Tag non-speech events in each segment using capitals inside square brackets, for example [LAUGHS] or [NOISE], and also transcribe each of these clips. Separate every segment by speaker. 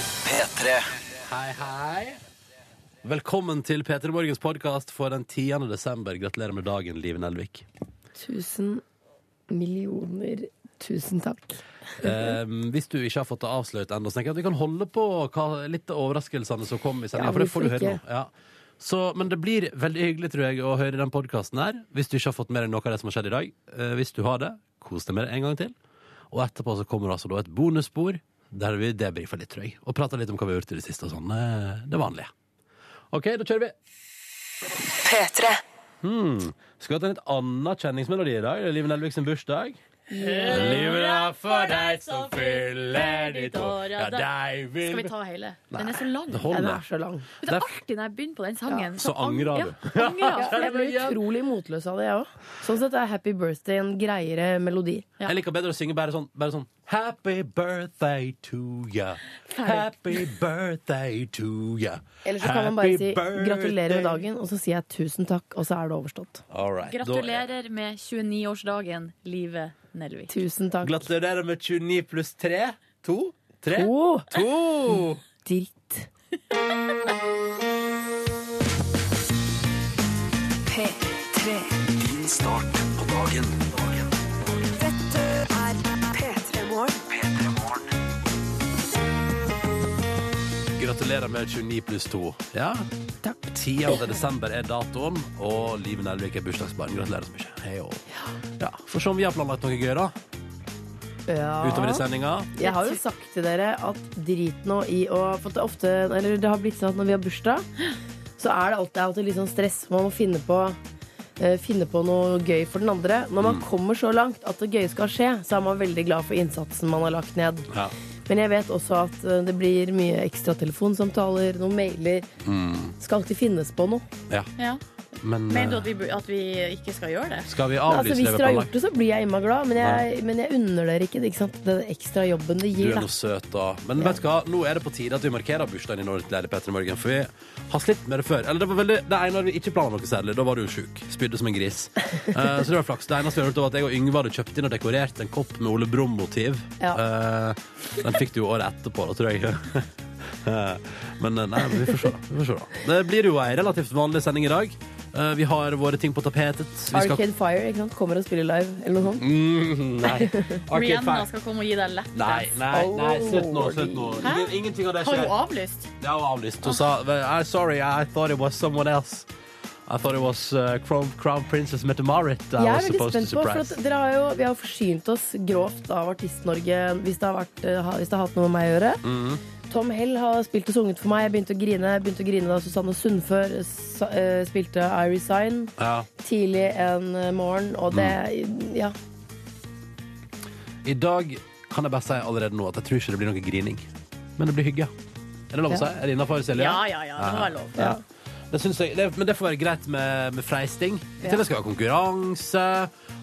Speaker 1: P3.
Speaker 2: Hei, hei. Velkommen til P3 Morgens podkast for den 10. desember. Gratulerer med dagen, Liv Nelvik.
Speaker 3: Tusen millioner tusen takk.
Speaker 2: Eh, hvis du ikke har fått det avslørt ennå, så tenker jeg at vi kan holde på hva, litt av overraskelsene som kom i sendinga,
Speaker 3: Ja,
Speaker 2: for det får du
Speaker 3: hvorfor
Speaker 2: høre nå.
Speaker 3: ikke?
Speaker 2: Ja. Så, men det blir veldig hyggelig, tror jeg, å høre den podkasten her. Hvis du ikke har fått med deg noe av det som har skjedd i dag. Eh, hvis du har det, kos deg med det en gang til. Og etterpå så kommer det altså da et bonusspor der vi debrifer litt, tror jeg. Og prater litt om hva vi har gjort i det siste og sånn. eh, Det vanlige. OK, da kjører vi. Hmm.
Speaker 4: P3.
Speaker 2: Skal vi ha en litt annen kjenningsmelodi i dag? Det er Liv Nelvik sin bursdag. Livet er for deg som fyller ditt år, ja, deg vil
Speaker 5: Skal vi ta hele? Den er så lang.
Speaker 2: Det
Speaker 3: Den
Speaker 2: holder.
Speaker 3: er så lang.
Speaker 5: Det er
Speaker 2: Derf-
Speaker 5: alltid når jeg begynner på den sangen.
Speaker 2: Så angrer du.
Speaker 5: ang- [LAUGHS] Ja, angrer
Speaker 2: [LAUGHS]
Speaker 3: Jeg blir
Speaker 5: jeg.
Speaker 3: utrolig motløs av det, jeg òg. Sånn sett er Happy Birthday en greiere melodi.
Speaker 5: Ja.
Speaker 2: Jeg liker bedre å synge bare sånn, bare sånn Happy birthday to ya. Happy birthday to ya.
Speaker 3: Eller så kan man bare
Speaker 2: Happy
Speaker 3: si
Speaker 2: birthday.
Speaker 3: 'gratulerer med dagen', og så sier jeg 'tusen takk', og så er det overstått.
Speaker 2: All right, da-
Speaker 5: Gratulerer med 29-årsdagen, Live Nelvik.
Speaker 3: Tusen takk.
Speaker 2: Gratulerer med 29 pluss 3. 2. 3.
Speaker 3: Å,
Speaker 2: 2.
Speaker 3: dritt.
Speaker 4: P3.
Speaker 1: Din start på dagen. dagen.
Speaker 4: Dette er P3 Morgen.
Speaker 1: P3 Morgen.
Speaker 2: Gratulerer med 29 pluss 2. Ja, takk. 10. desember er datoen, og Live Nelvik er bursdagsbarn. Gratulerer så mye. Hei og ja, Får se om vi har planlagt noe gøy, da. Utover i
Speaker 3: Ja.
Speaker 2: sendinga.
Speaker 3: Jeg har jo sagt til dere at drit nå i å For det, er ofte, eller det har blitt sånn at når vi har bursdag, så er det alltid, det er alltid litt sånn stress. Man må finne på eh, Finne på noe gøy for den andre. Når
Speaker 2: Mm.
Speaker 3: man kommer så langt at det gøye skal skje, så er man veldig glad for innsatsen man har lagt ned.
Speaker 2: Ja.
Speaker 3: Men jeg vet også at eh, det blir mye ekstra telefonsamtaler, noen mailer.
Speaker 2: Mm.
Speaker 3: Skal alltid finnes på noe.
Speaker 2: ja.
Speaker 5: Ja.
Speaker 2: Men eh,
Speaker 5: Mener du at vi, bu- at vi ikke skal gjøre det?
Speaker 2: skal vi
Speaker 3: Altså,
Speaker 2: avlyse det
Speaker 3: hvis
Speaker 2: vi
Speaker 3: dere har
Speaker 2: planlagt?
Speaker 3: gjort det, så blir jeg imma glad, men jeg, men jeg unner dere ikke, det, ikke sant? den ekstra jobben det
Speaker 2: Du
Speaker 3: gir.
Speaker 2: er
Speaker 3: Da.
Speaker 2: nå søt, da. Men vet du hva, nå er det på tide at vi markerer bursdagen din ordentlig, her i Petter i Morgen. For vi har slitt med det før. Eller det var veldig Det ene hadde vi ikke planla noe særlig. Da var du jo sjuk. Spydde som en gris. Eh, så det var flaks. Det eneste vi har gjort, var at jeg og Yngve hadde kjøpt inn og dekorert en kopp med Ole Brumm-motiv. Eh, den fikk du jo året etterpå, da, tror jeg. [LAUGHS] Eh, Men eh, nei, vi får se, da. Vi får se, da. Det blir jo ei relativt vanlig sending i dag. Eh, Vi har våre ting på tapetet. Vi skal
Speaker 3: Arcade Fire ikke sant? kommer og spiller live, eller noe sånt.
Speaker 2: mm, Nei. Arcade
Speaker 5: Rihanna
Speaker 2: Fire.
Speaker 5: skal komme og gi deg lett.
Speaker 2: Nei, nei, nei, slutt nå. Slutt nå.
Speaker 5: Hæ?
Speaker 2: Ingen- Ingenting av det
Speaker 5: Har
Speaker 2: skjer.
Speaker 5: hun avlyst?
Speaker 2: Det var avlyst. Hun sa I'm sorry, I thought it was someone else. I thought it was uh, Crown, Crown Princess Mette-Marit. I
Speaker 3: Jeg
Speaker 2: was
Speaker 3: er veldig
Speaker 2: supposed to
Speaker 3: spent på, for at
Speaker 2: surprise.
Speaker 3: dere har jo, Vi har jo forsynt oss grovt av Artist-Norge hvis, det har vært, eh, ha- hvis det har hatt noe med meg å gjøre.
Speaker 2: Mm.
Speaker 3: Tom Hell har spilt og sunget for meg. Jeg begynte å grine, jeg begynte å grine da Susanne Sundfør eh, sa- eh, spilte Iris Sign
Speaker 2: Ja.
Speaker 3: tidlig en eh, morgen, og det
Speaker 2: Mm.
Speaker 3: Ja.
Speaker 2: I dag kan jeg bare si allerede nå at jeg tror ikke det blir noe grining. Men det blir hygge. Er det lov å si? Er det innafor, Silje?
Speaker 5: Ja, ja, ja. Det må være lov.
Speaker 2: Ja. Det syns jeg, det, men det får være greit med, med freisting. I tillegg skal vi ha konkurranse.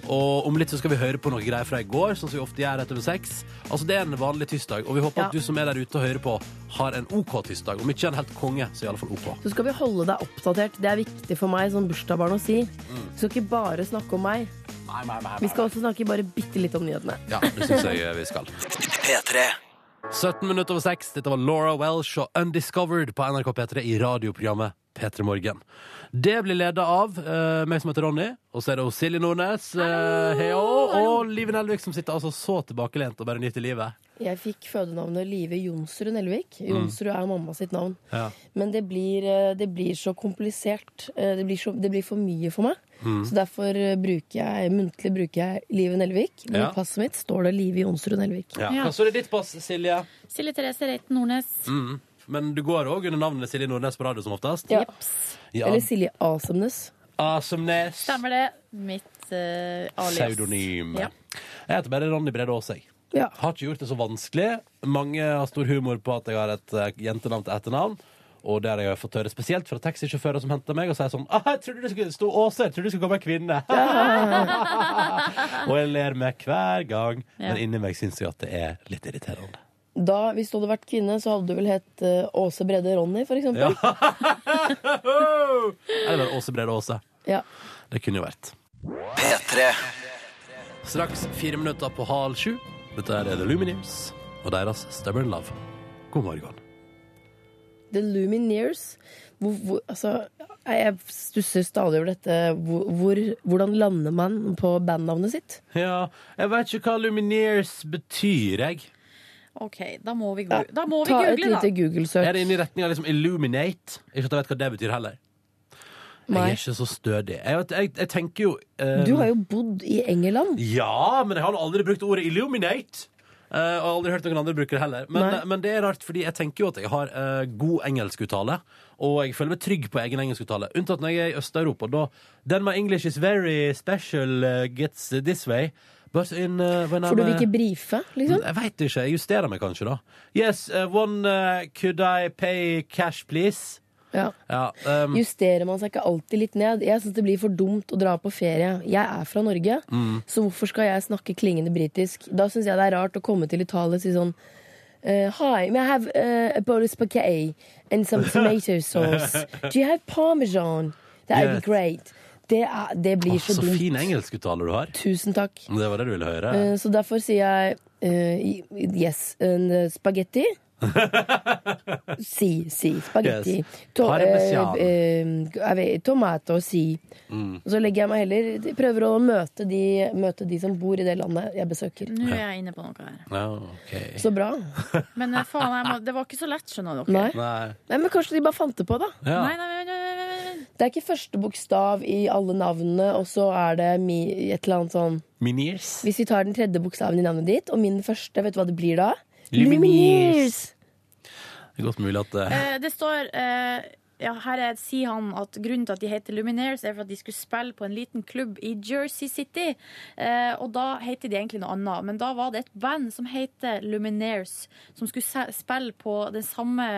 Speaker 2: Og om litt så skal vi høre på noe greier fra i går, sånn som vi ofte gjør rett over seks. Altså Det er en vanlig tirsdag, og vi håper
Speaker 3: Ja.
Speaker 2: at du som er der ute og hører på, har en OK tirsdag. Om ikke en helt konge, så i alle fall OK.
Speaker 3: Så skal vi holde deg oppdatert. Det er viktig for meg som bursdagsbarn å si.
Speaker 2: Mm.
Speaker 3: Du skal ikke bare snakke om meg. Vi skal også snakke bare bitte litt om nyhetene.
Speaker 2: Ja, det syns jeg eh, vi skal.
Speaker 1: P3.
Speaker 2: 17 minutter over 6. Dette var Laura Welsh og Undiscovered på NRK P3 i radioprogrammet P3 Morgen. Det blir leda av eh, meg som heter Ronny, og så er det hos Silje Nordnes eh, heo, og Live Nelvik, som sitter altså så tilbakelent og bare nyter livet.
Speaker 3: Jeg fikk fødenavnet Live Jonsrud Nelvik.
Speaker 2: Mm.
Speaker 3: Jonsrud er mamma sitt navn.
Speaker 2: Ja.
Speaker 3: Men det blir, eh, det blir så komplisert. Eh, Det blir, så, det blir for mye for meg.
Speaker 2: Mm.
Speaker 3: Så derfor eh, bruker jeg muntlig bruker jeg Live Nelvik. Men
Speaker 2: Ja.
Speaker 3: i passet mitt står det Live Jonsrud Nelvik.
Speaker 2: Ja.
Speaker 5: Ja.
Speaker 2: Hva står det i ditt pass, Silje?
Speaker 5: Silje Therese Reiten Nordnes.
Speaker 2: Mm. Men du går òg under navnet Silje Nordnes på radio som oftest?
Speaker 3: Ja.
Speaker 2: Ja.
Speaker 3: Eller Silje Asemnes.
Speaker 2: Asemnes.
Speaker 5: Stemmer det? Mitt eh, alias.
Speaker 2: Pseudonym.
Speaker 5: Ja.
Speaker 2: Jeg heter bare Ronny Brede Aas, jeg.
Speaker 3: Ja.
Speaker 2: Har ikke gjort det så vanskelig. Mange har stor humor på at jeg har et eh, jentenavn til etternavn. Og det har jeg fått høre spesielt fra taxisjåfører som henter meg og sier sånn ah, 'Jeg trodde det skulle stå Åse, jeg trodde det skulle komme en kvinne'. [LAUGHS] og jeg ler meg hver gang, men
Speaker 5: Ja.
Speaker 2: inni meg syns jeg at det er litt irriterende.
Speaker 3: Da, hvis du hadde vært kvinne, så hadde du vel hett eh, Åse Bredde Ronny, for eksempel. Ja.
Speaker 2: Eller bare Åse Brede Aase. Det kunne jo vært.
Speaker 1: P3.
Speaker 2: Straks fire minutter på halv sju. Dette er The Lumineers og deres Stubborn Love. God morgen.
Speaker 3: The Lumineers. Hvor, hvor, altså, jeg stusser stadig over dette. Hvor, hvor, hvordan lander man på bandnavnet sitt?
Speaker 2: Ja, jeg vet ikke hva Lumineers betyr, jeg.
Speaker 5: OK, da må vi, go da må vi
Speaker 3: Ta et
Speaker 5: google, da.
Speaker 3: lite Google-søk.
Speaker 2: Er det inne i retning av liksom Illuminate? Ikke at jeg vet hva det betyr heller. Jeg
Speaker 3: Nei.
Speaker 2: er ikke så stødig. Jeg, vet- jeg, jeg tenker jo eh,
Speaker 3: Du har jo bodd i England.
Speaker 2: Ja, men jeg har aldri brukt ordet illuminate. Eh, og aldri hørt noen andre bruke det heller. Men, eh,
Speaker 3: Nei.
Speaker 2: men det er rart, fordi jeg tenker jo at jeg har eh, god engelskuttale. Og jeg føler meg trygg på egen engelskuttale. Unntatt når jeg er i Øst-Europa. Da Then my English is very special eh, gets this way. But in eh, when
Speaker 3: For du
Speaker 2: I'm,
Speaker 3: vil
Speaker 2: eh,
Speaker 3: ikke brife, liksom?
Speaker 2: jeg veit ikke. Jeg justerer meg kanskje, da. Yes, eh, one eh, Could I pay cash, please?
Speaker 3: Ja.
Speaker 2: Ja, ehm,
Speaker 3: Justerer man seg ikke alltid litt ned? Jeg syns det blir for dumt å dra på ferie. Jeg er fra Norge,
Speaker 2: Mm.
Speaker 3: så hvorfor skal jeg snakke klingende britisk? Da syns jeg det er rart å komme til Italia og si sånn eh, hi, may I have eh, a bowl of spaghetti and
Speaker 2: [LAUGHS]
Speaker 3: some tomato sauce? Do you have parmesan? That would
Speaker 2: Yes.
Speaker 3: be great. Det, er, det
Speaker 2: å,
Speaker 3: blir så
Speaker 2: så
Speaker 3: dumt.
Speaker 2: fin engelskuttale du har.
Speaker 3: Tusen takk.
Speaker 2: Det var det du ville høre.
Speaker 3: Eh, Så derfor sier jeg eh, yes, en eh,
Speaker 2: [LAUGHS]
Speaker 3: spagetti. si, si, spagetti.
Speaker 2: Yes.
Speaker 3: To, eh,
Speaker 2: Parmesan.
Speaker 3: eh, jeg vet, tomato, si.
Speaker 2: Mm.
Speaker 3: Og så legger jeg meg heller Prøver å møte de, møte de som bor i det landet jeg besøker.
Speaker 5: Nå er jeg inne på noe her.
Speaker 2: Ja, ok.
Speaker 3: Så bra.
Speaker 5: Men eh, faen, jeg må, det var ikke så lett, skjønner dere.
Speaker 3: Nei.
Speaker 2: Nei.
Speaker 3: Nei, men kanskje de bare fant det på, da.
Speaker 2: Ja.
Speaker 5: Nei, nei, nei, nei, nei, nei, nei.
Speaker 3: Det er ikke første bokstav i alle navnene, og så er det mi, et eller annet sånn
Speaker 2: Miniers.
Speaker 3: Hvis vi tar den tredje bokstaven i navnet ditt, og min første, vet du hva det blir da?
Speaker 2: Lumineers. Det er godt mulig at eh,
Speaker 5: Eh, det står eh, ja, her er, sier han at grunnen til at de heter Lumineers, er for at de skulle spille på en liten klubb i Jersey City. Eh, og da heter de egentlig noe annet. Men da var det et band som heter Lumineers, som skulle se- spille på det samme,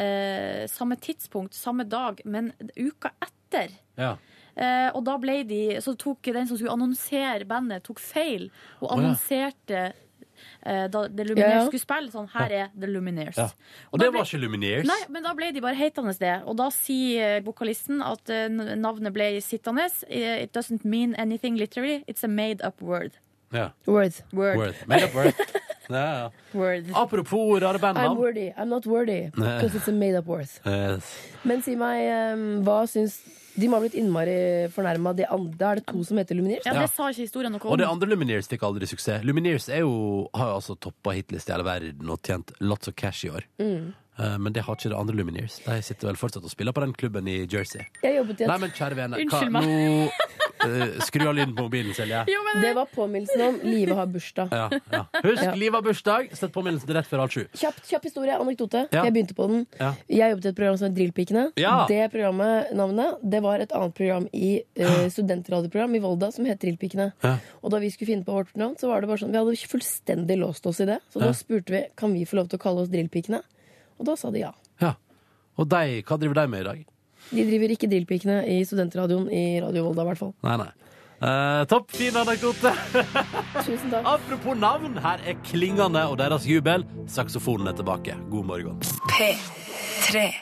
Speaker 5: eh, samme tidspunkt, samme dag, men uka etter.
Speaker 2: ja.
Speaker 5: Eh, og da ble de, så tok den som skulle annonsere bandet, tok feil og
Speaker 2: ja.
Speaker 5: annonserte eh, da The Lumineers
Speaker 3: Ja, ja.
Speaker 5: skulle spille sånn Her er The Lumineers.
Speaker 2: Ja. Og
Speaker 5: da
Speaker 2: det
Speaker 5: ble-
Speaker 2: var ikke Lumineers.
Speaker 5: Nei, men da ble de bare hetende det. Og da sier eh, vokalisten at eh, n- navnet ble sittende. Eh, It doesn't mean anything literally. It's a made up word.
Speaker 2: Ja.
Speaker 3: Worth.
Speaker 5: Word.
Speaker 2: Worth. Made up worth. [LAUGHS] Ja, ja.
Speaker 5: Word.
Speaker 2: Apropos rare
Speaker 3: I'm
Speaker 2: bandnavn.
Speaker 3: worthy. I'm not worthy. Because it's a made up worth.
Speaker 2: Yes.
Speaker 3: Men si meg, eh, hva syns De må ha blitt innmari fornærma. De an- Da er det to som heter Lumineers.
Speaker 5: Ja,
Speaker 2: Ja.
Speaker 5: det sa ikke historien noe
Speaker 2: Og det
Speaker 5: om.
Speaker 2: andre Lumineers fikk aldri suksess. Lumineers er jo, har jo altså toppa hitliste i hele verden og tjent lots of cash i år. Eh, Men det har ikke det andre Lumineers. De sitter vel fortsatt og spiller på den klubben i Jersey.
Speaker 3: Jeg jobbet i
Speaker 2: Nei,
Speaker 3: et
Speaker 2: men kjære vene,
Speaker 5: Unnskyld
Speaker 2: hva, nå eh, Skru av lyden på mobilen, Silje.
Speaker 5: Jo, men
Speaker 3: Det var påminnelsen om Live har bursdag.
Speaker 2: Ja, ja. Husk,
Speaker 3: Ja.
Speaker 2: Liv har bursdag. Sett påminnelsen til rett før halv sju.
Speaker 3: Kjapp, kjapp historie, anekdote.
Speaker 2: Ja.
Speaker 3: Jeg begynte på den.
Speaker 2: Ja.
Speaker 3: Jeg jobbet i et program som het Drillpikene.
Speaker 2: Ja.
Speaker 3: Det programmet, navnet, det var et annet program i eh, studentradioprogram i Volda som het Drillpikene.
Speaker 2: Ja.
Speaker 3: Og da vi skulle finne på vårt navn, så var det bare sånn Vi hadde ikke fullstendig låst oss i det. Så da
Speaker 2: Ja.
Speaker 3: spurte vi kan vi få lov til å kalle oss Drillpikene. Og da sa de ja.
Speaker 2: Ja. Og de, hva driver de med i dag?
Speaker 3: De driver ikke Drillpikene i studentradioen i Radio Volda, i hvert fall.
Speaker 2: Nei, nei. Eh, topp, fin anekdote.
Speaker 3: Tusen takk.
Speaker 2: Apropos navn, her er Klingene og deres jubel. Saksofonen er tilbake. God morgen.
Speaker 4: P3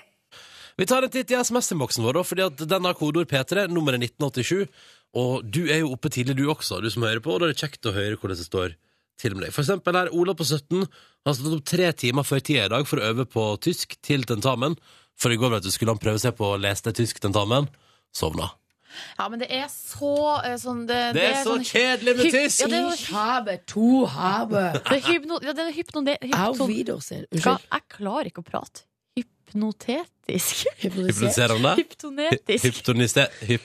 Speaker 2: Vi tar en titt i SMS-innboksen vår, da, fordi at den har kodeord P3, nummeret 1987. Og du er jo oppe tidlig, du også, du som hører på, og da er det kjekt å høre hvordan det står til med deg. For eksempel her, Ola på 17 har stått opp tre timer før tida i dag for å øve på tysk til tentamen. For i går vet du, skulle han prøve seg på å lese det tysk tentamen. Sovna.
Speaker 5: Ja, men det er så eh, sånn Det,
Speaker 2: Det er så
Speaker 5: sånn-
Speaker 2: kjedelig med
Speaker 5: Hypp-
Speaker 2: tysk!
Speaker 5: Ja, det er,
Speaker 3: Ich habe, to habe.
Speaker 5: det er hypno... Ja, det er hypno... Det er
Speaker 3: Auf
Speaker 5: hypno
Speaker 3: Wiedersehen.
Speaker 5: Hva?
Speaker 3: Unnskyld.
Speaker 5: Jeg klarer ikke å prate. Hypnotetisk. [LAUGHS]
Speaker 3: Hypnotisert.
Speaker 2: Hypnotiserende.
Speaker 5: Hyptonetisk.
Speaker 2: Hyptoniste... Hyp...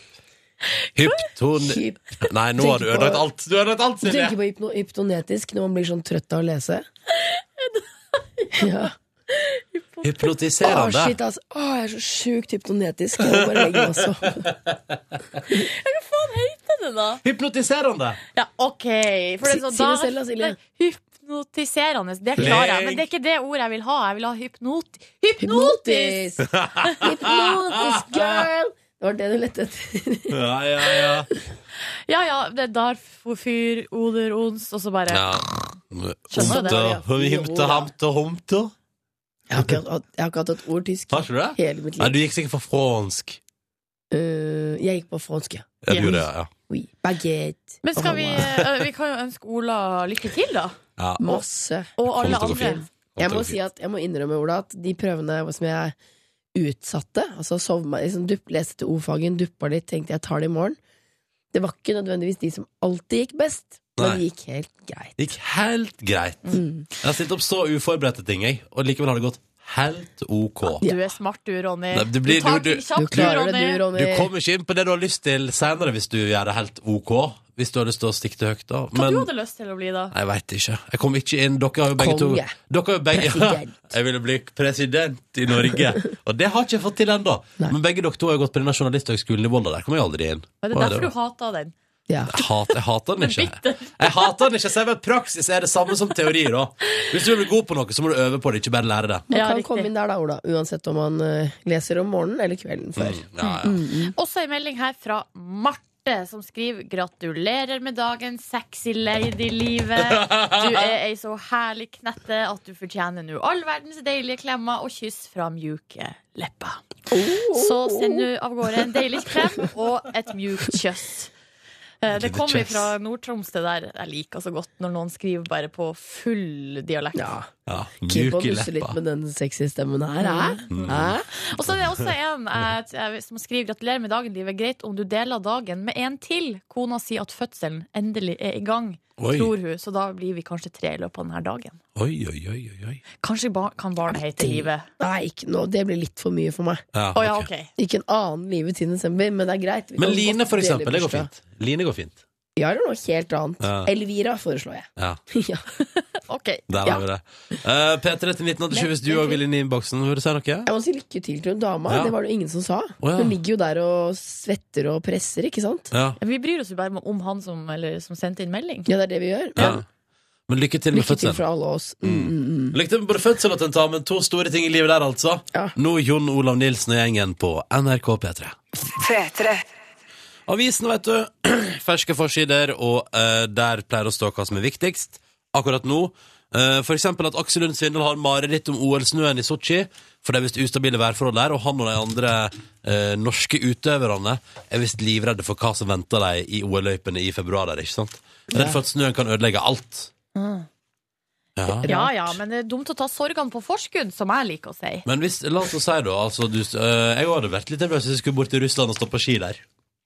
Speaker 2: Hypton...
Speaker 3: Hyp-
Speaker 2: Nei, nå har du
Speaker 3: Tenker på-
Speaker 2: ødelagt alt! Du har ødelagt alt,
Speaker 3: Du
Speaker 2: Silje!
Speaker 3: tenker på hypno hyptonetisk når man blir sånn trøtt av å
Speaker 2: [LAUGHS]
Speaker 3: lese? Ja. Å,
Speaker 2: Hypnotiserende.
Speaker 3: shit, altså. Å, jeg er så sjukt hyptonetisk. Jeg må bare legge meg og
Speaker 2: [LAUGHS]
Speaker 3: sove.
Speaker 5: Heter det da?
Speaker 2: Hypnotiserende!
Speaker 5: Ja, OK. For det er
Speaker 3: Si-
Speaker 5: sånn,
Speaker 3: si
Speaker 5: da-
Speaker 3: det selv da, Silje.
Speaker 5: Nei, Hypnotiserende. Det klarer jeg, men det er ikke det ordet jeg vil ha. Jeg vil ha hypnot... Hypnotisk!
Speaker 3: Hypnotisk! Hypnotisk girl! Det var det du lette etter.
Speaker 2: Ja, ja, ja.
Speaker 5: Ja ja, det er darf, fyr, oder, ons, og så bare
Speaker 2: ja.
Speaker 3: Skjønner du det?
Speaker 2: Omte, himte, hamte, homte.
Speaker 3: Jeg har ikke hatt, jeg har ikke hatt et ord tysk
Speaker 2: Har ikke du det?
Speaker 3: hele mitt
Speaker 2: Nei,
Speaker 3: liv.
Speaker 2: du gikk sikkert for fransk.
Speaker 3: Øh, jeg gikk på fransk, ja.
Speaker 2: Ja, du gjorde det, ja.
Speaker 3: Oui. Baguette.
Speaker 5: Men skal vi
Speaker 3: Roma.
Speaker 5: eh, Vi kan jo ønske Ola lykke til, da.
Speaker 2: ja.
Speaker 3: Masse.
Speaker 5: Og
Speaker 2: Kommer til
Speaker 5: alle
Speaker 2: å gå
Speaker 5: andre.
Speaker 2: fint.
Speaker 3: Jeg må, si at, jeg må innrømme, Ola, at de prøvene som jeg utsatte. Altså sovna liksom, dupp, Leste til O-fagen, duppa litt, tenkte jeg tar det i morgen. Det var ikke nødvendigvis de som alltid gikk best, men
Speaker 2: Nei.
Speaker 3: det gikk helt greit.
Speaker 2: Gikk helt greit.
Speaker 3: Mm.
Speaker 2: Jeg har stilt opp så uforberedte ting, jeg, og likevel har det gått helt OK.
Speaker 3: Ja.
Speaker 5: Du er smart, du, Ronny.
Speaker 2: Nei, du blir-
Speaker 5: tar
Speaker 2: du-
Speaker 5: ting
Speaker 2: du-
Speaker 5: kjapt,
Speaker 3: Du klarer det, du,
Speaker 2: Du
Speaker 5: Eh,
Speaker 3: Ronny.
Speaker 2: kommer ikke inn på det du har lyst til senere hvis du gjør det helt OK. Hvis du har lyst til å stikke til høyt, da.
Speaker 5: Hva
Speaker 2: Men
Speaker 5: du hadde lyst til å bli, da?
Speaker 2: jeg veit ikke. Jeg kom ikke inn. Dere har jo begge
Speaker 3: Konge.
Speaker 2: to Dere har jo begge, [LAUGHS]
Speaker 3: President.
Speaker 2: Jeg ville bli president i Norge. Og det har ikke jeg fått til ennå.
Speaker 3: Nei.
Speaker 2: Men begge dere to har jo gått på denne journalisthøgskolen i Volda. Der kom jeg aldri inn.
Speaker 5: Var det
Speaker 2: Hva
Speaker 5: derfor du hata den?
Speaker 3: Ja.
Speaker 2: Jeg hater, jeg hater den ikke. Jeg hater den ikke, så jeg vet praksis er det samme som teori. da Hvis du vil bli god på noe, så må du øve på det, ikke bare lære det.
Speaker 3: Man
Speaker 5: Ja,
Speaker 3: kan
Speaker 5: riktig.
Speaker 3: komme inn der, da, Ola. Uansett om man eh, leser om morgenen eller
Speaker 2: Mm.
Speaker 3: kvelden før.
Speaker 2: Ja, ja.
Speaker 5: Mm, Også en melding her fra Marte, som skriver 'Gratulerer med dagen, sexy lady-livet'. Du er ei så herlig knette at du fortjener nå all verdens deilige klemmer og kyss fra mjuke lepper. Så send nå av gårde en deilig klem og et mjukt kyss. Eh, Det kommer fra Nord-Troms, det der. Jeg liker så godt når noen skriver bare på full dialekt.
Speaker 3: Ja.
Speaker 2: Ja,
Speaker 3: Keep
Speaker 2: Mjuk
Speaker 3: on
Speaker 2: i
Speaker 3: dusse litt
Speaker 2: leppa. Mm.
Speaker 3: med den sexy stemmen her, hæ?
Speaker 5: Mm.
Speaker 3: Hæ?
Speaker 5: Og så er det også en eh, som skriver 'Gratulerer med dagen, livet. Greit om du deler dagen med en til.' Kona sier at fødselen endelig er i gang,
Speaker 2: Oi.
Speaker 5: tror hun. Så da blir vi kanskje tre i løpet av denne dagen.
Speaker 2: Oi, oi, oi, oi, oi.
Speaker 5: Kanskje bar kan barnet hete Livet.
Speaker 3: Nei, ikke nå. Det blir litt for mye for meg.
Speaker 2: Ja,
Speaker 5: Å ja,
Speaker 2: ok.
Speaker 5: OK.
Speaker 3: Ikke en annen livet til desember, men det er greit. Vi
Speaker 2: Men
Speaker 3: kan
Speaker 2: Line,
Speaker 3: godt
Speaker 2: for
Speaker 3: dele
Speaker 2: eksempel. Det går
Speaker 3: bursdag.
Speaker 2: fint. Line går fint.
Speaker 3: Ja, eller noe helt annet.
Speaker 2: Ja.
Speaker 3: Elvira foreslår jeg.
Speaker 2: Ja,
Speaker 3: [LAUGHS] ja.
Speaker 5: ok
Speaker 2: der har vi det. Eh, P3 til 1987 hvis du òg vil inn i innboksen. Vil du si noe?
Speaker 3: Jeg må si lykke til til hun dama.
Speaker 2: Ja.
Speaker 3: Det var det jo ingen som sa.
Speaker 2: ja.
Speaker 3: Hun ligger jo der og svetter og presser, ikke sant?
Speaker 2: Ja.
Speaker 5: Vi bryr oss jo bare om han som, eller, som sendte inn melding.
Speaker 3: Ja, det er det vi gjør.
Speaker 2: ja.
Speaker 3: Men
Speaker 2: Men lykke til med
Speaker 3: lykke til
Speaker 2: fødselen.
Speaker 3: fra alle oss. Mm, mm, mm.
Speaker 2: Lykke til med både fødsel og tentamen. To store ting i livet der, altså.
Speaker 3: Ja.
Speaker 2: Nå Jon Olav Nilsen og gjengen på NRK P3.
Speaker 1: P3.
Speaker 2: Avisen, vet du. [CLEARS THROAT] Ferske forsider, og eh, der pleier det å stå hva som er viktigst akkurat nå. Eh, for eksempel at Aksel Lund Svindal har mareritt om OL-snøen i Sotsji. For det er visst ustabile værforhold der, og han og de andre eh, norske utøverne er visst livredde for hva som venter dem i OL-løypene i februar. der, ikke sant? Redd for at snøen kan ødelegge alt. Ja.
Speaker 5: Mm. Ja ja, men det er dumt å ta sorgene på forskudd, som jeg liker å si.
Speaker 2: Men hvis, la oss nå si da altså, du, eh, Jeg hadde vært litt nervøs hvis jeg skulle bort til Russland og stå på ski der.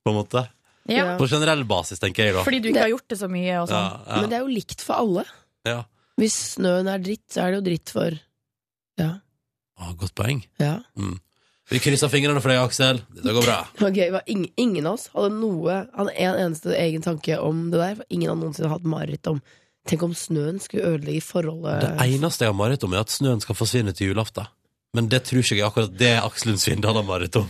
Speaker 2: På en måte
Speaker 5: Ja.
Speaker 2: På generell basis, tenker jeg da.
Speaker 5: Fordi du ikke har gjort det så mye
Speaker 2: ja,
Speaker 5: og sånn.
Speaker 2: ja,
Speaker 3: Men det er jo likt for alle.
Speaker 2: ja.
Speaker 3: Hvis snøen er dritt, så er det jo dritt for Ja.
Speaker 2: Å, godt poeng.
Speaker 3: ja.
Speaker 2: Vi krysser fingrene for deg, Aksel. Dette går bra.
Speaker 3: Det var gøy. Det var ingen, ingen av oss hadde noe hadde en eneste egen tanke om det der. For ingen hadde noensinne hatt mareritt om Tenk om snøen skulle ødelegge forholdet
Speaker 2: Det eneste jeg har mareritt om, er at snøen skal forsvinne til julaften. Men det tror ikke jeg er akkurat det Aksel Lund Svindal har mareritt om.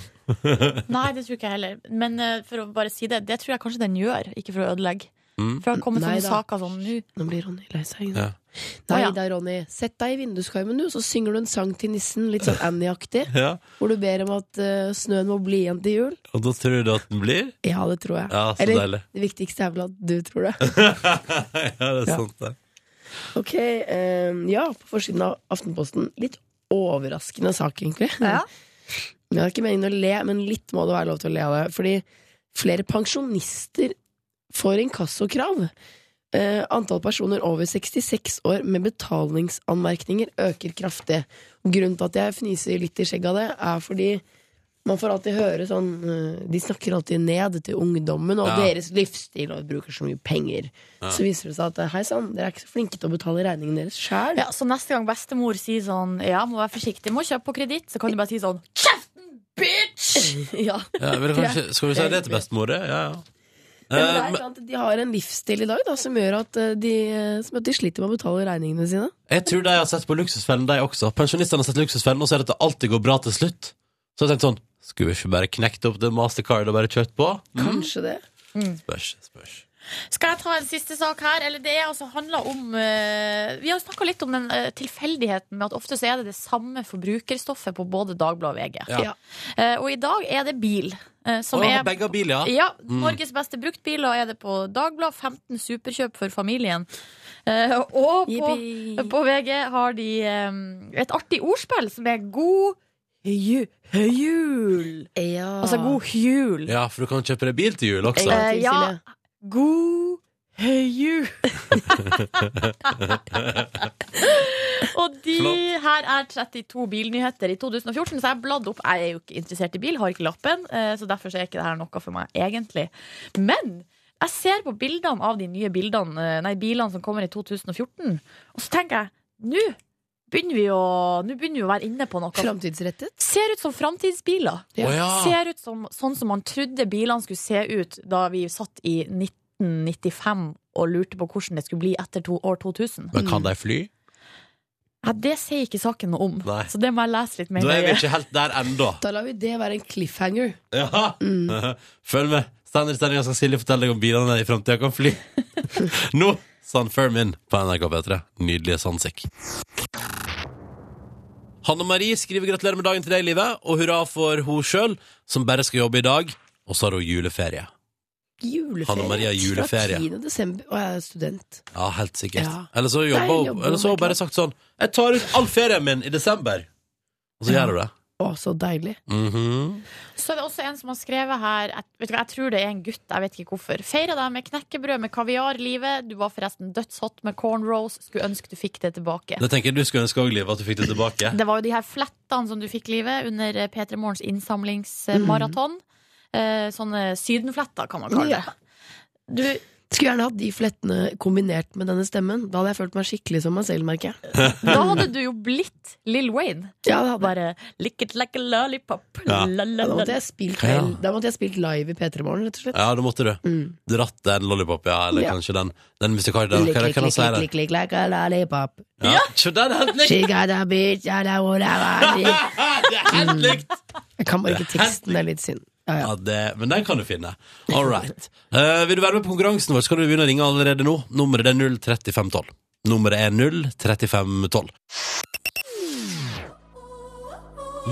Speaker 5: Nei, det tror ikke jeg heller. Men eh, for å bare si det, det tror jeg kanskje den gjør, ikke for å ødelegge.
Speaker 2: Mm.
Speaker 5: For det har kommet
Speaker 3: Nei
Speaker 5: sånne
Speaker 3: da.
Speaker 5: saker sånn nå.
Speaker 3: Nå blir Ronny lei seg. ikke
Speaker 2: Ja.
Speaker 3: sant? Nei
Speaker 5: Å, ja.
Speaker 3: da, Ronny. Sett deg i vinduskarmen, du, så synger du en sang til nissen, litt sånn Annie-aktig,
Speaker 2: [LAUGHS] Ja,
Speaker 3: hvor du ber om at eh, snøen må bli igjen til jul.
Speaker 2: Og da tror du at den blir? [LAUGHS]
Speaker 3: Ja, det tror jeg.
Speaker 2: Ja, så
Speaker 3: Eller
Speaker 2: deilig.
Speaker 3: det viktigste er vel at du tror det.
Speaker 2: [LAUGHS] ja, det er
Speaker 3: Ja.
Speaker 2: sant, det.
Speaker 3: Ok, eh, ja, på forsiden av Aftenposten. Litt overraskende sak, egentlig.
Speaker 5: Ja.
Speaker 3: Det er ikke meningen å le, men litt må det være lov til å le av det. Fordi flere pensjonister får inkassokrav. Eh, antall personer over 66 år med betalingsanmerkninger øker kraftig. Grunnen til at jeg fniser litt i skjegget av det, er fordi man får alltid høre sånn eh, De snakker alltid ned til ungdommen og
Speaker 2: Ja.
Speaker 3: deres livsstil og bruker så mye penger. Så viser det seg at eh, hei sann, dere er ikke så flinke til å betale regningen deres sjæl.
Speaker 5: Ja, så neste gang bestemor sier sånn Ja, må være forsiktig, må kjøpe på kreditt, så kan du bare si sånn Kjeften, bitch!
Speaker 3: [LAUGHS] Ja.
Speaker 2: Ja, vil du kanskje, skal du si det til bestemor? det? Ja, ja.
Speaker 3: Ja, men det
Speaker 2: Eh,
Speaker 3: er
Speaker 2: men
Speaker 3: sant, at De har en livsstil i dag da, som gjør at eh, de, eh, som at de sliter med å betale regningene sine.
Speaker 2: jeg tror de har sett på Luksusfellen, de også. Pensjonistene har sett Luksusfellen, og så er det at det alltid går bra til slutt. Så jeg tenkte sånn Skulle vi ikke bare knekt opp det mastercard og bare kjørt på?
Speaker 3: Kanskje det.
Speaker 2: Spørs, spørs.
Speaker 5: Skal jeg ta en siste sak her? Eller det er altså handla om eh, Vi har snakka litt om den eh, tilfeldigheten med at ofte så er det det samme forbrukerstoffet på både Dagbladet og VG.
Speaker 2: Ja.
Speaker 3: Ja.
Speaker 5: Eh, og i dag er det bil. eh,
Speaker 2: Å,
Speaker 5: som er
Speaker 2: begge Mm. har bil, ja.
Speaker 5: Ja, Norges beste bruktbiler er det på Dagbladet. 15 superkjøp for familien. Eh, og på,
Speaker 3: Yippee.
Speaker 5: på VG har de eh, et artig ordspill som er god ju- jul.
Speaker 3: Ja.
Speaker 5: Altså god jul.
Speaker 2: Ja, for du kan kjøpe deg bil til jul også.
Speaker 3: Ja.
Speaker 5: Eh, ja. God Høyju. [LAUGHS] og de her er 32 bilnyheter i 2014, så jeg har bladd opp. Jeg er jo ikke interessert i bil, har ikke lappen, eh, så derfor så er ikke dette noe for meg, egentlig. Men jeg ser på bildene av de nye bildene, eh, nei, bilene som kommer i 2014, og så tenker jeg nå begynner vi å, nå begynner vi å være inne på noe.
Speaker 3: Framtidsrettet.
Speaker 5: Ser ut som framtidsbiler.
Speaker 3: Ja.
Speaker 2: Å, ja.
Speaker 5: Ser ut som sånn som man trodde bilene skulle se ut da vi satt i 1995 og lurte på hvordan det skulle bli etter to, år 2000.
Speaker 2: Men kan de fly?
Speaker 5: Ja, det sier ikke saken noe om,
Speaker 2: Nei.
Speaker 5: så det må jeg lese litt mer
Speaker 2: Da er vi
Speaker 5: nøye.
Speaker 2: ikke helt der ennå.
Speaker 3: Da lar vi det være en cliffhanger.
Speaker 2: Ja.
Speaker 3: Mm.
Speaker 2: [LAUGHS] Følg med. Standard sendinga skal Silje fortelle deg om bilene i framtida kan fly. [LAUGHS] Nå San Fermin på NRK P3. Nydelige Sandsikk. Hanne Marie skriver gratulerer med dagen til deg, Livet, og hurra for hun sjøl, som bare skal jobbe i dag. Og så har hun juleferie.
Speaker 3: Juleferie.
Speaker 2: Hanne Maria, juleferie.
Speaker 3: Fra 10. desember. Å, jeg er student.
Speaker 2: Ja, helt sikkert.
Speaker 3: Ja.
Speaker 2: Eller så jobber
Speaker 3: Der
Speaker 2: hun
Speaker 3: jobber
Speaker 2: Eller så har
Speaker 3: hun,
Speaker 2: hun bare sagt sånn 'Jeg tar ut all ferien min i desember', og så gjør hun det.
Speaker 3: Å, så deilig.
Speaker 2: Mhm.
Speaker 5: Så er det også en som har skrevet her jeg, vet du hva, jeg tror det er en gutt, jeg vet ikke hvorfor. Feira deg med knekkebrød med kaviar, livet. Du var forresten dødshot med cornrows. Skulle ønske du fikk det tilbake.
Speaker 2: Det tenker jeg du skulle ønske òg, Liv, at du fikk det tilbake.
Speaker 3: [LAUGHS]
Speaker 5: Det var jo de her flettene som du fikk livet under eh, P3 Morgens
Speaker 2: Mhm.
Speaker 5: innsamlingsmaraton. Eh, Sånne sydenfletter, kan man kalle
Speaker 3: Ja.
Speaker 5: det. Du,
Speaker 3: Skulle gjerne hatt de flettene kombinert med denne stemmen. Da hadde jeg følt meg skikkelig som meg selv, merker jeg.
Speaker 5: da hadde du jo blitt Lill Wayne.
Speaker 3: Ja, det hadde jeg.
Speaker 5: Bare lick it like a lollipop.
Speaker 2: Ja.
Speaker 5: La, la,
Speaker 3: Da
Speaker 5: la,
Speaker 3: måtte
Speaker 5: la.
Speaker 3: jeg spilt,
Speaker 2: Ja.
Speaker 3: vel- da måtte jeg spilt live i P3 Morgen, rett og slett.
Speaker 2: Ja, det måtte du.
Speaker 3: Mm.
Speaker 2: Dratt den lollipop, ja, eller
Speaker 3: Ja.
Speaker 2: kanskje den Den musikalen, den,
Speaker 3: Lick,
Speaker 2: hva
Speaker 3: lick,
Speaker 2: kan jeg
Speaker 3: lick,
Speaker 2: si
Speaker 3: lick,
Speaker 2: den?
Speaker 3: lick, lick, like a lollipop.
Speaker 2: Ja, [LAUGHS] se, der er helt likt!
Speaker 3: She got a bitch, I don't wanna ride it.
Speaker 2: Det er helt likt!
Speaker 3: Jeg kan bare ikke teksten, det er litt synd. Ja, ja.
Speaker 2: Ja, det, men den kan du finne. All right. [LAUGHS] Eh, vil du være med på konkurransen vår, så kan du begynne å ringe allerede nå. Nummeret er 03512. Nummeret er 03512.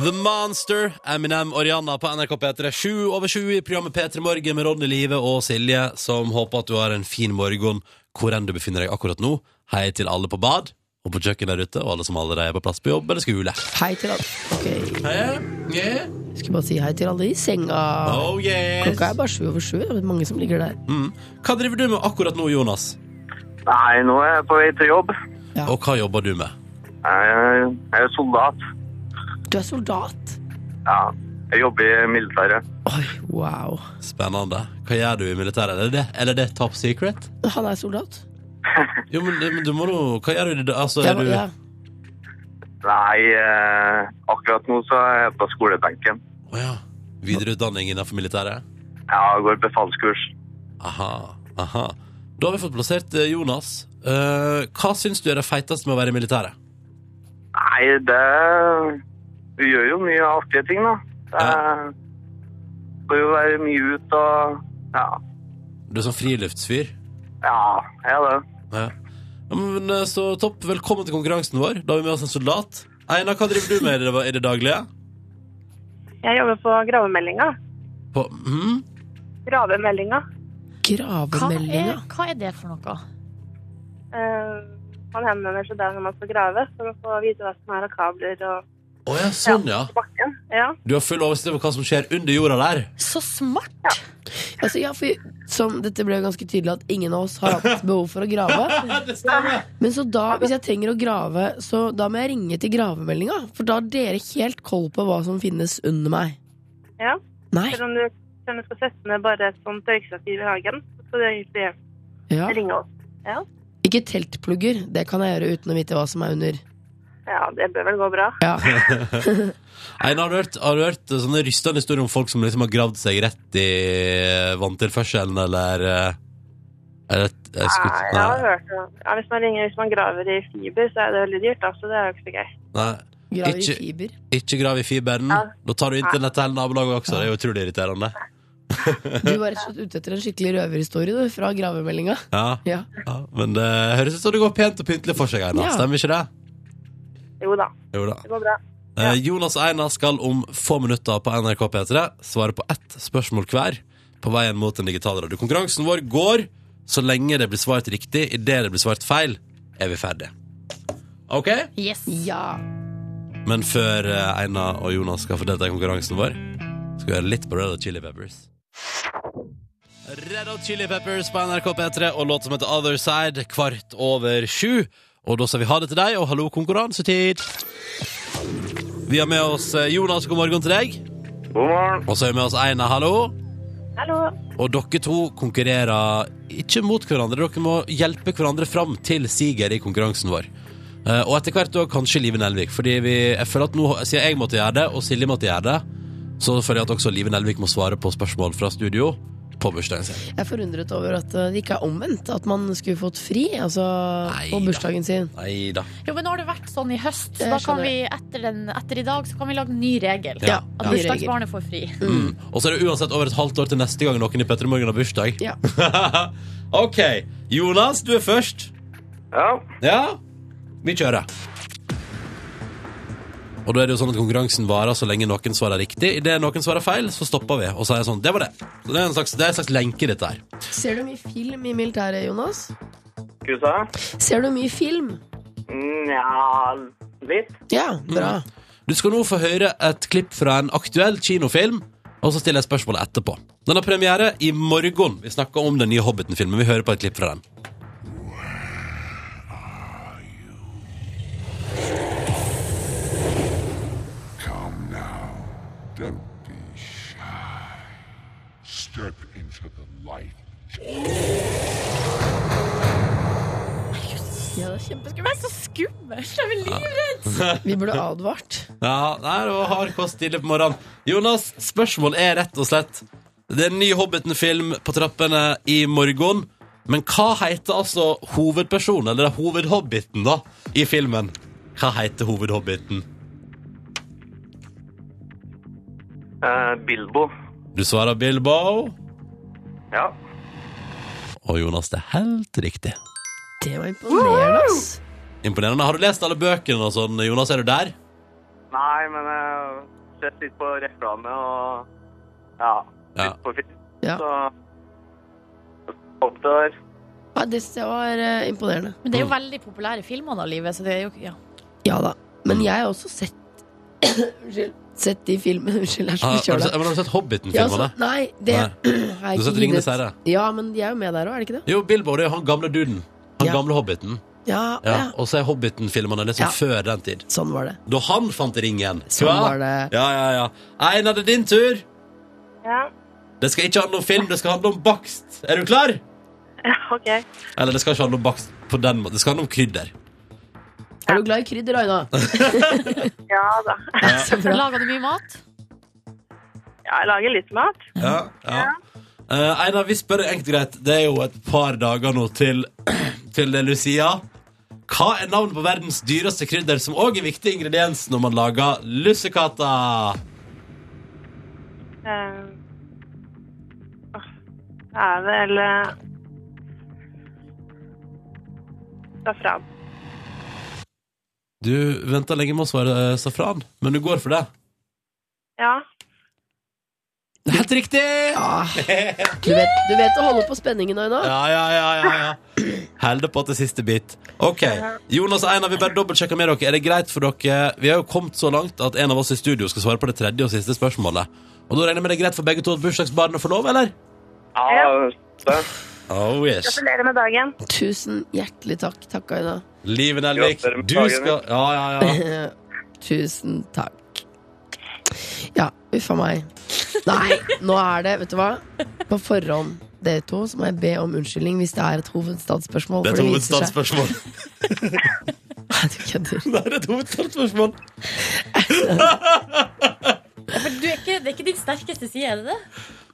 Speaker 2: The Monster, Eminem og Rihanna på NRK P3. Sju over sju i programmet P3 Morgen med Ronny Live og Silje, som håper at du har en fin morgen hvor enn du befinner deg akkurat nå. Hei til alle på bad og på kjøkkenet der ute, og alle som allerede er på plass på jobb eller skole.
Speaker 3: Hei til alle. Ok,
Speaker 2: Hei, yeah.
Speaker 3: skulle bare si hei til alle i senga.
Speaker 2: Oh, yes.
Speaker 3: Klokka er bare sju over sju, det er mange som ligger der.
Speaker 2: Mm. Hva driver du med akkurat nå, Jonas?
Speaker 6: Nei, nå er jeg på vei til jobb.
Speaker 3: Ja.
Speaker 2: Og hva jobber du med?
Speaker 6: Jeg jeg er soldat.
Speaker 3: Du er soldat.
Speaker 6: Ja, jeg jobber i militæret.
Speaker 3: Oi, wow.
Speaker 2: Spennende. Hva gjør du i militæret? Er det det, eller er det top secret?
Speaker 3: Han er soldat.
Speaker 2: Jo, men, men du må jo Hva gjør du i det? Altså,
Speaker 3: Jeg
Speaker 2: er
Speaker 3: var-
Speaker 2: du
Speaker 3: ja.
Speaker 6: Nei, eh, akkurat nå så er jeg på skolebenken.
Speaker 2: Å ja. Videreutdanning innenfor militæret?
Speaker 6: Jeg går befalskurs.
Speaker 2: Aha. Aha. Da har vi fått plassert eh, Jonas. Eh, hva syns du er det feiteste med å være i militæret?
Speaker 6: Nei, det Du gjør jo mye artige ting, da. Det
Speaker 2: Ja.
Speaker 6: får jo være mye ut og Ja.
Speaker 2: Du er sånn friluftsfyr.
Speaker 6: Ja, jeg er det.
Speaker 2: Ja. Ja, men, eh, så topp. Velkommen til konkurransen vår. Da har vi med oss en soldat. Einar, hva driver du med i det, i det daglige?
Speaker 7: Jeg jobber på gravemeldinga.
Speaker 2: På, hm?
Speaker 7: Gravemeldinga.
Speaker 5: Hva, er,
Speaker 3: Gravemeldinga.
Speaker 5: hva er det for noe?
Speaker 7: Eh, man henvender seg der når man skal grave, for å få vite hva som er av kabler og
Speaker 2: Å ja, sånn, ja.
Speaker 7: bakken. Ja.
Speaker 2: Du har full oversikt over hva som skjer under jorda der.
Speaker 5: Så smart!
Speaker 3: Altså, ja, for, som, dette ble jo ganske tydelig at ingen av oss har hatt behov for å grave. Men så da, hvis jeg trenger å grave, så da må jeg ringe til gravemeldinga. For da har dere helt koll på hva som finnes under meg.
Speaker 7: ja.
Speaker 3: Nei.
Speaker 7: Selv om du, selv om du skal sette ned bare et sånt tørkestativ i hagen, så skal du egentlig
Speaker 3: Ja.
Speaker 7: ringe oss. Ja.
Speaker 3: Ikke teltplugger. Det kan jeg gjøre uten å vite hva som er under.
Speaker 7: ja, det bør vel gå bra.
Speaker 3: Ja.
Speaker 2: Einar, har du hørt, har du hørt sånne rystende historier om folk som liksom har gravd seg rett i eh, vanntilførselen, eller eh, Eller et- et skutt
Speaker 7: Nei, jeg har
Speaker 2: Nei.
Speaker 7: hørt det. Ja, hvis, man ringer, hvis man graver i fiber, så er det veldig dyrt, da, så det er jo ikke så gøy.
Speaker 2: nei.
Speaker 3: [LAUGHS] Graver i
Speaker 2: Ikke-
Speaker 3: fiber.
Speaker 2: Ikke grav i fiberen.
Speaker 7: Ja.
Speaker 2: Da tar du internett til hele nabolaget også. Det er jo utrolig irriterende.
Speaker 3: Du var rett og slett ute etter en skikkelig røverhistorie du, fra gravemeldinga.
Speaker 2: Ja,
Speaker 3: [LAUGHS] Ja.
Speaker 2: ja. Men det høres ut som det går pent og pyntelig for seg, Einar.
Speaker 3: Ja.
Speaker 2: Stemmer ikke det?
Speaker 7: Jo da,
Speaker 2: Jo da.
Speaker 7: det går bra.
Speaker 2: Eh, Jonas og Einar skal om få minutter på NRK P3 svare på ett spørsmål hver på veien mot den digitale radio. Konkurransen vår går så lenge det blir svart riktig. Idet det blir svart feil, er vi ferdig. Ok?
Speaker 5: Yes.
Speaker 3: Ja.
Speaker 2: Men før eh, Einar og Jonas skal få delta i konkurransen vår, skal vi høre litt på Red Hot Chili Peppers. Red Hot Chili Peppers på NRK P3 og låt som heter Other Side, kvart over sju. Og da skal vi ha det til deg, og hallo, konkurransetid! Vi har med oss eh, Jonas, god morgen til deg.
Speaker 6: God morgen.
Speaker 2: Og så har vi med oss Einar, hallo.
Speaker 7: Hallo.
Speaker 2: Og dere to konkurrerer ikke mot hverandre, dere må hjelpe hverandre fram til siger i konkurransen vår. Eh, Og etter hvert også kanskje Live Nelvik, fordi vi, jeg føler at nå, siden jeg måtte gjøre det, og Silje måtte gjøre det, så føler jeg at også Live Nelvik må svare på spørsmål fra studio på bursdagen sin.
Speaker 3: Jeg er forundret over at eh, det ikke er omvendt. At man skulle fått fri altså, på
Speaker 2: Neida.
Speaker 3: bursdagen sin.
Speaker 2: Nei da.
Speaker 8: Jo, men nå har det vært sånn i høst, så
Speaker 3: Jeg
Speaker 8: da kan
Speaker 3: skjønner.
Speaker 8: vi etter, den, etter i dag så kan vi lage ny regel.
Speaker 2: Ja.
Speaker 8: At
Speaker 3: Ny regel.
Speaker 8: bursdagsbarnet får fri.
Speaker 2: Mm. Og så er det uansett over et halvt år til neste gang noen i Petter Morgen har bursdag.
Speaker 3: Ja.
Speaker 2: [LAUGHS] ok, Jonas, du er først.
Speaker 6: Ja.
Speaker 2: Ja, vi kjører. Og da er det jo sånn at konkurransen varer så lenge noen svarer riktig. Idet noen svarer feil, så stopper vi og sier sånn. Det var det. Så det er en slags, det er en slags lenke, dette her.
Speaker 3: Ser du mye film i militæret, Jonas?
Speaker 6: Skal du se?
Speaker 3: Ser du mye film?
Speaker 6: Nja, litt.
Speaker 3: Ja, bra.
Speaker 2: Du skal nå få høre et klipp fra en aktuell kinofilm, og så stiller jeg spørsmålet etterpå. Den har premiere i morgen. Vi snakker om den nye Hobbiten-filmen. Vi hører på et klipp fra den.
Speaker 9: Come now. Don't be shy. Step into the light.
Speaker 8: Ja, det er kjempeskummelt. Det er så skummelt! Jeg blir livredd!
Speaker 3: Vi burde advart.
Speaker 2: Ja, nei, det var hard kost tidlig på morgenen. Jonas, spørsmål er rett og slett Det er en ny Hobbiten-film på trappene i morgen. Men hva heter altså hovedpersonen, eller hovedhobbiten, da, i filmen? Hva heter hovedhobbiten?
Speaker 6: Eh, Bilbo.
Speaker 2: Du svarer Bilbo,
Speaker 6: Ja.
Speaker 2: og Jonas, det er helt riktig.
Speaker 3: Det var imponerende, ass.
Speaker 2: Imponerende. Har du lest alle bøkene og sånn, Jonas? Er du der?
Speaker 6: Nei, men jeg har sett litt på reklame og ja,
Speaker 2: Ja.
Speaker 6: litt på film.
Speaker 3: Ja.
Speaker 6: Så opp der.
Speaker 3: Ja, det synes jeg var eh, imponerende.
Speaker 8: Men det er jo veldig populære filmer da, livet, så det er jo ja.
Speaker 3: Ja da.
Speaker 2: Mm.
Speaker 3: Men jeg har også sett [COUGHS] Unnskyld. Sett de filmene [LAUGHS] Unnskyld, jeg er så
Speaker 2: Ah, Har du
Speaker 3: forkjøla.
Speaker 2: sett, men har du sett
Speaker 3: Ja, altså, så-
Speaker 2: Hobbiten-filmene?
Speaker 3: nei, det
Speaker 2: Nei.
Speaker 3: [CLEARS THROAT] har jeg
Speaker 2: Du har
Speaker 3: ikke
Speaker 2: sett Ringenes
Speaker 3: giddet.
Speaker 2: herre?
Speaker 3: Ja, men de er jo med der òg, er de ikke det?
Speaker 2: Jo, Bilbo det er jo han gamle duden. Han
Speaker 3: Ja.
Speaker 2: gamle hobbiten.
Speaker 3: Ja,
Speaker 2: Ja.
Speaker 3: ja.
Speaker 2: Og så er Hobbiten-filmene liksom
Speaker 3: Ja.
Speaker 2: før den tid.
Speaker 3: Sånn var det.
Speaker 2: Da han fant ringen.
Speaker 3: Sånn
Speaker 2: Ja.
Speaker 3: var det.
Speaker 2: Ja, ja, ja. Einar, det er din tur.
Speaker 7: Ja,
Speaker 2: Det skal ikke handle om film, det skal handle om bakst. Er du klar?
Speaker 7: ok.
Speaker 2: Eller det skal ikke handle om bakst på den måten. Det skal handle om krydder.
Speaker 3: Er du glad i krydder, Aina?
Speaker 7: Ja da.
Speaker 3: Så bra.
Speaker 8: Lager du mye mat?
Speaker 7: Ja, jeg lager litt mat.
Speaker 2: Ja, ja. Eh, Einar, vi spør enkelt og greit. Det er jo et par dager nå til, [CLEARS THROAT] til det er Lucia. Hva er navnet på verdens dyreste krydder, som òg er viktig ingrediens når man lager lussekatter?
Speaker 7: Eh, åh, Det er vel eh, Safran.
Speaker 2: Du venta lenge med å svare eh, safran, men du går for det.
Speaker 7: Ja.
Speaker 2: Det er helt riktig!
Speaker 3: Du vet, du vet å holde på spenningen, Aina.
Speaker 2: Ja, ja, ja, ja, ja. Held det på til siste bit. Ok, Jonas og Einar, vi bare dobbeltsjekker med dere. Er det greit for dere? Vi har jo kommet så langt at en av oss i studio skal svare på det tredje og siste spørsmålet. Og da regner jeg med det er greit for begge to at bursdagsbarnet får lov, eller?
Speaker 6: Ja, det.
Speaker 2: Oh yes.
Speaker 7: Gratulerer med dagen.
Speaker 3: Tusen hjertelig takk. Takk, Aina.
Speaker 2: Liven Elvik,
Speaker 6: Gratulerer med
Speaker 2: du
Speaker 6: dagen,
Speaker 2: skal Ja, ja, ja.
Speaker 3: Tusen takk. Ja, uffa meg. Nei, nå er det, vet du hva? På forhånd, dere to, så må jeg be om unnskyldning hvis det er et hovedstadsspørsmål.
Speaker 2: Det er et
Speaker 3: for viser seg-
Speaker 2: hovedstadsspørsmål. [LAUGHS]
Speaker 3: Nei, du kødder.
Speaker 2: Det er et hovedstadsspørsmål.
Speaker 8: Men du er ikke, det er ikke din sterkeste side, er det det?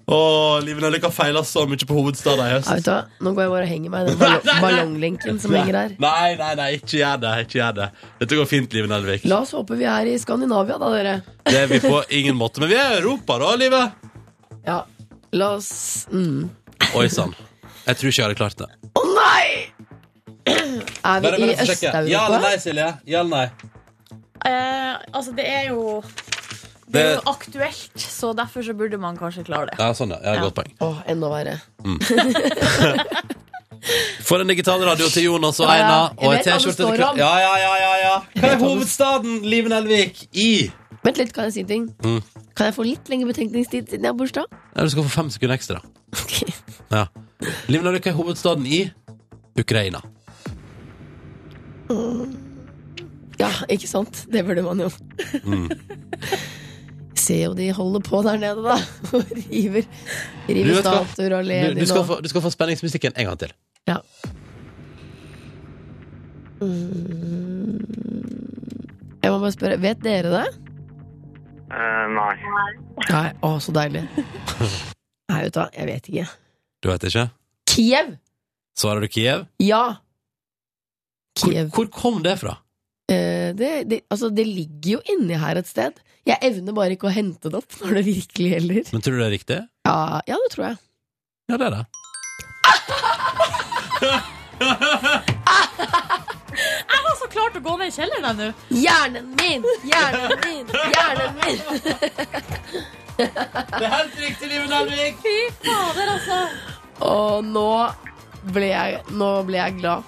Speaker 2: Å, Liven Elvik har feila så mye på hovedstaden i
Speaker 3: Ja, vet
Speaker 2: høst.
Speaker 3: du hva? Nå går jeg bare og henger meg i den
Speaker 2: [LAUGHS]
Speaker 3: ballong ballonglinken som henger her.
Speaker 2: Nei, nei, nei, ikke gjør det. ikke gjør det Dette går fint, Liven Elvik.
Speaker 3: La oss håpe vi er i Skandinavia, da, dere.
Speaker 2: Det er vi på ingen måte. Men vi er i Europa, da, Live.
Speaker 3: Ja, la oss mm.
Speaker 2: Oi sann. Jeg tror ikke jeg hadde klart det.
Speaker 3: Å nei! Er
Speaker 2: Bare,
Speaker 3: vi
Speaker 2: bare
Speaker 3: i
Speaker 2: få sjekke. Ja eller
Speaker 3: Øst-Europa?
Speaker 2: nei, Silje? Ja eller nei?
Speaker 8: Eh, altså, det er jo det er jo aktuelt, så derfor så burde man kanskje klare det.
Speaker 2: Ja, sånn, ja. ja.
Speaker 8: Ja.
Speaker 2: Godt poeng.
Speaker 3: Åh, enda verre.
Speaker 2: For en digital radio til Jonas og
Speaker 3: Ja, ja.
Speaker 2: Einar. Og
Speaker 3: Jeg
Speaker 2: en
Speaker 3: vet hva
Speaker 2: T-skjorte
Speaker 3: det står
Speaker 2: til Kla-
Speaker 3: om.
Speaker 2: Ja, ja, ja, ja, ja. Hva er
Speaker 3: hva det-
Speaker 2: hovedstaden Liven Elvik i?
Speaker 3: Vent litt, kan jeg si
Speaker 2: Mm.
Speaker 3: en ting? Kan jeg få litt lengre betenkningstid siden jeg har bursdag?
Speaker 2: Ja, du skal få fem sekunder ekstra.
Speaker 3: Ok.
Speaker 2: Ja. Livnarvik er hovedstaden i Ukraina.
Speaker 3: Ja, ikke sant? Det burde man jo.
Speaker 2: Mm.
Speaker 3: [LAUGHS] Se jo de holder på der nede, da. [LAUGHS] Og river,
Speaker 2: Du
Speaker 3: river
Speaker 2: vet hva?
Speaker 3: statuer og
Speaker 2: Du, du,
Speaker 3: Lenin
Speaker 2: skal
Speaker 3: og
Speaker 2: få, du skal få spenningsmusikken en gang til.
Speaker 3: ja. Jeg må bare spørre, vet dere det?
Speaker 6: Eh, nei.
Speaker 3: Nei, å, så deilig. [LAUGHS] Nei, vet du hva, jeg vet ikke.
Speaker 2: Du vet ikke?
Speaker 3: Kiev!
Speaker 2: Svarer du Kiev?
Speaker 3: Ja!
Speaker 2: Hvor,
Speaker 3: Kiev.
Speaker 2: hvor kom det fra?
Speaker 3: Eh, det, det, altså, det ligger jo inni her et sted. Jeg evner bare ikke å hente det opp når det virkelig gjelder.
Speaker 2: Men tror du det er riktig?
Speaker 3: Ja, ja det tror jeg.
Speaker 2: Ja, det er det.
Speaker 8: Jeg var så klar til å gå ned i kjelleren jeg, nå.
Speaker 3: Hjernen min! Hjernen min! Hjernen min!
Speaker 2: [LAUGHS] Det er helt riktig, Live Nelvik!
Speaker 8: Fy fader, altså.
Speaker 3: Og nå ble jeg, nå ble jeg glad.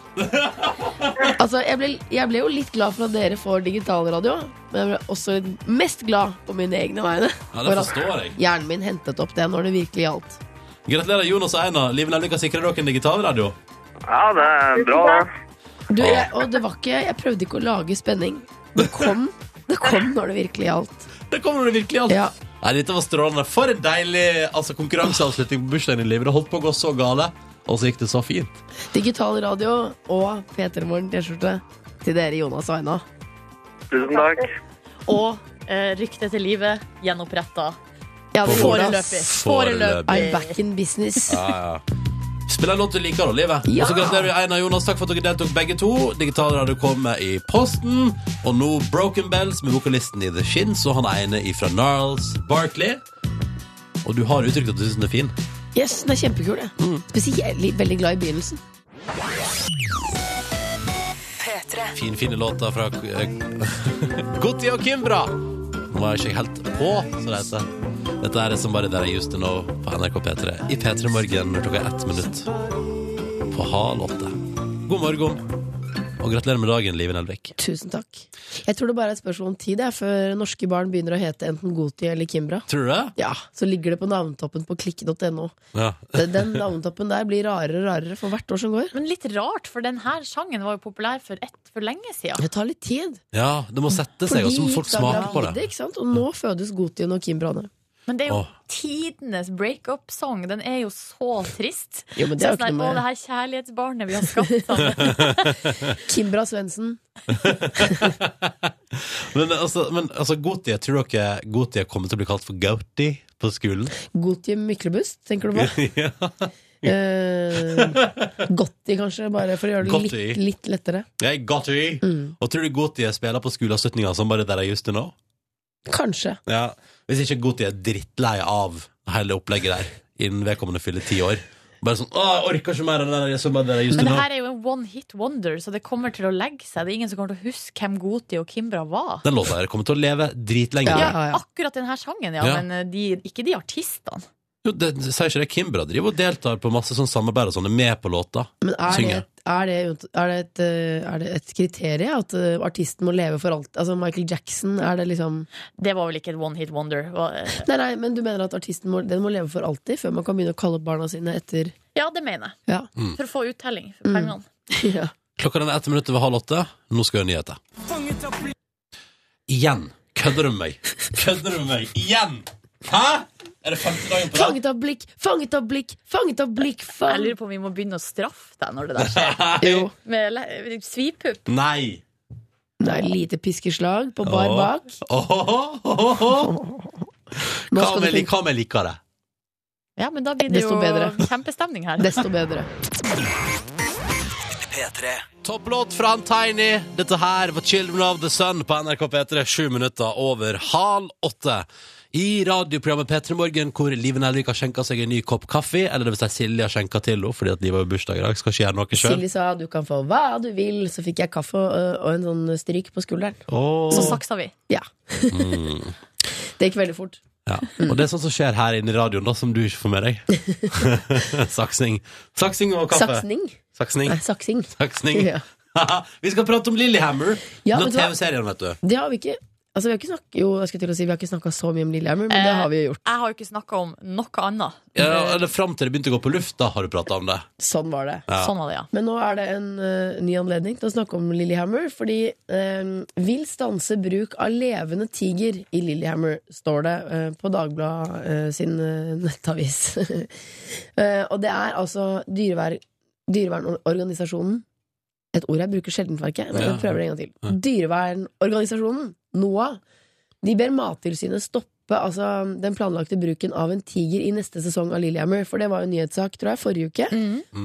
Speaker 3: Altså, jeg ble, jeg ble jo litt glad for at dere får digitalradio, men jeg ble også litt mest glad på mine egne vegne.
Speaker 2: Ja,
Speaker 3: For
Speaker 2: det
Speaker 3: at
Speaker 2: forstår jeg.
Speaker 3: Hjernen min hentet opp det når det virkelig gjaldt.
Speaker 2: Gratulerer, Jonas og Einar. Live Nelvik har sikret dere en digitalradio.
Speaker 6: Ja, det er bra, det.
Speaker 3: Du, jeg, og det var ikke Jeg prøvde ikke å lage spenning. Det kom, det kom når det virkelig gjaldt.
Speaker 2: Det kommer det virkelig alt.
Speaker 3: Ja.
Speaker 2: Nei, dette var strålende. For en deilig altså, konkurranseavslutning på bursdagen din, Live. Det holdt på å gå så gale, og så gikk det så fint.
Speaker 3: Digital radio og P3 Morgen-T-skjorte til dere, Jonas og Aina.
Speaker 6: Tusen takk.
Speaker 8: Og eh, ryktet til livet gjenoppretta.
Speaker 3: Ja, det går, ass.
Speaker 8: Foreløpig. Foreløpig.
Speaker 3: I'm back in business.
Speaker 2: Spill en låt du liker, da, Live.
Speaker 3: Ja.
Speaker 2: Og så gratulerer vi Einar og Jonas. Takk for at dere deltok, begge to. Digitalradio kommer i posten. Og nå Broken Bells med vokalisten i The Shins og han ene ifra Narls Barkley. Og du har uttrykt at du syns den er fin.
Speaker 3: Yes, den er kjempekul. jeg.
Speaker 2: Mm.
Speaker 3: Spesielt veldig glad i begynnelsen.
Speaker 4: P3.
Speaker 2: Finfine låter fra eh, [LAUGHS] Gotti og Kimbra. Nå var jeg ikke helt på, så det heter. Dette er det som bare der er used to know på NRK P3 i P3 Morgen når klokka er ett minutt på halv åtte. God morgen, og gratulerer med dagen, Live Nelvik.
Speaker 3: Tusen takk. Jeg tror det bare er et spørsmål om tid jeg, før norske barn begynner å hete enten Goti eller Kimbra.
Speaker 2: Tror du det?
Speaker 3: Ja, Så ligger det på navnetoppen på klikke.no.
Speaker 2: Ja.
Speaker 3: Den den navnetoppen der blir rarere og rarere for hvert år som går.
Speaker 8: Men litt rart, for denne sangen var jo populær for ett for lenge siden.
Speaker 3: Det tar litt tid.
Speaker 2: ja, det må sette seg, og så må folk
Speaker 3: da
Speaker 2: smake på
Speaker 3: gravide,
Speaker 2: det.
Speaker 3: Ikke sant? Og nå fødes Gotien og Kimbraene.
Speaker 8: Men det er jo
Speaker 2: Åh.
Speaker 8: tidenes breakup-sang. Den er jo så trist.
Speaker 3: Jo, men det er jo
Speaker 8: Så
Speaker 3: ikke
Speaker 8: sånn her,
Speaker 3: noe
Speaker 8: Å, det
Speaker 3: med
Speaker 8: her kjærlighetsbarnet vi har skapt [LAUGHS] sammen.
Speaker 3: Kimbra Svendsen.
Speaker 2: Men altså, men, altså Gotti, jeg tror dere Gotti kommer til å bli kalt for Gauti på skolen?
Speaker 3: Gotien Myklebust, tenker du på?
Speaker 2: [LAUGHS] ja.
Speaker 3: Eh, Gotti, kanskje, bare for å gjøre det
Speaker 2: Gotti.
Speaker 3: litt, litt lettere. Mm.
Speaker 2: Jeg er Gotti! Og tror du Gotti spiller på skoleavslutninga som bare der er used to know?
Speaker 3: Kanskje.
Speaker 2: Ja, Hvis ikke Goti er drittlei av hele opplegget der innen vedkommende fyller ti år. Bare sånn Å, jeg orker ikke mer av den der sommeren der jeg just
Speaker 8: Men
Speaker 2: nå.
Speaker 8: det her er jo en one hit wonder, så det kommer til å legge seg. Det er ingen som kommer til å huske hvem Goti og Kimbra var.
Speaker 2: Den låta her kommer til å leve dritlenge.
Speaker 3: Ja,
Speaker 8: Ja,
Speaker 3: ja, ja.
Speaker 8: akkurat denne sangen, ja.
Speaker 2: Ja.
Speaker 8: Men eh, de, ikke de artistene.
Speaker 2: Jo, det, det sier ikke det Kimbra driver og deltar på masse sånn samarbeid og sånn, er med på låta.
Speaker 3: Men er det,
Speaker 2: Synge.
Speaker 3: er, det, er, det et, eh, er det et kriterium at eh, artisten må leve for alt? Altså Michael Jackson, er det liksom
Speaker 8: Det var vel ikke et one hit wonder. Hva- eh,
Speaker 3: Nei, nei, men du mener at artisten må, den må leve for alltid før man kan begynne å kalle opp barna sine etter
Speaker 8: Ja, det mener jeg.
Speaker 3: Ja.
Speaker 2: Mm.
Speaker 8: For å få uttelling
Speaker 3: Hmm.
Speaker 8: for pengene.
Speaker 3: [LAUGHS] ja.
Speaker 2: Klokka den er ett minutt over halv åtte. Nå skal vi ha nyheter. Igjen. Kødder du med meg? Kødder du med meg? Igjen? Hæ? Er det femte dagen på rad?
Speaker 3: Fanget av blikk, fanget av blikk, fanget av blikk,
Speaker 8: Jeg
Speaker 3: fang
Speaker 8: lurer på om vi må begynne å straffe deg når det der skjer. [LAUGHS]
Speaker 3: Jo.
Speaker 8: Med le- eh, svipupp.
Speaker 2: Nei.
Speaker 3: Nei, lite piskeslag på bar
Speaker 2: Åh.
Speaker 3: bak.
Speaker 2: Åhåhåhåhå.
Speaker 3: Nå
Speaker 2: Hva
Speaker 3: skal
Speaker 2: om
Speaker 3: du
Speaker 2: jeg
Speaker 3: tenke
Speaker 2: hva om jeg liker det?
Speaker 8: Ja, men da blir det
Speaker 3: Desto
Speaker 8: jo
Speaker 3: bedre.
Speaker 8: [LAUGHS] kjempestemning her.
Speaker 3: desto bedre.
Speaker 1: P3.
Speaker 2: Topplåt fra han Tiny. Dette her var 'Children of the Sun' på NRK P3, sju minutter over halv åtte. I radioprogrammet P3 Morgen, hvor Live Nelvik har skjenka seg en ny kopp kaffe. Eller det vil si Silje har skjenka til henne fordi at Live har jo bursdag i dag. Skal ikke gjøre noe sjøl.
Speaker 3: Silje sa du kan få hva du vil, så fikk jeg kaffe og, eh, og en sånn stryk på skulderen.
Speaker 8: Så saksa vi.
Speaker 3: Ja. [LAUGHS] Det gikk veldig fort.
Speaker 2: Ja. Og det er sånt som skjer her inne i radioen, da, som du ikke får med
Speaker 3: [LAUGHS]
Speaker 2: deg. Saksing. Saksing og kaffe.
Speaker 3: Saksning.
Speaker 2: Saksning.
Speaker 3: Nei, saksing.
Speaker 2: Saksning.
Speaker 3: Ja.
Speaker 2: [LAUGHS] vi skal prate om Lillehammer.
Speaker 3: Ja,
Speaker 2: Den
Speaker 3: vet du hva?
Speaker 2: TV-serien, vet du.
Speaker 3: Det har vi ikke. Altså, vi har ikke snakket, jo, jeg skulle til å si Vi har ikke snakka så mye om Lillehammer, men det
Speaker 8: Eh,
Speaker 3: har vi jo gjort.
Speaker 8: Jeg har jo ikke snakka om noe annet.
Speaker 2: Ja, eller Fram til det begynte å gå på luft, da har du prata om det.
Speaker 3: Sånn var det.
Speaker 2: Ja.
Speaker 8: Sånn var det, ja.
Speaker 3: Men nå er det en eh, ny anledning til å snakke om Lillehammer, fordi eh, vil stanse bruk av levende tiger i Lillehammer, står det eh, på Dagbladet eh, sin eh, nettavis. [LAUGHS] Eh, og det er altså dyrevær, dyrevernorganisasjonen Et ord jeg bruker sjelden, merker jeg, men jeg
Speaker 2: Ja.
Speaker 3: prøver det en gang til.
Speaker 2: Ja.
Speaker 3: Dyrevernorganisasjonen, NOAH, de ber Mattilsynet stoppe altså, den planlagte bruken av en tiger i neste sesong av Lillehammer, for det var jo en nyhetssak, tror jeg, forrige uke.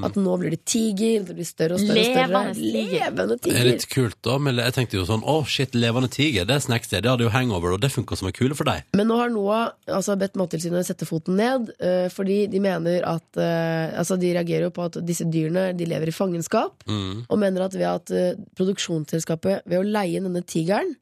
Speaker 3: At nå blir det tiger, det blir større og større. og
Speaker 8: Mm. Levende
Speaker 3: større.
Speaker 8: tiger.
Speaker 3: Levende
Speaker 2: Det er
Speaker 3: tiger.
Speaker 2: litt kult, da. Men jeg tenkte jo sånn Å, shit, levende tiger. Det er snacks, det. Det hadde jo hangover, og det funka som en kule for deg.
Speaker 3: Men nå har Noah altså, bedt Mattilsynet sette foten ned, eh, fordi de mener at eh, altså, De reagerer jo på at disse dyrene de lever i fangenskap,
Speaker 2: Mm.
Speaker 3: og mener at ved at eh, produksjonsselskapet ved å leie inn denne tigeren,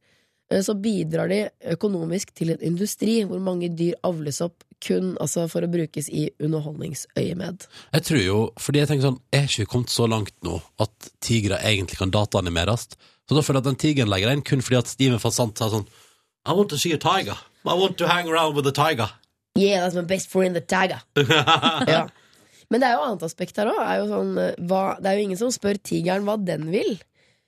Speaker 3: eh, så bidrar de økonomisk til en industri hvor mange dyr avles opp kun altså, for å brukes i underholdningsøyemed.
Speaker 2: Jeg tror jo, fordi jeg tenker sånn Er ikke vi kommet så langt nå at tigre egentlig kan dataanimeres? Så da føler jeg at den tigeren legger deg inn kun fordi at Steven van Sant sa sånn I want to see a tiger. I want to hang around with a tiger.
Speaker 3: Yeah, that's my best friend, the tiger. ja. Men det er jo annet aspekt her òg. Sånn, eh, hva- det er jo ingen som spør tigeren hva den vil.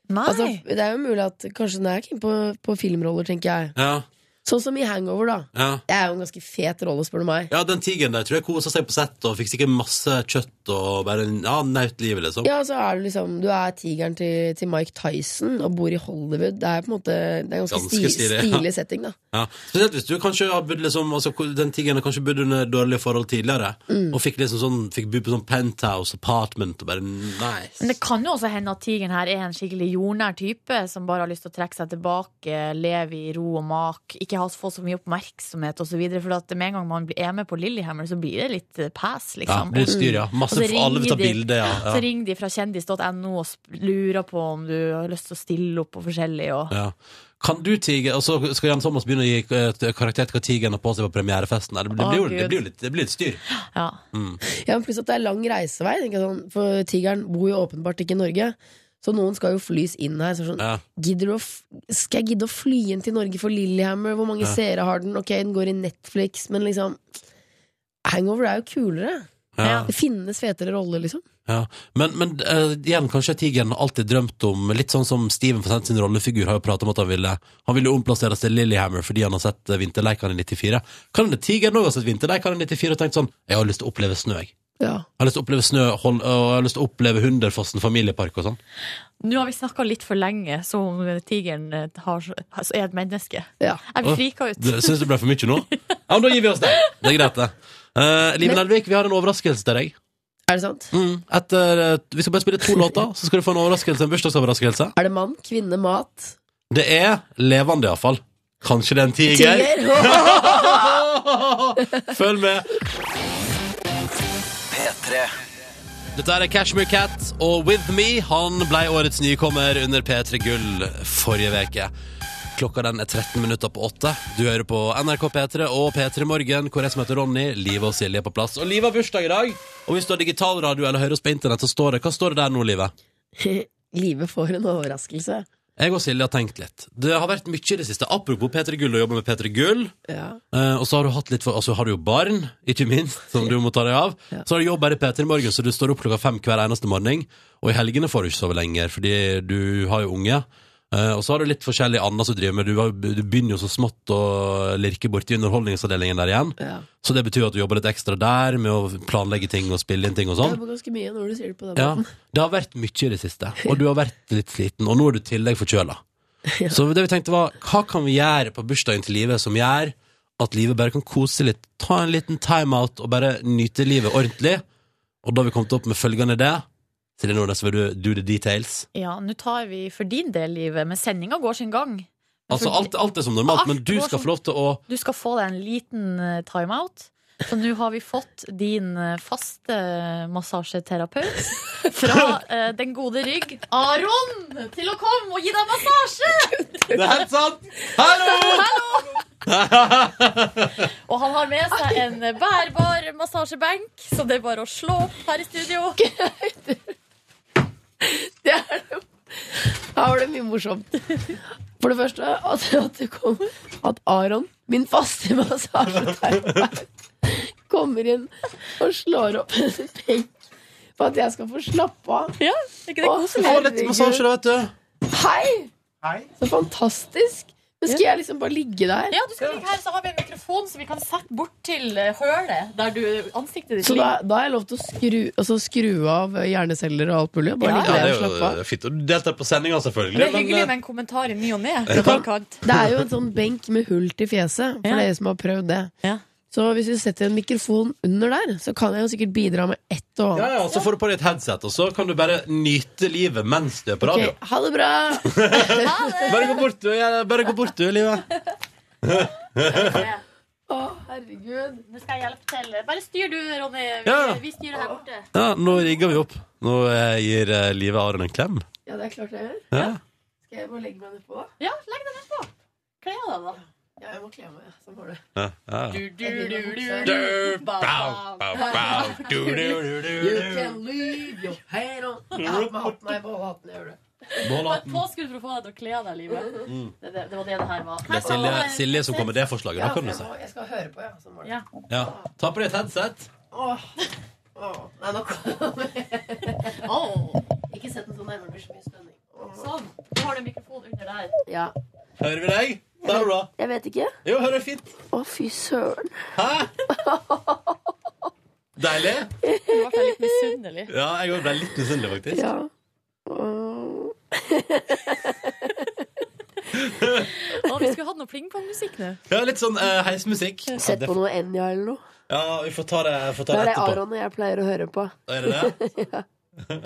Speaker 8: Nei.
Speaker 3: Altså, det er jo mulig at kanskje den er keen på, på filmroller, tenker jeg.
Speaker 2: Ja,
Speaker 3: Sånn som i Hangover, da.
Speaker 2: ja.
Speaker 3: Det er jo en ganske fet rolle, spør du meg.
Speaker 2: Ja, den tigeren der tror jeg kosa seg på sett og fikk sikkert masse kjøtt og bare ja, nøt livet, liksom.
Speaker 3: Ja, så er du liksom Du er tigeren til, til Mike Tyson og bor i Hollywood. Det er på en måte Det er ganske,
Speaker 2: Ganske
Speaker 3: sti-
Speaker 2: stilig, ja.
Speaker 3: stilig setting, da.
Speaker 2: Ja. Spesielt hvis du kanskje har bodd liksom, altså, hvor- Den tigeren har kanskje bodd under dårlige forhold tidligere,
Speaker 8: Mm.
Speaker 2: og fikk liksom sånn Fikk bo på sånn penthouse apartment og bare nice.
Speaker 8: Men det kan jo også hende at tigeren her er en skikkelig jordnær type som bare har lyst til å trekke seg tilbake, leve i ro og mak, ikke ha få så mye oppmerksomhet osv. For at med en gang man blir- er med på Lillehammer, så blir det litt eh, pass,
Speaker 2: ja,
Speaker 8: liksom.
Speaker 2: det er styr, ja.
Speaker 8: Og
Speaker 2: Masse,
Speaker 8: så ringer
Speaker 2: alle vil ta
Speaker 8: de-
Speaker 2: bilde, ja.
Speaker 8: Så
Speaker 2: ja.
Speaker 8: ringer de fra kjendis.no og sp- lurer på om du har lyst til å stille opp og forskjellig. Og...
Speaker 2: ja. Kan du tiger Og så skal Jan Thomas begynne å gi eh, karakter til hva tigeren har på seg på premierefesten. Det blir, det
Speaker 8: Å,
Speaker 2: blir, jo, det
Speaker 8: Gud.
Speaker 2: blir, jo litt, det blir litt styr.
Speaker 8: Ja.
Speaker 3: Ja, men Pluss at det er lang reisevei. tenker jeg sånn, For tigeren bor jo åpenbart ikke i Norge. Så noen skal jo flys inn her. Så sånn,
Speaker 2: Ja.
Speaker 3: gidder du å, f- skal jeg gidde å fly inn til Norge for Lillehammer? Hvor mange seere har den? Ok, den går i Netflix, men liksom Hangover er jo kulere.
Speaker 2: Ja.
Speaker 3: Det finnes fetere roller, liksom.
Speaker 2: Ja, Men, men eh, igjen, kanskje tigeren har alltid drømt om Litt sånn som Steven Fasent sin rollefigur har jo pratet om at han ville Han ville omplasseres til Lillehammer fordi han har sett eh, Vinterleikene i 94. Kan hende tigeren òg har sett Vinterleikene i 94 og tenkt sånn Jeg har lyst til å oppleve snø, jeg.
Speaker 3: Ja.
Speaker 2: Jeg har lyst til å oppleve snø, hold, og jeg har lyst til å oppleve Hunderfossen familiepark og sånn.
Speaker 8: Nå har vi snakka litt for lenge som om tigeren eh, har, altså er et menneske.
Speaker 3: ja.
Speaker 8: Jeg blir frika ut.
Speaker 2: Det- Syns det ble for mye nå? Ja, men da gir vi oss det. Det er greit, det. Uh, Live
Speaker 3: Men-
Speaker 2: Nelvik, vi har en overraskelse til deg.
Speaker 3: Er det sant?
Speaker 2: Mm, etter, eh, vi skal bare spille to låter, så skal du få en overraskelse, en bursdagsoverraskelse.
Speaker 3: Er det mann, kvinne, mat?
Speaker 2: Det er levende, iallfall. Kanskje det er en tiger?
Speaker 3: Tiger?
Speaker 2: Følg med.
Speaker 1: P3
Speaker 2: Dette er Cashmere Cat og With Me. Han ble årets nykommer under P3 Gull forrige veke. Klokka den er 13 minutter på åtte. Du hører på NRK P3 og P3 Morgen, hvor jeg som heter Ronny, Live og Silje er på plass. Og Live har bursdag i dag. Og hvis du har digitalradio eller hører oss på internett, så står det Hva står det der nå, Live? [LAUGHS]
Speaker 3: [LAUGHS] Livet får en overraskelse.
Speaker 2: Jeg og Silje har tenkt litt. Det har vært mye i det siste. Apropos P3 Gull og jobbe med P3 Gull.
Speaker 3: Ja.
Speaker 2: Eh, og så har du hatt litt for, altså har du jo barn, ikke minst, som du må ta deg av.
Speaker 3: Ja.
Speaker 2: Så har du jobb her i P3 Morgen, så du står opp klokka fem hver eneste morgen. Og i helgene får du ikke sove lenger, fordi du har jo unge. Eh, og så har du litt forskjellig annet som du driver med. Du, har- du begynner jo så smått å lirke borti underholdningsavdelingen der igjen.
Speaker 3: ja.
Speaker 2: Så det betyr at du jobber litt ekstra der med å planlegge ting og spille inn ting og
Speaker 3: Jeg
Speaker 2: sånn.
Speaker 3: jobber ganske mye når du sier det på den
Speaker 2: Ja,
Speaker 3: måten.
Speaker 2: det har vært mye i det siste, og du har vært litt sliten, og nå er du i tillegg forkjøla. Så det vi tenkte var, hva kan vi gjøre på bursdagen til livet som gjør at livet bare kan kose litt, ta en liten timeout og bare nyte livet ordentlig? Og da har vi kommet opp med følgende idé. Silje Nordnes, vil du do the details?
Speaker 8: Ja, nå tar vi for din del livet, men sendinga går sin gang. Men
Speaker 2: Altså,
Speaker 8: for-
Speaker 2: alt, alt er som normalt, men du skal få lov til å
Speaker 8: Du skal få deg en liten eh, timeout. Så nå har vi fått din eh, faste
Speaker 2: [LAUGHS]
Speaker 8: massasjeterapeut fra eh, den gode rygg, Aron, til å komme og gi deg massasje!
Speaker 2: Det er helt sant! Hallo! [LAUGHS]
Speaker 8: Og han har med seg en eh, bærbar massasjebenk, så det er bare å slå opp her i studio.
Speaker 3: Her var det mye morsomt. For det første at, at, det kom, at Aron, min faste massasjeterapeut, kommer inn og slår opp en peng for at jeg skal få slappe av.
Speaker 5: Ja, er ikke det
Speaker 3: Å,
Speaker 2: Å, lett massasje, da, vet du.
Speaker 3: Hei! Så fantastisk! Men skal jeg liksom bare ligge der?
Speaker 5: Ja, du skal ligge her, så har vi en mikrofon som vi kan sette bort til eh, hølet der du ansiktet ditt
Speaker 3: Så da, da har jeg lov til å skru, altså skru av hjerneceller og alt mulig? og Bare
Speaker 5: Ja,
Speaker 2: Ja, det
Speaker 3: ligge der
Speaker 2: er
Speaker 3: og
Speaker 2: jo
Speaker 3: slappe av?
Speaker 2: det er fint. Og du deltar på sendinga, selvfølgelig.
Speaker 5: Det er
Speaker 2: men,
Speaker 5: hyggelig
Speaker 2: eh,
Speaker 5: med en kommentar i ny og ne. fra hver kant.
Speaker 3: Det er jo en sånn benk med hull til fjeset, for
Speaker 5: Ja.
Speaker 3: dere som har prøvd det.
Speaker 5: Ja.
Speaker 3: Så hvis vi setter en mikrofon under der, så kan jeg jo sikkert bidra med ett og
Speaker 2: Ja,
Speaker 3: annet.
Speaker 2: ja, og Så får du på deg et headset, og så kan du bare nyte livet mens du er på radio.
Speaker 3: Ok, ha det bra!
Speaker 2: Bare gå bort, du. ja, Bare gå bort, du, livet.
Speaker 3: Å, herregud.
Speaker 5: Nå skal jeg hjelpe til. Bare styr du, Ronny. Vi,
Speaker 2: Ja.
Speaker 5: vi styrer her borte.
Speaker 2: Ja, nå rigger vi opp. Nå eh, gir eh, livet Aron en klem.
Speaker 3: Ja, det er klart jeg gjør.
Speaker 2: Ja.
Speaker 3: Skal jeg bare legge meg nedpå, da?
Speaker 5: Ja, legg deg nedpå. Kle av deg, da.
Speaker 3: Ja, jeg må kle av meg. ja. Sånn var det.
Speaker 2: Ja, ja.
Speaker 5: Du, du, du, du,
Speaker 2: Du,
Speaker 5: du. Ba,
Speaker 2: bow,
Speaker 5: ba.
Speaker 2: bow, bow. Du, du, du,
Speaker 3: You
Speaker 2: du,
Speaker 3: can leave your hair on. Jeg har på meg hatten, jeg har på meg hatten, jeg gjør det.
Speaker 2: du.
Speaker 5: Det var et
Speaker 2: Målhatten.
Speaker 5: påskudd for å få deg til å kle av deg, livet. Det, det, det var det det her
Speaker 2: Mm.
Speaker 5: var.
Speaker 2: Det er Silje, Silje som kom med det forslaget.
Speaker 3: Ja,
Speaker 2: Da kan du
Speaker 3: jeg,
Speaker 2: si.
Speaker 3: må, jeg skal høre på, ja. Sånn var det.
Speaker 5: Ja.
Speaker 2: Ja. Ta på deg et headset.
Speaker 3: Åh. Åh. Nei, nå kommer jeg. Åh. Ikke sett den så nærme, det blir så mye stønning. Åh.
Speaker 5: Sånn. Nå har du en mikrofon under der.
Speaker 3: Ja.
Speaker 2: Hører vi deg? Det er bra.
Speaker 3: Jeg vet ikke.
Speaker 2: Jo, hører du fint.
Speaker 3: Å, fy søren.
Speaker 2: Hæ? Deilig?
Speaker 5: Nå ble jeg litt misunnelig.
Speaker 2: Ja, jeg òg ble litt misunnelig, faktisk.
Speaker 3: Ja. Åh.
Speaker 5: Å, vi skulle hatt noe pling-pong-musikk nå.
Speaker 2: Ja, Litt sånn eh, heismusikk. Ja,
Speaker 3: Sett
Speaker 2: det-
Speaker 3: på noe Enja eller noe.
Speaker 2: ja, vi får ta det, får ta
Speaker 3: Det
Speaker 2: det
Speaker 3: er det
Speaker 2: etterpå.
Speaker 3: Aron og jeg pleier å høre på.
Speaker 2: Er det det?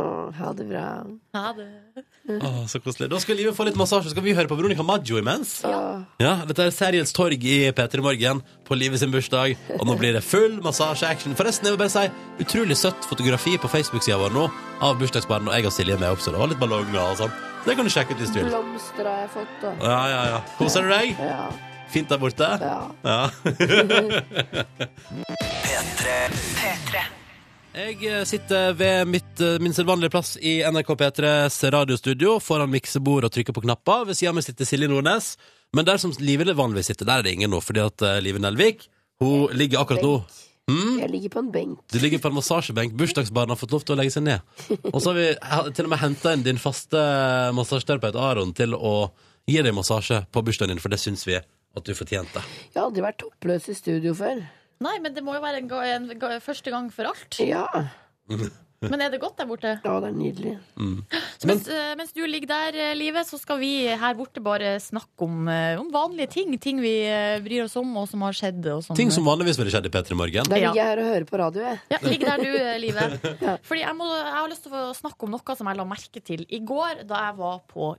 Speaker 3: Åh, ha det bra.
Speaker 5: Ha det.
Speaker 2: Å, så koselig. Da skal livet få litt massasje. Skal vi høre på Veronica Maggio imens?
Speaker 3: Åh.
Speaker 2: Ja, dette er Seriels torg i P3 Morgen på livet sin bursdag. Og nå blir det full massasjeaction. Forresten, jeg vil bare si utrolig søtt fotografi på Facebook-sida vår nå av bursdagsbarnet, og jeg og Silje er med også. Det var litt ballonger og sånn. Så det kan du sjekke ut hvis du vil.
Speaker 3: Blomster har jeg fått, da.
Speaker 2: Ja, ja, ja. Koser du deg?
Speaker 3: Ja.
Speaker 2: Fint der borte?
Speaker 3: ja.
Speaker 2: Ja.
Speaker 10: P3.
Speaker 2: Jeg eh, sitter ved mitt, eh, min selvvanlige plass i NRK P3s radiostudio foran miksebord og trykker på knapper. Ved siden av meg sitter Silje Nordnes. Men der som Live vanligvis sitter, der er det ingen nå, fordi at eh, Live Nelvik hun ligger akkurat nå Mm.
Speaker 3: Jeg ligger på en benk.
Speaker 2: Du ligger på en massasjebenk. Bursdagsbarnet har fått lov til å legge seg ned. Og så har vi ha- til og med henta inn din faste eh, massasjeterapeut Aron til å gi deg massasje på bursdagen din, for det syns vi at du fortjente.
Speaker 3: Jeg har aldri vært toppløs i studio før.
Speaker 5: Nei, men det må jo være en, ga- en ga- første gang for alt.
Speaker 3: Ja.
Speaker 5: Men er det godt der borte?
Speaker 3: Ja, det er nydelig.
Speaker 5: Så mens, eh, mens du ligger der, eh, Live, så skal vi her borte bare snakke om, eh, om vanlige ting. Ting vi eh, bryr oss om, og som har skjedd. Og som,
Speaker 2: Ting som vanligvis ville skjedd i P3 Morgen.
Speaker 3: Da
Speaker 5: Ja.
Speaker 3: ligger jeg her og hører på radio, jeg.
Speaker 5: ja, Ligg der du, eh, Live. Fordi jeg, må, jeg har lyst til å snakke om noe som jeg la merke til i går da jeg var på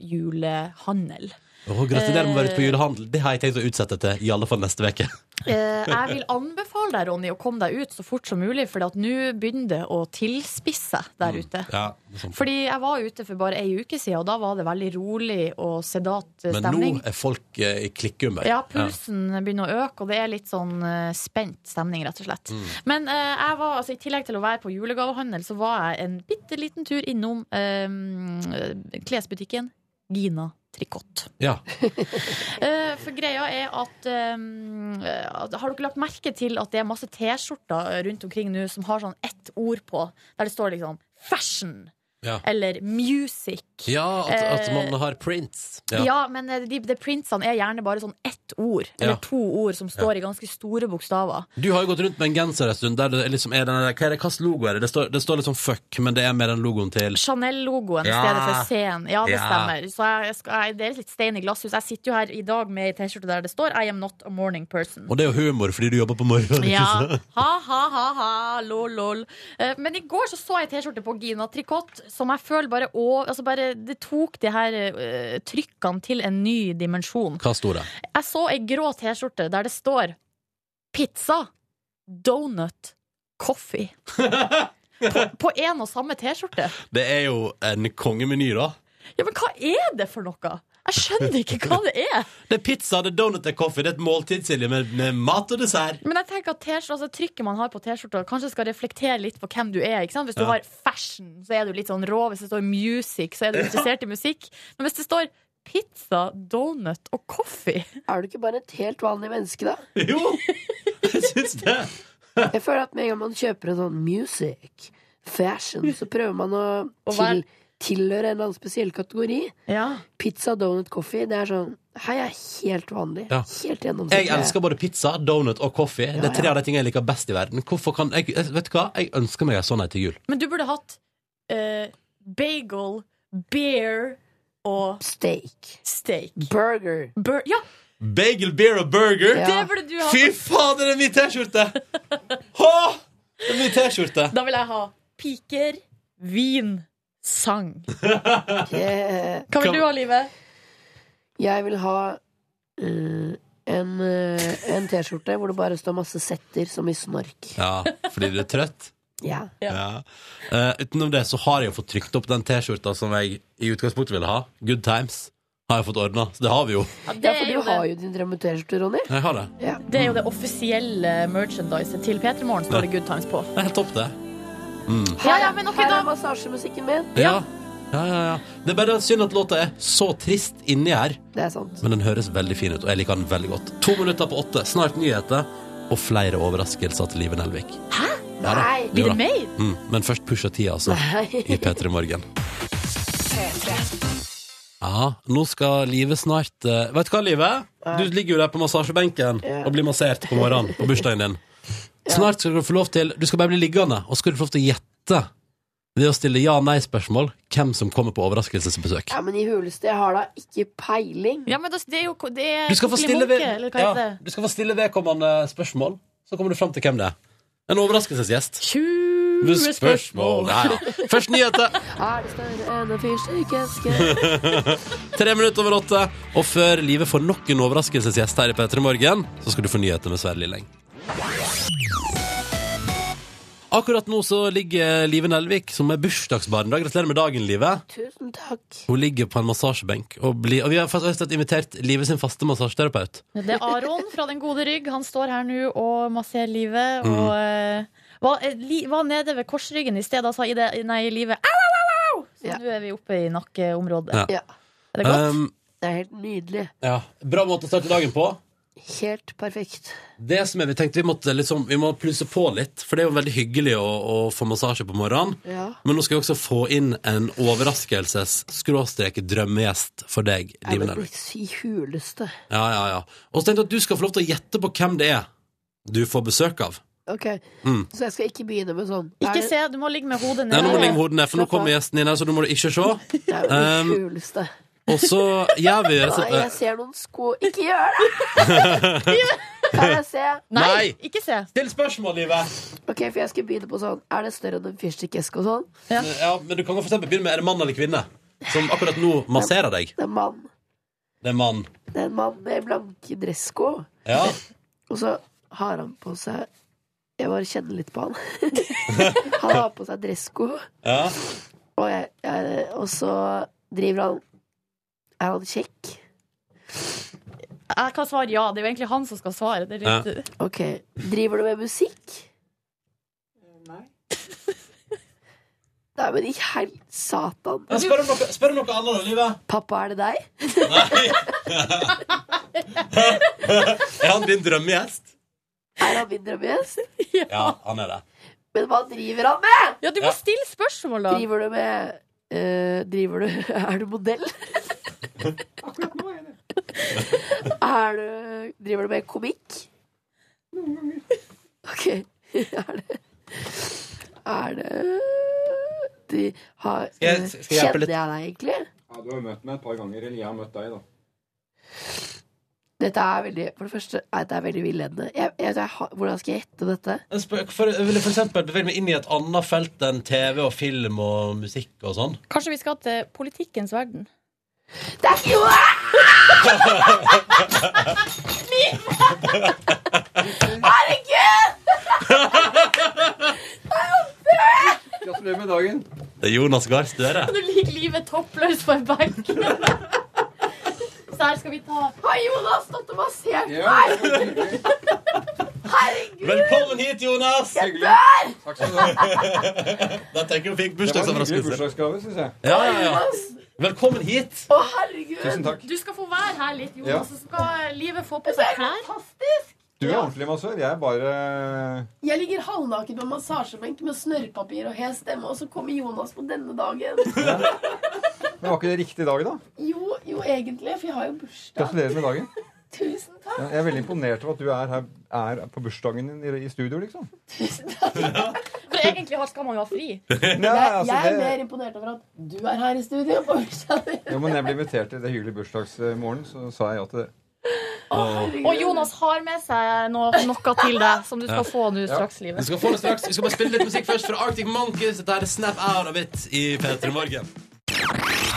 Speaker 5: julehandel.
Speaker 2: Å, gratulerer med å være ute på julehandel. Det har jeg tenkt å utsette til i alle fall neste
Speaker 5: [LAUGHS]
Speaker 2: uke.
Speaker 5: Eh, jeg vil anbefale deg, Ronny, å komme deg ut så fort som mulig, for at nå begynner det å tilspisse seg der ute.
Speaker 2: Ja, sånn.
Speaker 5: Fordi jeg var ute for bare ei uke siden, og da var det veldig rolig og sedat eh,
Speaker 2: Men
Speaker 5: stemning.
Speaker 2: nå er folk eh, i klikkehumør.
Speaker 5: Ja, pulsen begynner å øke, og det er litt sånn eh, spent stemning, rett og slett.
Speaker 2: Mm.
Speaker 5: Men eh, jeg var, altså, i tillegg til å være på julegavehandel, så var jeg en bitte liten tur innom eh, klesbutikken Gina Trikott.
Speaker 2: Ja.
Speaker 5: Eh, for greia er at eh, at- Har dere lagt merke til at det er masse T-skjorter eh, rundt omkring nå som har sånn ett ord på, der det står liksom 'fashion'
Speaker 2: Ja.
Speaker 5: eller 'music'?
Speaker 2: ja at, at
Speaker 5: Eh,
Speaker 2: man har prints.
Speaker 5: Ja, men eh, de, de printsene er gjerne bare sånn ett ord, eller
Speaker 2: Ja.
Speaker 5: to ord, som står i ganske store bokstaver.
Speaker 2: Du har jo gått rundt med en genser en stund der det liksom er den der Hva er det, hvilken logo er det? Det står, det står litt sånn fuck, men det er med den logoen til
Speaker 5: Chanel-logoen i
Speaker 2: Ja.
Speaker 5: stedet for C-en. Ja, det
Speaker 2: Ja.
Speaker 5: stemmer. Så jeg, jeg skal, jeg, det er litt stein i glasshus. Jeg sitter jo her i dag med ei T-skjorte der det står 'I am not a morning person'.
Speaker 2: Og det er jo humor fordi du jobber på morgenen. ikke
Speaker 5: Ja.
Speaker 2: sant?
Speaker 5: Ha, ha, ha, ha. Lol, lol. Eh, Men i går så, så jeg ei T-skjorte på Gina Tricot som jeg føler bare, å, altså bare Det tok de her eh, trykkene til en ny dimensjon.
Speaker 2: Hva sto det?
Speaker 5: Jeg så ei grå T-skjorte der det står pizza, donut, coffee. På, på en og samme T-skjorte.
Speaker 2: Det er jo en kongemeny, da.
Speaker 5: Ja, men hva er det for noe? Jeg skjønner ikke hva det er.
Speaker 2: Det er pizza, det er donut, det er kaffe, det er et måltid, Silje, med, med mat og dessert.
Speaker 5: Men jeg tenker at t-skjorte- altså, trykket man har på T-skjorta, kanskje skal reflektere litt på hvem du er. ikke sant? Hvis du
Speaker 2: Ja.
Speaker 5: har fashion, så er du litt sånn rå. Hvis det står music, så er du interessert i musikk. Men hvis det står pizza, donut og coffee.
Speaker 3: Er du ikke bare et helt vanlig menneske, da?
Speaker 5: [LAUGHS]
Speaker 2: Jo! Jeg syns det.
Speaker 3: Jeg føler at med en gang man kjøper en sånn music, fashion, så prøver man å
Speaker 5: Mm. Og hva er-
Speaker 3: til, tilhøre en eller annen spesiell kategori.
Speaker 5: Ja.
Speaker 3: Pizza, donut, coffee, det er sånn Hei, jeg er helt vanlig.
Speaker 2: Ja.
Speaker 3: Helt gjennomsiktig.
Speaker 2: Jeg elsker både pizza, donut og kaffe. Det er tre
Speaker 3: Altså, ja.
Speaker 2: av de tingene jeg liker best i verden. Hvorfor kan jeg, vet du hva? Jeg ønsker meg en sånn en til jul.
Speaker 5: Men du burde hatt eh, bagel, beer og
Speaker 3: Steak.
Speaker 5: steak.
Speaker 3: Burger.
Speaker 5: Bur ja,
Speaker 2: Bagel, beer og burger!
Speaker 3: Ja.
Speaker 5: det burde du ha!
Speaker 2: Fy fader, det er min T-skjorte! Hå! Det er min T-skjorte.
Speaker 5: Da vil jeg ha piker, vin, sang.
Speaker 3: Yeah.
Speaker 5: Hva
Speaker 2: Kan-
Speaker 5: vil du ha, Live?
Speaker 3: Jeg vil ha eh, en, eh, en T-skjorte hvor det bare står masse setter, som i snork.
Speaker 2: Ja, fordi du er trøtt?
Speaker 3: Ja.
Speaker 5: Ja.
Speaker 2: Eh, utenom det så har jeg jo fått trykt opp den T-skjorta som jeg i utgangspunktet ville ha. Good times. Har jeg fått ordna. Så det har vi jo.
Speaker 3: ja, for du har jo din drømme-T-skjorte, Ronny.
Speaker 2: Jeg har det.
Speaker 3: Ja.
Speaker 5: det, det er jo det offisielle merchandiset til P3 Morgen, står det Good Times på.
Speaker 2: Det er helt topp, det.
Speaker 5: Ja, ja, men ok,
Speaker 3: Her
Speaker 5: da.
Speaker 3: er massasjemusikken min.
Speaker 2: Ja. Ja, ja, ja. Det er bare synd at låta er så trist inni her,
Speaker 3: Det er sant.
Speaker 2: men den høres veldig fin ut, og jeg liker den veldig godt. To minutter på åtte, snart nyheter, og flere overraskelser til Live Nelvik. Hæ? Ja, da.
Speaker 3: Nei,
Speaker 2: Jo
Speaker 5: Blir
Speaker 2: da.
Speaker 5: det mer?
Speaker 2: Mm, men først pusha tida, altså. I P3 Morgen. Ja, nå skal Live snart eh, Vet du hva, Live? Du ligger jo der på massasjebenken
Speaker 3: Ja.
Speaker 2: og blir massert på morgenen på bursdagen din. Snart skal du få lov til Du skal bare bli liggende, og så skal du få lov til å gjette ved å stille ja-nei-spørsmål hvem som kommer på overraskelsesbesøk.
Speaker 3: Ja, men i huleste, jeg har da ikke peiling.
Speaker 5: Ja, men da- det er jo det er
Speaker 2: Du skal få stille, ved,
Speaker 5: kokkelimonke, eller hva heter
Speaker 2: ja,
Speaker 5: det?
Speaker 2: du skal få stille vedkommende spørsmål, så kommer du fram til hvem det er. En overraskelsesgjest.
Speaker 5: 20 spørsmål.
Speaker 2: Ja, ja. Først nyheter.
Speaker 3: Er det større enn en fyrstikkeske?
Speaker 2: Tre minutter over åtte. Og før livet får nok en overraskelsesgjest her i P3 Morgen, så skal du få nyheter med Sverre Lilleng. Akkurat nå så ligger Live Nelvik, som er bursdagsbarn i dag. Gratulerer med dagen, Live.
Speaker 3: Tusen takk.
Speaker 2: Hun ligger på en massasjebenk. Og, blir- og vi har faktisk rett og slett invitert Live sin faste massasjeterapeut.
Speaker 5: Det er Aron fra Den gode rygg. Han står her nå og masserer livet.
Speaker 2: Mm.
Speaker 5: Og eh, var, eh, li, var nede ved korsryggen i stedet og sa i det Nei, i livet. Au, au, au! au! Så
Speaker 3: Ja.
Speaker 5: nå er vi oppe i nakkeområdet.
Speaker 2: Ja.
Speaker 3: Ja,
Speaker 5: Er det godt?
Speaker 2: Um,
Speaker 3: det er helt nydelig.
Speaker 2: ja. Bra måte å starte dagen på.
Speaker 3: Helt perfekt.
Speaker 2: Det som er, Vi tenkte vi, måtte liksom, vi må plusse på litt, for det er jo veldig hyggelig å, å få massasje på morgenen.
Speaker 3: Ja.
Speaker 2: Men nå skal vi også få inn en overraskelses-drømmegjest for deg.
Speaker 3: Ja,
Speaker 2: Liven
Speaker 3: men
Speaker 2: Elvik.
Speaker 3: i huleste.
Speaker 2: Ja, ja, ja. Og så tenkte jeg at du skal få lov til å gjette på hvem det er du får besøk av.
Speaker 3: Ok,
Speaker 2: Mm.
Speaker 3: så jeg skal ikke begynne med sånn.
Speaker 5: Ikke se, du må ligge med hodet
Speaker 2: Nei, nå
Speaker 5: ned.
Speaker 2: må du
Speaker 3: Nei,
Speaker 2: ligge med hodet ned, for nå
Speaker 3: slapp av.
Speaker 2: kommer gjesten inn her, så nå må du ikke se.
Speaker 3: Det er jo det
Speaker 2: Um,
Speaker 3: kuleste.
Speaker 2: Og så gjør
Speaker 3: [LAUGHS]
Speaker 2: vi
Speaker 3: Nei, jeg ser noen sko Ikke gjør det! Kan jeg se?
Speaker 5: Nei,
Speaker 2: Nei.
Speaker 5: ikke se.
Speaker 2: Still spørsmål, Livet!
Speaker 3: Ok, for jeg skal begynne på sånn. Er det større enn en fyrstikkeske og sånn?
Speaker 2: Ja, men du kan for eksempel begynne med er det mann eller kvinne som akkurat nå masserer deg.
Speaker 3: Det er en mann.
Speaker 2: Det er mann.
Speaker 3: Det er en mann med blanke dressko.
Speaker 2: Ja.
Speaker 3: Og så har han på seg Jeg bare kjenner litt på han. han [LAUGHS] har på seg dressko,
Speaker 2: ja.
Speaker 3: [LAUGHS] og, jeg, jeg, og så driver han Er han kjekk?
Speaker 5: Jeg kan svare ja. Det er jo egentlig han som skal svare. Det er litt...
Speaker 3: Ok. Driver du med musikk? Nei. Nei, men i hel... Satan.
Speaker 2: Ja, Spør om noe, spør om noe annet, da, Livet.
Speaker 3: Pappa, er det deg?
Speaker 2: [LAUGHS] Er han din drømmegjest?
Speaker 3: Er han min drømmegjest?
Speaker 2: Ja, han er det.
Speaker 3: Men hva driver han med?
Speaker 5: Ja, du
Speaker 2: Ja.
Speaker 5: må stille spørsmål, da.
Speaker 3: Driver du med eh, Driver du [LAUGHS] Er du modell? er du Driver du med komikk? [LAUGHS] Noen ganger. OK. Er det Er det de har, eh,
Speaker 2: jeg- skal jeg hjelpe
Speaker 3: Kjenner jeg
Speaker 2: litt?
Speaker 3: deg egentlig?
Speaker 11: Ja, du har møtt meg et par ganger, eller jeg har møtt deg, da.
Speaker 3: Dette er veldig For det første, nei, det er veldig villedende. Jeg, jeg, jeg, har- hvordan skal jeg gjette dette?
Speaker 2: En spøk- For, jeg ville for eksempel bevege meg inn i et annet felt enn TV og film og musikk og sånn.
Speaker 5: Kanskje vi skal til politikkens verden.
Speaker 3: Det er ikke noe!
Speaker 11: Gratulerer med dagen.
Speaker 2: Det er Jonas Gahr Støre.
Speaker 5: Du ligger livet toppløs på en benk. Så her skal vi ta
Speaker 3: Har Jonas stått og massert?
Speaker 11: Ja, det var hyggelig.
Speaker 2: Velkommen hit, Jonas!
Speaker 11: Hyggelig. Takk skal du ha.
Speaker 2: Da tenker jeg hun fikk
Speaker 11: Det var en hyggelig
Speaker 2: bursdagsoverraskelse.
Speaker 11: bursdagsgave, syns jeg.
Speaker 2: Ja, ja, ja. Velkommen hit!
Speaker 8: Å, herregud!
Speaker 11: Tusen takk.
Speaker 8: Du skal få være her litt, Jonas,
Speaker 11: Ja.
Speaker 8: og så skal livet få på seg klær.
Speaker 11: Du er ordentlig massør. Jeg er bare eh,
Speaker 3: Jeg ligger halvnaken på en massasjebenk med snørrpapir og hes stemme, og så kommer Jonas på denne dagen.
Speaker 11: Men var ikke det riktig dag, da?
Speaker 3: Jo, jo egentlig, for jeg har jo bursdag.
Speaker 11: Gratulerer med dagen.
Speaker 3: Tusen takk.
Speaker 11: Ja, Jeg er veldig imponert over at du er her er på bursdagen din i- i studio, liksom.
Speaker 8: For egentlig skal man jo ha fri.
Speaker 11: Nei,
Speaker 3: [LAUGHS]
Speaker 11: altså,
Speaker 3: jeg er
Speaker 11: det-
Speaker 3: mer imponert over at du er her i studio [LAUGHS] på bursdagen din.
Speaker 11: Jo, men jeg ble invitert til det hyggelige bursdagsmorgen, så sa jeg ja til det.
Speaker 8: Og Jonas har med seg noe, noe til deg som du skal
Speaker 2: Ja.
Speaker 8: få nå
Speaker 2: Ja.
Speaker 8: straks, livet.
Speaker 2: Vi skal få det straks. Vi skal bare spille litt musikk først fra Arctic Monkeys. Dette er Snap Out of It i P3 Morgen.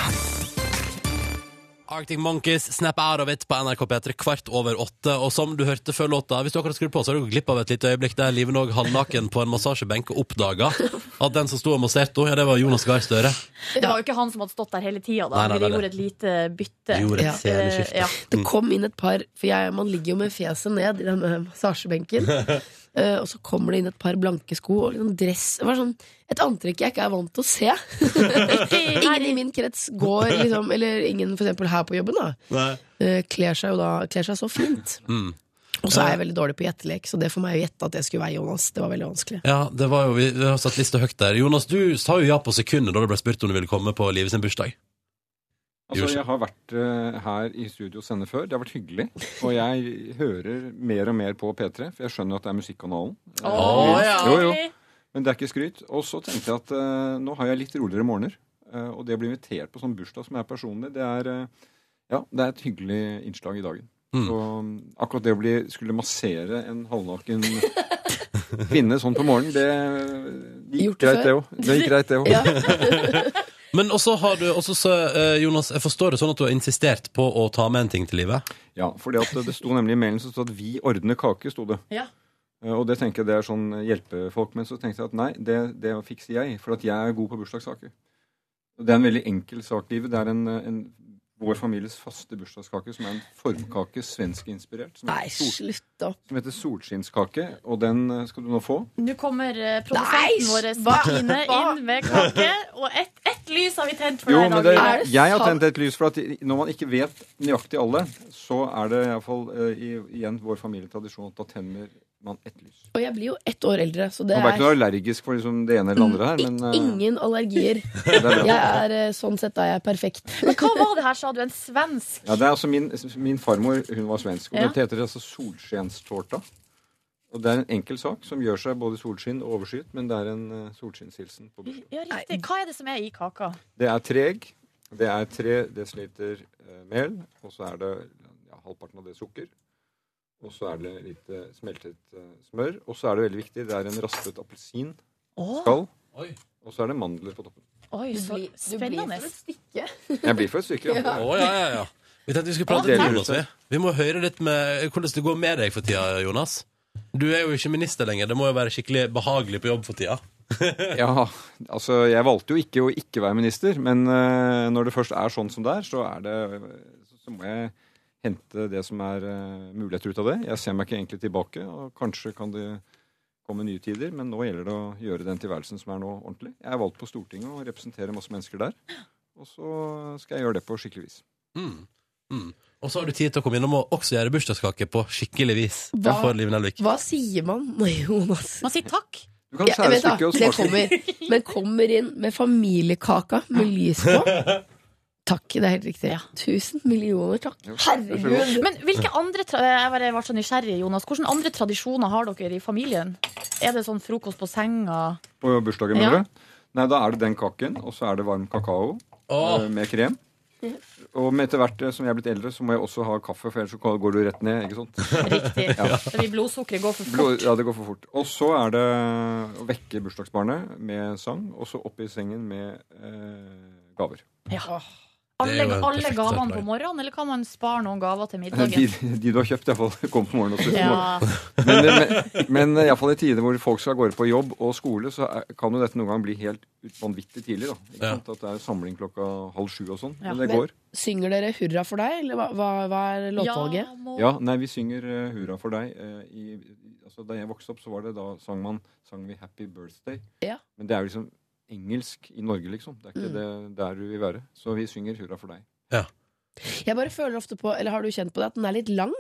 Speaker 2: Arctic Monkeys, Snap Out of It på NRK P3 kvart over åtte. Og som du hørte før låta, hvis du akkurat skrur på, så har du gått glipp av et lite øyeblikk der Liven òg halvnaken på en massasjebenk og oppdaga at den som sto og masserte henne, ja, det var Jonas Gahr Støre.
Speaker 8: Det var jo ikke han som hadde stått der hele tida.
Speaker 2: Nei, nei, nei,
Speaker 8: Vi
Speaker 2: nei.
Speaker 8: gjorde et lite bytte.
Speaker 2: Vi gjorde et sceneskifte. Mm.
Speaker 8: Eh, ja.
Speaker 11: Mm.
Speaker 3: Det kom inn et par, for jeg, man ligger jo med fjeset ned i den eh,
Speaker 11: [LAUGHS]
Speaker 3: massasjebenken. Eh, og så kommer det inn et par blanke sko og liksom dress. Det var sånn, et antrekk jeg ikke er vant til å se. ingen i min krets går liksom, eller ingen for eksempel her på jobben, da.
Speaker 2: Nei.
Speaker 3: eh, kler seg jo da kler seg så fint.
Speaker 2: Mm.
Speaker 3: Og så er jeg veldig dårlig på gjettelek, så det får meg å gjette at jeg skulle være Jonas. Det var veldig vanskelig.
Speaker 2: Ja, det var jo, vi vi har satt lista høyt der. Jonas, du sa jo ja på sekundet da du ble spurt om du ville komme på Livet sin bursdag.
Speaker 11: Altså, jeg har vært eh, her i studio og sende før. Det har vært hyggelig. Og jeg hører mer og mer på P3, for jeg skjønner at det er musikkanalen. Eh,
Speaker 2: Å, ja.
Speaker 11: jo, jo. Men det er ikke skryt. Og så tenkte jeg at eh, nå har jeg litt roligere morgener. Eh, og det å bli invitert på sånn bursdag som er personlig, det er, eh, ja, det er et hyggelig innslag i dagen. Så um, akkurat det å bli, skulle massere en halvnaken [LAUGHS] kvinne sånn på morgenen, det, det
Speaker 3: Gjort
Speaker 11: gikk
Speaker 3: det
Speaker 11: greit, det
Speaker 3: før?
Speaker 11: òg. Det gikk greit, det
Speaker 3: [LAUGHS]
Speaker 11: òg.
Speaker 2: Men også har du også så, eh, Jonas, jeg forstår det sånn at du har insistert på å ta med en ting til livet.
Speaker 11: Ja, for det sto nemlig i mailen så stod det at 'vi ordner kake'. sto det.
Speaker 8: Ja.
Speaker 11: Eh, Og det tenker jeg det er sånn eh, hjelpefolk. Men så tenkte jeg at nei, det, det fikser jeg, for at jeg er god på bursdagssaker. Og Det er en veldig enkel sak, livet. Det er en, eh, en, vår families faste bursdagskake, som er en formkake, svenskinspirert, som,
Speaker 3: Nei,
Speaker 11: heter sol-
Speaker 3: slutt opp.
Speaker 11: som heter solskinnskake. Og den eh, skal du nå få.
Speaker 8: Nå kommer eh,
Speaker 3: Nei,
Speaker 8: produsenten vår
Speaker 3: hva-
Speaker 8: Stine
Speaker 3: hva?
Speaker 8: inn med kake, og ett ett lys har vi tent for
Speaker 11: Jo,
Speaker 8: deg
Speaker 11: men
Speaker 8: i
Speaker 11: det,
Speaker 8: dag.
Speaker 3: Er det
Speaker 11: jeg har
Speaker 3: sant?
Speaker 11: tent et lys for at når man ikke vet nøyaktig alle, så er det iallfall eh, igjen vår familietradisjon at da tenner man ett lys.
Speaker 3: Og jeg blir jo ett år eldre, så det
Speaker 11: Man er
Speaker 3: er
Speaker 11: ikke noe allergisk for liksom det ene eller det andre her, men eh,
Speaker 3: ingen allergier.
Speaker 11: det er bra.
Speaker 3: Jeg er, eh, sånn sett er jeg perfekt.
Speaker 8: Men hva var det her, sa du? En svensk?
Speaker 11: Ja, det er altså min, min farmor hun var svensk, og
Speaker 8: Ja.
Speaker 11: dette heter altså solskinstårta. Og det er en enkel sak som gjør seg både solskinn og overskyet, men det er en eh, solskinnshilsen på bursdag.
Speaker 8: Ja, riktig. Hva er det som er i kaka?
Speaker 11: Det er treg, det er tre desiliter eh, mel, og så er det ja, halvparten av det sukker. Og så er det litt eh, smeltet eh, smør. Og så er det veldig viktig, det er en raspet
Speaker 8: Å,
Speaker 11: appelsinskall.
Speaker 2: Oi.
Speaker 11: Og så er det mandler på toppen.
Speaker 8: oi, så spennende.
Speaker 3: stykke.
Speaker 11: Jeg blir for et stykke. Ja.
Speaker 2: Å, ja, ja, ja. Vi tenkte vi skulle prate
Speaker 11: Ja,
Speaker 2: litt med
Speaker 11: det
Speaker 2: Jonas. Vi. vi må høre litt med hvordan det går med deg for tida, Jonas. Du er jo ikke minister lenger. Det må jo være skikkelig behagelig på jobb for tida.
Speaker 11: Ja, altså jeg valgte jo ikke å ikke være minister, men eh, når det først er sånn som det er, så er det så, så må jeg hente det som er eh, muligheter ut av det. Jeg ser meg ikke egentlig tilbake, og kanskje kan det komme nye tider, men nå gjelder det å gjøre den tilværelsen som er nå, ordentlig. Jeg er valgt på Stortinget og representerer masse mennesker der, og så skal jeg gjøre det på skikkelig vis.
Speaker 2: Mm. Mm. Og så har du tid til å komme innom og også gjøre bursdagskake på skikkelig vis.
Speaker 3: Hva?
Speaker 2: For Liv Nelvik.
Speaker 3: Hva sier man når Jonas
Speaker 8: Man sier takk.
Speaker 11: Du kan
Speaker 3: Jeg
Speaker 11: skjære
Speaker 3: vet da,
Speaker 11: stykket og
Speaker 3: det
Speaker 11: smake.
Speaker 3: kommer. Men kommer inn med familiekaka med lys på.
Speaker 11: [LAUGHS]
Speaker 3: Takk, det er helt riktig. Tusen millioner takk. Herregud.
Speaker 8: Men hvilke andre tra Jeg bare ble så nysgjerrig, Jonas. Hvilke andre tradisjoner har dere i familien? Er det sånn frokost på senga?
Speaker 11: På bursdagen,
Speaker 8: Ja.
Speaker 11: mener du? Nei, da er det den kaken, og så er det varm kakao.
Speaker 2: Åh,
Speaker 11: eh, med krem. Og med etter hvert eh, som jeg er blitt eldre, så må jeg også ha kaffe, for ellers så går du rett ned. ikke sant?
Speaker 8: Riktig.
Speaker 11: [LAUGHS] Ja.
Speaker 8: Fordi blodsukkeret går for fort.
Speaker 5: [LAUGHS]
Speaker 11: Blod, ja, det går for fort. Og så er det å vekke bursdagsbarnet med sang, og så opp i sengen med eh, gaver. [LAUGHS]
Speaker 8: Ja.
Speaker 2: Det er jo
Speaker 8: Alle,
Speaker 2: en
Speaker 8: alle
Speaker 2: perfekt
Speaker 8: gavene
Speaker 2: dag.
Speaker 8: på morgenen, eller kan man spare noen gaver til
Speaker 11: De,
Speaker 8: middagen?
Speaker 11: de du har kjøpt, iallfall. Kom på morgenen også.
Speaker 8: Ja.
Speaker 11: Men, men, men iallfall i tider hvor folk skal av gårde på jobb og skole, så er, kan jo dette noen gang bli helt ut- vanvittig tidlig. da. Ikke
Speaker 2: Ja.
Speaker 11: sant? At det er samling klokka halv sju og sånn.
Speaker 8: Ja.
Speaker 11: Men det
Speaker 3: Men-
Speaker 11: går.
Speaker 3: Synger dere 'Hurra for deg', eller hva, hva, hva er låtvalget?
Speaker 8: Ja, må-
Speaker 11: Ja, nei, vi synger eh, Hurra for deg. eh, i, altså, da jeg vokste opp, så var det da sang man sang vi Happy Birthday.
Speaker 3: Ja.
Speaker 11: Men det er jo liksom engelsk i Norge, liksom. Det er ikke
Speaker 3: Mm.
Speaker 11: det, der du vil være. Så vi synger hurra for deg.
Speaker 3: Jeg bare føler ofte på, eller har du kjent på det, at den er litt lang?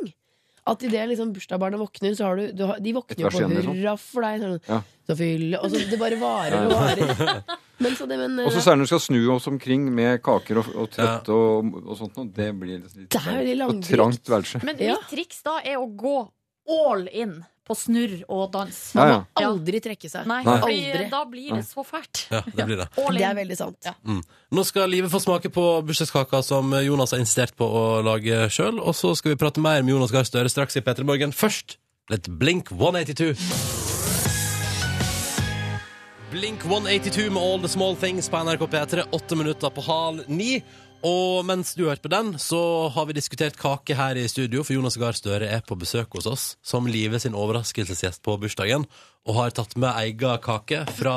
Speaker 3: At idet liksom bursdagsbarnet våkner, så har du, du har, De
Speaker 11: Et
Speaker 3: våkner jo
Speaker 11: vers
Speaker 3: på
Speaker 11: igjen, liksom.
Speaker 3: 'hurra for deg', sånn,
Speaker 11: Ja.
Speaker 3: så fylle Og så det bare varer
Speaker 11: Ja.
Speaker 3: og varer.
Speaker 11: [LAUGHS]
Speaker 3: Men så det, men eh,
Speaker 11: Og så særlig når du skal snu oss omkring med kaker og, og trøtt og, og sånt noe. Det blir litt, litt
Speaker 3: Det er jo litt
Speaker 11: og
Speaker 3: langdrygt.
Speaker 11: trangt
Speaker 3: [LAUGHS]
Speaker 11: værelse.
Speaker 8: Men
Speaker 3: Ja.
Speaker 8: mitt triks da er å gå all in på snurr og dans.
Speaker 11: Ja, ja.
Speaker 3: aldri trekke seg.
Speaker 8: Nei,
Speaker 2: Nei.
Speaker 8: fordi
Speaker 3: Aldri.
Speaker 8: da blir det så fælt.
Speaker 2: Ja, det blir det.
Speaker 8: All
Speaker 3: Det er
Speaker 8: in.
Speaker 3: veldig sant.
Speaker 2: Mm. Nå skal Live få smake på bursdagskaka som Jonas har insistert på å lage sjøl. Og så skal vi prate mer med Jonas Gahr Støre straks i P3 Morgen. Først litt Blink 182. Blink 182 med All The Small Things på NRK P3, åtte minutter på hal ni. Og mens du hørte på den, så har vi diskutert kake her i studio, for Jonas Gahr Støre er på besøk hos oss som Live sin overraskelsesgjest på bursdagen, og har tatt med egen kake fra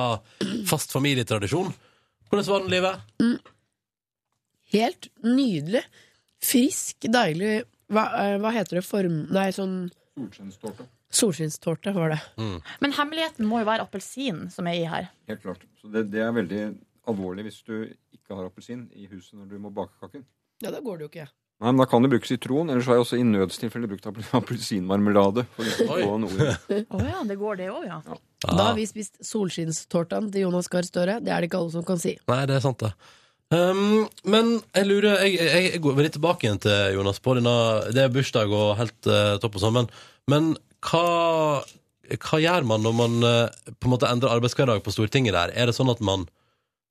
Speaker 2: fast familietradisjon. Hvordan var den, Live?
Speaker 3: Helt nydelig. Frisk, deilig Hva, eh, hva heter det? Form... Nei, sånn
Speaker 11: Solskinnstårte.
Speaker 3: solskinnstårte var det.
Speaker 8: Men hemmeligheten må jo være appelsin som er i her.
Speaker 11: Helt klart. Så det, det er veldig alvorlig hvis du ikke har appelsin i huset når du må bake kaken.
Speaker 3: Ja, da går det jo ikke.
Speaker 11: Nei, men Da kan du bruke sitron, ellers har jeg også i nødstilfelle brukt appel- [LAUGHS] appelsinmarmelade. For ikke å
Speaker 2: Oi.
Speaker 11: få noe
Speaker 8: Å ja, det går det òg, ja.
Speaker 3: Da har vi spist solskinnstortene til Jonas Gahr Støre. Det er det ikke alle som kan si.
Speaker 2: Nei, det er sant, det. Um, men jeg lurer Jeg, jeg, jeg går litt tilbake igjen til Jonas på denne Det er bursdag og helt eh, topp og sånn, men, men hva, hva gjør man når man eh, på en måte endrer arbeidshverdag på Stortinget der? Er det sånn at man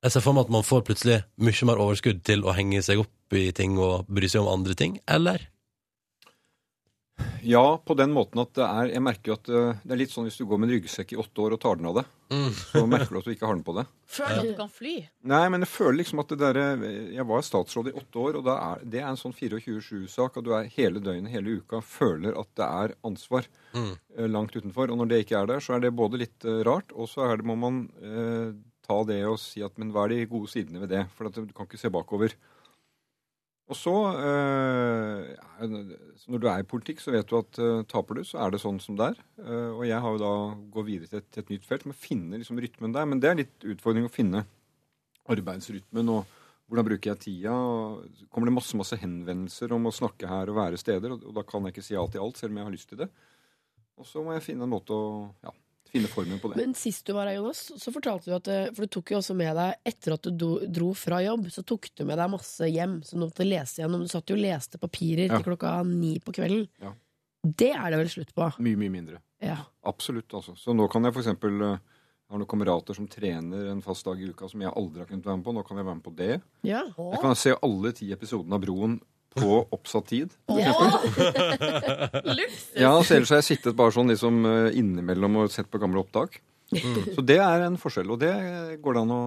Speaker 2: Jeg ser for meg at man får plutselig mye mer overskudd til å henge seg opp i ting og bry seg om andre ting, eller?
Speaker 11: Ja, på den måten at det er Jeg merker jo at eh, det er litt sånn hvis du går med en ryggsekk i åtte år og tar den av deg, [LAUGHS] så merker du at du ikke har den på deg.
Speaker 8: Føler at du kan fly.
Speaker 11: Nei, men jeg føler liksom at det derre Jeg var statsråd i åtte år, og da er, det er en sånn 24-7-sak at du er hele døgnet, hele uka, føler at det er ansvar
Speaker 2: Mm.
Speaker 11: eh, langt utenfor. Og når det ikke er der, så er det både litt eh, rart, og så er det, må man eh, ta det og si at men hva er de gode sidene ved det? For at du kan ikke se bakover. Og så, eh, er det- så Når du er i politikk, så vet du at eh, taper du, så er det sånn som det er. Eh, og jeg har jo da gått videre til et, til et nytt felt, med å finne liksom rytmen der. Men det er litt utfordring å finne arbeidsrytmen og hvordan bruker jeg tida. Og så kommer det masse masse henvendelser om å snakke her og være steder, og, og da kan jeg ikke si ja til alt, selv om jeg har lyst til det. Og så må jeg finne en måte å ja, finne formen på det.
Speaker 3: Men sist du var her, Jonas, så fortalte du at eh, For du tok jo også med deg Etter at du do- dro fra jobb, så tok du med deg masse hjem som du måtte lese gjennom. Du satt jo og leste papirer
Speaker 11: Ja.
Speaker 3: til klokka ni på kvelden.
Speaker 11: Ja.
Speaker 3: Det er det vel slutt på.
Speaker 11: Mye, mye mindre.
Speaker 3: Ja.
Speaker 11: Absolutt, altså. Så nå kan jeg f.eks. Jeg har noen kamerater som trener en fast dag i uka som jeg aldri har kunnet være med på. Nå kan jeg være med på det.
Speaker 3: ja.
Speaker 11: Jeg kan se alle ti episodene av Broen på oppsatt tid.
Speaker 8: [LAUGHS]
Speaker 11: Ja, så ellers har jeg sittet bare sånn liksom eh, innimellom og sett på gamle opptak. Så det er en forskjell, og det går det an å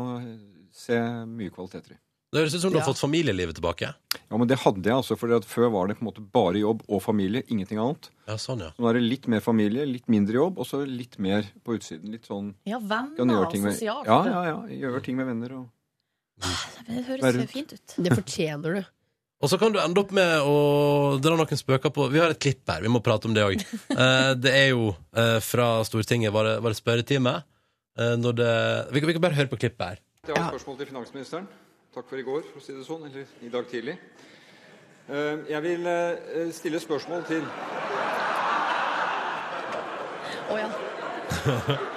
Speaker 11: se mye kvaliteter i.
Speaker 2: Det høres ut som du har
Speaker 3: Ja.
Speaker 2: fått familielivet tilbake.
Speaker 11: Ja, men det hadde jeg altså, for før var det på en måte bare jobb og familie, ingenting annet.
Speaker 2: Ja, sånn, ja.
Speaker 11: Så nå er det litt mer familie, litt mindre jobb, og så litt mer på utsiden. Litt sånn
Speaker 8: Ja,
Speaker 11: kan
Speaker 8: venner
Speaker 11: gjøre
Speaker 8: og
Speaker 11: ting med,
Speaker 8: sosialt.
Speaker 11: ja, ja, ja, gjøre ting med venner og
Speaker 8: Det høres
Speaker 11: Være rundt.
Speaker 8: fint ut.
Speaker 3: Det [LAUGHS] fortjener du.
Speaker 2: Og så kan du ende opp med å dra noen spøker på Vi har et klipp her, vi må prate om det òg. det er jo eh, fra Stortinget, var det, var det spørretime? Eh, når det vi, kan- vi kan bare høre på klippet her.
Speaker 11: Jeg har et spørsmål til finansministeren. Takk for i går, for å si det sånn. Eller i dag tidlig. Eh, Jeg vil eh, stille spørsmål til
Speaker 8: Å ja. [LAUGHS]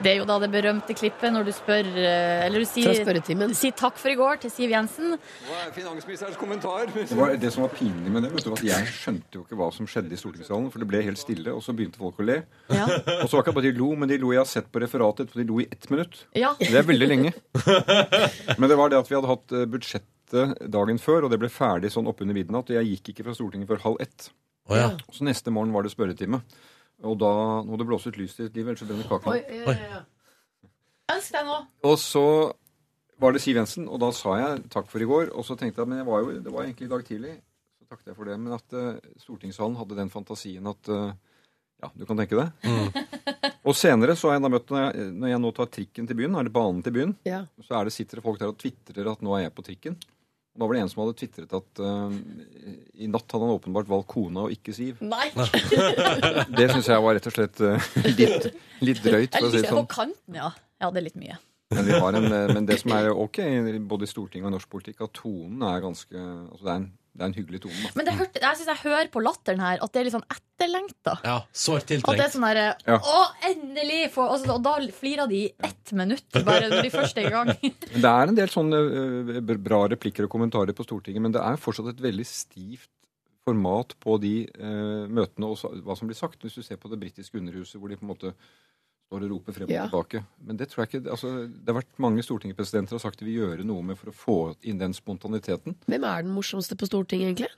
Speaker 8: Det er jo da det berømte klippet når du spør eh, Eller du
Speaker 3: Fra
Speaker 8: sier,
Speaker 3: spørretimen.
Speaker 8: sier takk for i går til Siv Jensen.
Speaker 11: Hva er finansministerens kommentar? Det, var det som var pinlig med det, vet du, at jeg skjønte jo ikke hva som skjedde i stortingssalen. For det ble helt stille, og så begynte folk å le.
Speaker 8: Ja.
Speaker 11: Og så var det ikke bare de lo, men de lo jeg har sett på referatet, for de lo i ett minutt.
Speaker 8: ja.
Speaker 11: Det er veldig lenge. Men det var det at vi hadde hatt eh, budsjettet dagen før, og det ble ferdig sånn oppunder midnatt. Og jeg gikk ikke fra Stortinget før halv ett.
Speaker 2: Å ja.
Speaker 11: Så neste morgen var det spørretime. Og da nå hadde det blåst ut lys til livet, ellers så brenner kaka.
Speaker 8: Ønsk deg noe.
Speaker 11: Og så var det Siv Jensen, og da sa jeg takk for i går. Og så tenkte jeg, men jeg var jo, det var egentlig i dag tidlig, så takket jeg for det. Men at eh, stortingssalen hadde den fantasien at eh, Ja, du kan tenke deg. og senere så har jeg da møtt når jeg, når jeg nå tar trikken til byen, er det banen til byen,
Speaker 3: Ja.
Speaker 11: så er det, sitter det folk der og tvitrer at nå er jeg på trikken. Og da var det en som hadde tvitret at eh, i natt hadde han åpenbart valgt kona og ikke Siv.
Speaker 8: Nei.
Speaker 11: Det syns jeg var rett og slett eh, [LAUGHS] litt, litt drøyt, for å
Speaker 8: Eller
Speaker 11: si det
Speaker 8: litt på
Speaker 11: sånn.
Speaker 8: kanten, ja. Ja, det er litt mye.
Speaker 11: Men, vi har en, eh, men det som er ok, både i Stortinget og i norsk politikk, at tonen er ganske altså det, er en, det er en hyggelig tone. Da.
Speaker 8: Men det hørte, jeg syns jeg hører på latteren her at det er litt sånn etterlengta.
Speaker 2: Ja, sårt
Speaker 8: At det er
Speaker 2: tiltrengt.
Speaker 8: sånn derre
Speaker 11: Ja.
Speaker 8: Å, endelig! få-» og, så- og da flirer de i ett minutt, bare når de første er i gang.
Speaker 11: Men det er en del sånne eh, b- bra replikker og kommentarer på Stortinget, men det er fortsatt et veldig stivt format på de eh, møtene og så- hva som blir sagt. Hvis du ser på det britiske underhuset, hvor de på en måte står og roper frem og
Speaker 3: Ja.
Speaker 11: tilbake. Men det tror jeg ikke altså, Det har vært mange stortingspresidenter har sagt de vil gjøre noe med for å få inn den spontaniteten.
Speaker 3: Hvem er den morsomste på Stortinget, egentlig?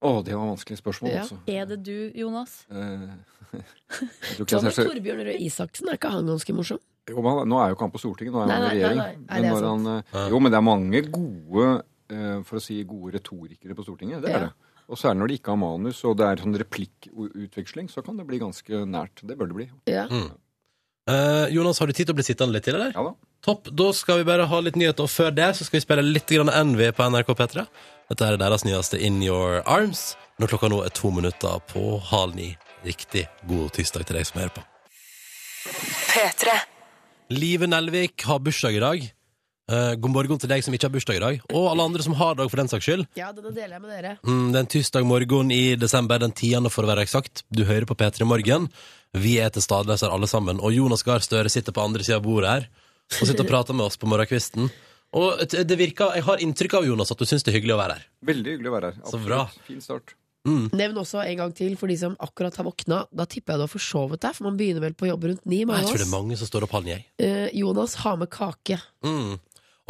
Speaker 11: Å, det var et vanskelig spørsmål,
Speaker 3: Ja.
Speaker 11: altså.
Speaker 8: [LAUGHS] Er det du, Jonas?
Speaker 11: Eh, [LAUGHS] jeg tror ikke jeg
Speaker 3: Sånn,
Speaker 11: ser så-
Speaker 3: Torbjørn Røe Isaksen, er ikke han ganske morsom?
Speaker 11: Jo, men han- Nå er jo ikke han på Stortinget, nå er han
Speaker 3: Nei,
Speaker 11: i
Speaker 3: nei, nei,
Speaker 11: regjering.
Speaker 3: nei. Nei,
Speaker 11: Men
Speaker 3: det er
Speaker 11: når
Speaker 3: sant.
Speaker 11: han, eh, jo, men det er mange gode eh, for å si gode retorikere på Stortinget. Det
Speaker 3: Ja.
Speaker 11: er det. Og særlig når de ikke har manus og det er sånn replikkutveksling, så kan det bli ganske nært. Det bør det bli.
Speaker 3: Ja.
Speaker 2: Eh, Jonas, har du tid til å bli sittende litt til, eller?
Speaker 11: Ja da.
Speaker 2: Topp. Da skal vi bare ha litt nyheter, og før det så skal vi spille litt grann Envy på NRK P3. Dette er deres nyeste In Your Arms, når klokka nå er to minutter på halv ni. Riktig god tirsdag til deg som hører på.
Speaker 4: P3.
Speaker 2: Live Nelvik har bursdag i dag. Eh, god morgen til deg som ikke har bursdag i dag, og alle andre som har dag, for den saks skyld.
Speaker 3: Ja, denne deler jeg med dere.
Speaker 2: Mm, det er en tirsdag morgen i desember, den 10. for å være eksakt. Du hører på P3 Morgen. Vi er til stadløs her alle sammen. Og Jonas Gahr Støre sitter på andre sida av bordet her og sitter
Speaker 3: [LAUGHS]
Speaker 2: og prater med oss på morgenkvisten. Og t- det virker, Jeg har inntrykk av Jonas at du syns det er hyggelig å være her.
Speaker 11: Veldig hyggelig å være her.
Speaker 2: Så bra.
Speaker 11: Fin start.
Speaker 3: Nevn også en gang til for de som akkurat har våkna. Da tipper jeg du har forsovet deg, for man begynner vel på jobb rundt ni. mange
Speaker 2: Jeg
Speaker 3: av
Speaker 2: tror det
Speaker 3: oss.
Speaker 2: er mange som står opp halv ni. jeg.
Speaker 3: Eh, Jonas har med kake.
Speaker 2: Mm.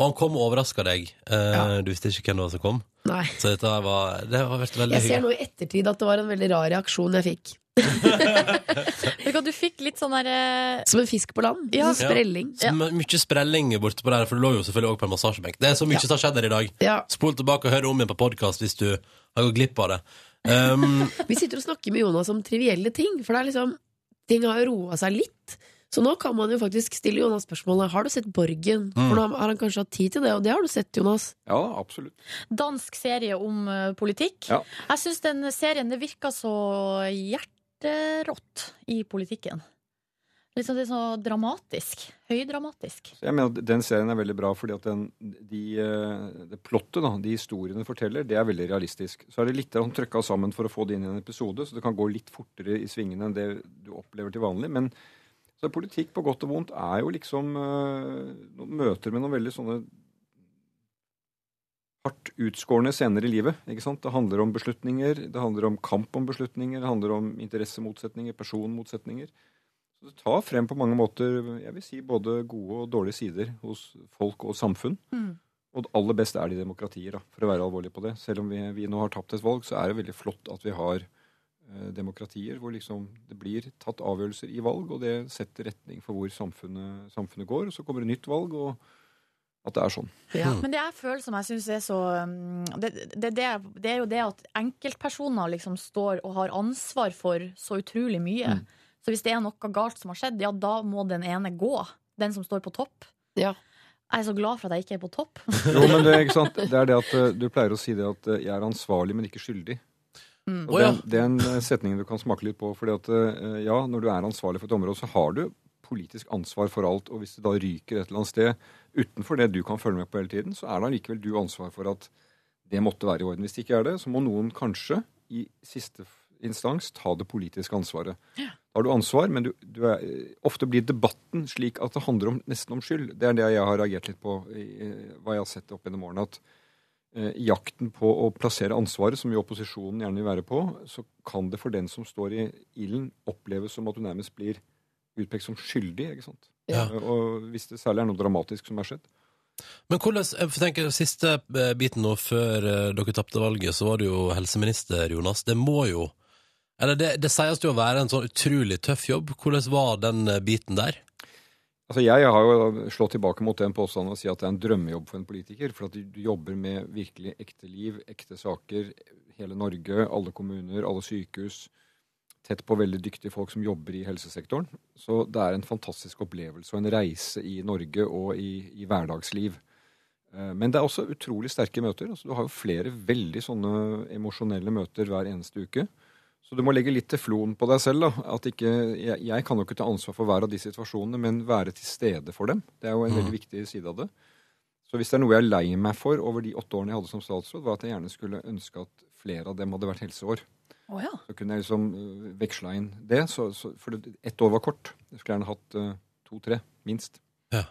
Speaker 2: Og han kom og overraska deg. Eh, Du visste ikke hvem det var som kom.
Speaker 3: Nei.
Speaker 2: Så dette var, det har vært veldig
Speaker 3: Jeg ser
Speaker 2: hyggelig.
Speaker 3: nå i ettertid at det var en veldig rar reaksjon jeg fikk.
Speaker 8: Vet du hva, Du fikk litt sånn derre
Speaker 3: Som en fisk på land.
Speaker 8: Ja.
Speaker 3: Sånn Sprelling.
Speaker 2: Så my- Mye sprelling borte på der, for du lå jo selvfølgelig også på en massasjebenk. Det er så mye som har skjedd her i dag.
Speaker 3: Ja.
Speaker 2: Spol tilbake og hør om igjen på podkast hvis du har gått glipp av det. Um,
Speaker 3: Vi sitter og snakker med Jonas om trivielle ting, for det er liksom Ting har jo roa seg litt. Så nå kan man jo faktisk stille Jonas spørsmålet Har du sett Borgen?
Speaker 2: Mm.
Speaker 3: For nå har han kanskje hatt tid til det, og det har du sett, Jonas.
Speaker 11: Ja, absolutt.
Speaker 8: dansk serie om eh, politikk.
Speaker 11: Ja.
Speaker 8: Jeg syns den serien det virka så hjerterått i politikken. Liksom det er så dramatisk. Høydramatisk.
Speaker 11: Så jeg mener at Den serien er veldig bra fordi at den, de, eh, det plottet, da, de historiene den forteller, det er veldig realistisk. Så er det litt trykka sammen for å få det inn i en episode, så det kan gå litt fortere i svingene enn det du opplever til vanlig. Men så politikk på godt og vondt er jo liksom eh, noen møter med noen veldig sånne hardt utskårne scener i livet. ikke sant? Det handler om beslutninger, det handler om kamp om beslutninger, det handler om interessemotsetninger, personmotsetninger. Så det tar frem på mange måter jeg vil si, både gode og dårlige sider hos folk og samfunn.
Speaker 8: Mm.
Speaker 11: Og det aller beste er det i demokratier, da, for å være alvorlig på det. Selv om vi, vi nå har tapt et valg, så er det veldig flott at vi har eh, demokratier hvor liksom det blir tatt avgjørelser i valg, og det setter retning for hvor samfunnet, samfunnet går. Og så kommer det nytt valg, og at det er sånn.
Speaker 2: Mm.
Speaker 3: Ja.
Speaker 8: Men det jeg føler som jeg syns er så um, det, det, det, er- det er jo det at enkeltpersoner liksom står og har ansvar for så utrolig mye.
Speaker 2: Mm.
Speaker 8: Så hvis det er noe galt som har skjedd, ja, da må den ene gå. Den som står på topp.
Speaker 3: Ja.
Speaker 8: Jeg er så glad for at jeg ikke er på topp.
Speaker 11: Jo, men det, ikke sant? det er det at eh, du pleier å si det at eh, jeg er ansvarlig, men ikke skyldig.
Speaker 8: Mm.
Speaker 11: Og
Speaker 2: Å,
Speaker 11: det,
Speaker 2: ja.
Speaker 11: er- det er en eh, setning du kan smake litt på. fordi at eh, ja, når du er ansvarlig for et område, så har du politisk ansvar for alt. Og hvis det da ryker et eller annet sted utenfor det du kan følge med på hele tiden, så er det allikevel du ansvar for at det måtte være i orden. Hvis det ikke er det, så må noen kanskje i siste f- instans ta det politiske ansvaret. Da har du ansvar, men du, du er, eh, ofte blir debatten slik at det handler om, nesten om skyld. Det er det jeg har reagert litt på, i, eh, hva jeg har sett opp gjennom årene. at eh, i jakten på å plassere ansvaret, som jo opposisjonen gjerne vil være på, så kan det for den som står i ilden, oppleves som at du nærmest blir utpekt som skyldig. ikke sant?
Speaker 2: Ja.
Speaker 11: Eh, Og hvis det særlig er noe dramatisk som har skjedd.
Speaker 2: Men hvordan, jeg får tenke, siste eh, biten nå før eh, dere tapte valget, så var du jo helseminister, Jonas. Det må jo Eller det, det sies jo å være en sånn utrolig tøff jobb. Hvordan var den eh, biten der?
Speaker 11: Altså Jeg har jo slått tilbake mot den påstanden og si at det er en drømmejobb for en politiker. For at du du jobber med virkelig ekte liv, ekte saker, hele Norge, alle kommuner, alle sykehus. Tett på veldig dyktige folk som jobber i helsesektoren. Så det er en fantastisk opplevelse og en reise i Norge og i, i hverdagsliv. Eh, Men det er også utrolig sterke møter. Altså, du har jo flere veldig sånne emosjonelle møter hver eneste uke Så du må legge litt teflon på deg selv. da, at ikke, jeg, jeg kan jo ikke ta ansvar for hver av de situasjonene, men være til stede for dem. Det er jo en veldig viktig side av det. Så hvis det er noe jeg er lei meg for over de åtte årene jeg hadde som statsråd, var at jeg gjerne skulle ønske at flere av dem hadde vært helseår.
Speaker 5: Å ja.
Speaker 11: Så kunne jeg liksom øh, veksla inn det. Så, så, for det- ett år var kort. Jeg skulle gjerne hatt øh, to-tre, minst.
Speaker 2: Ja.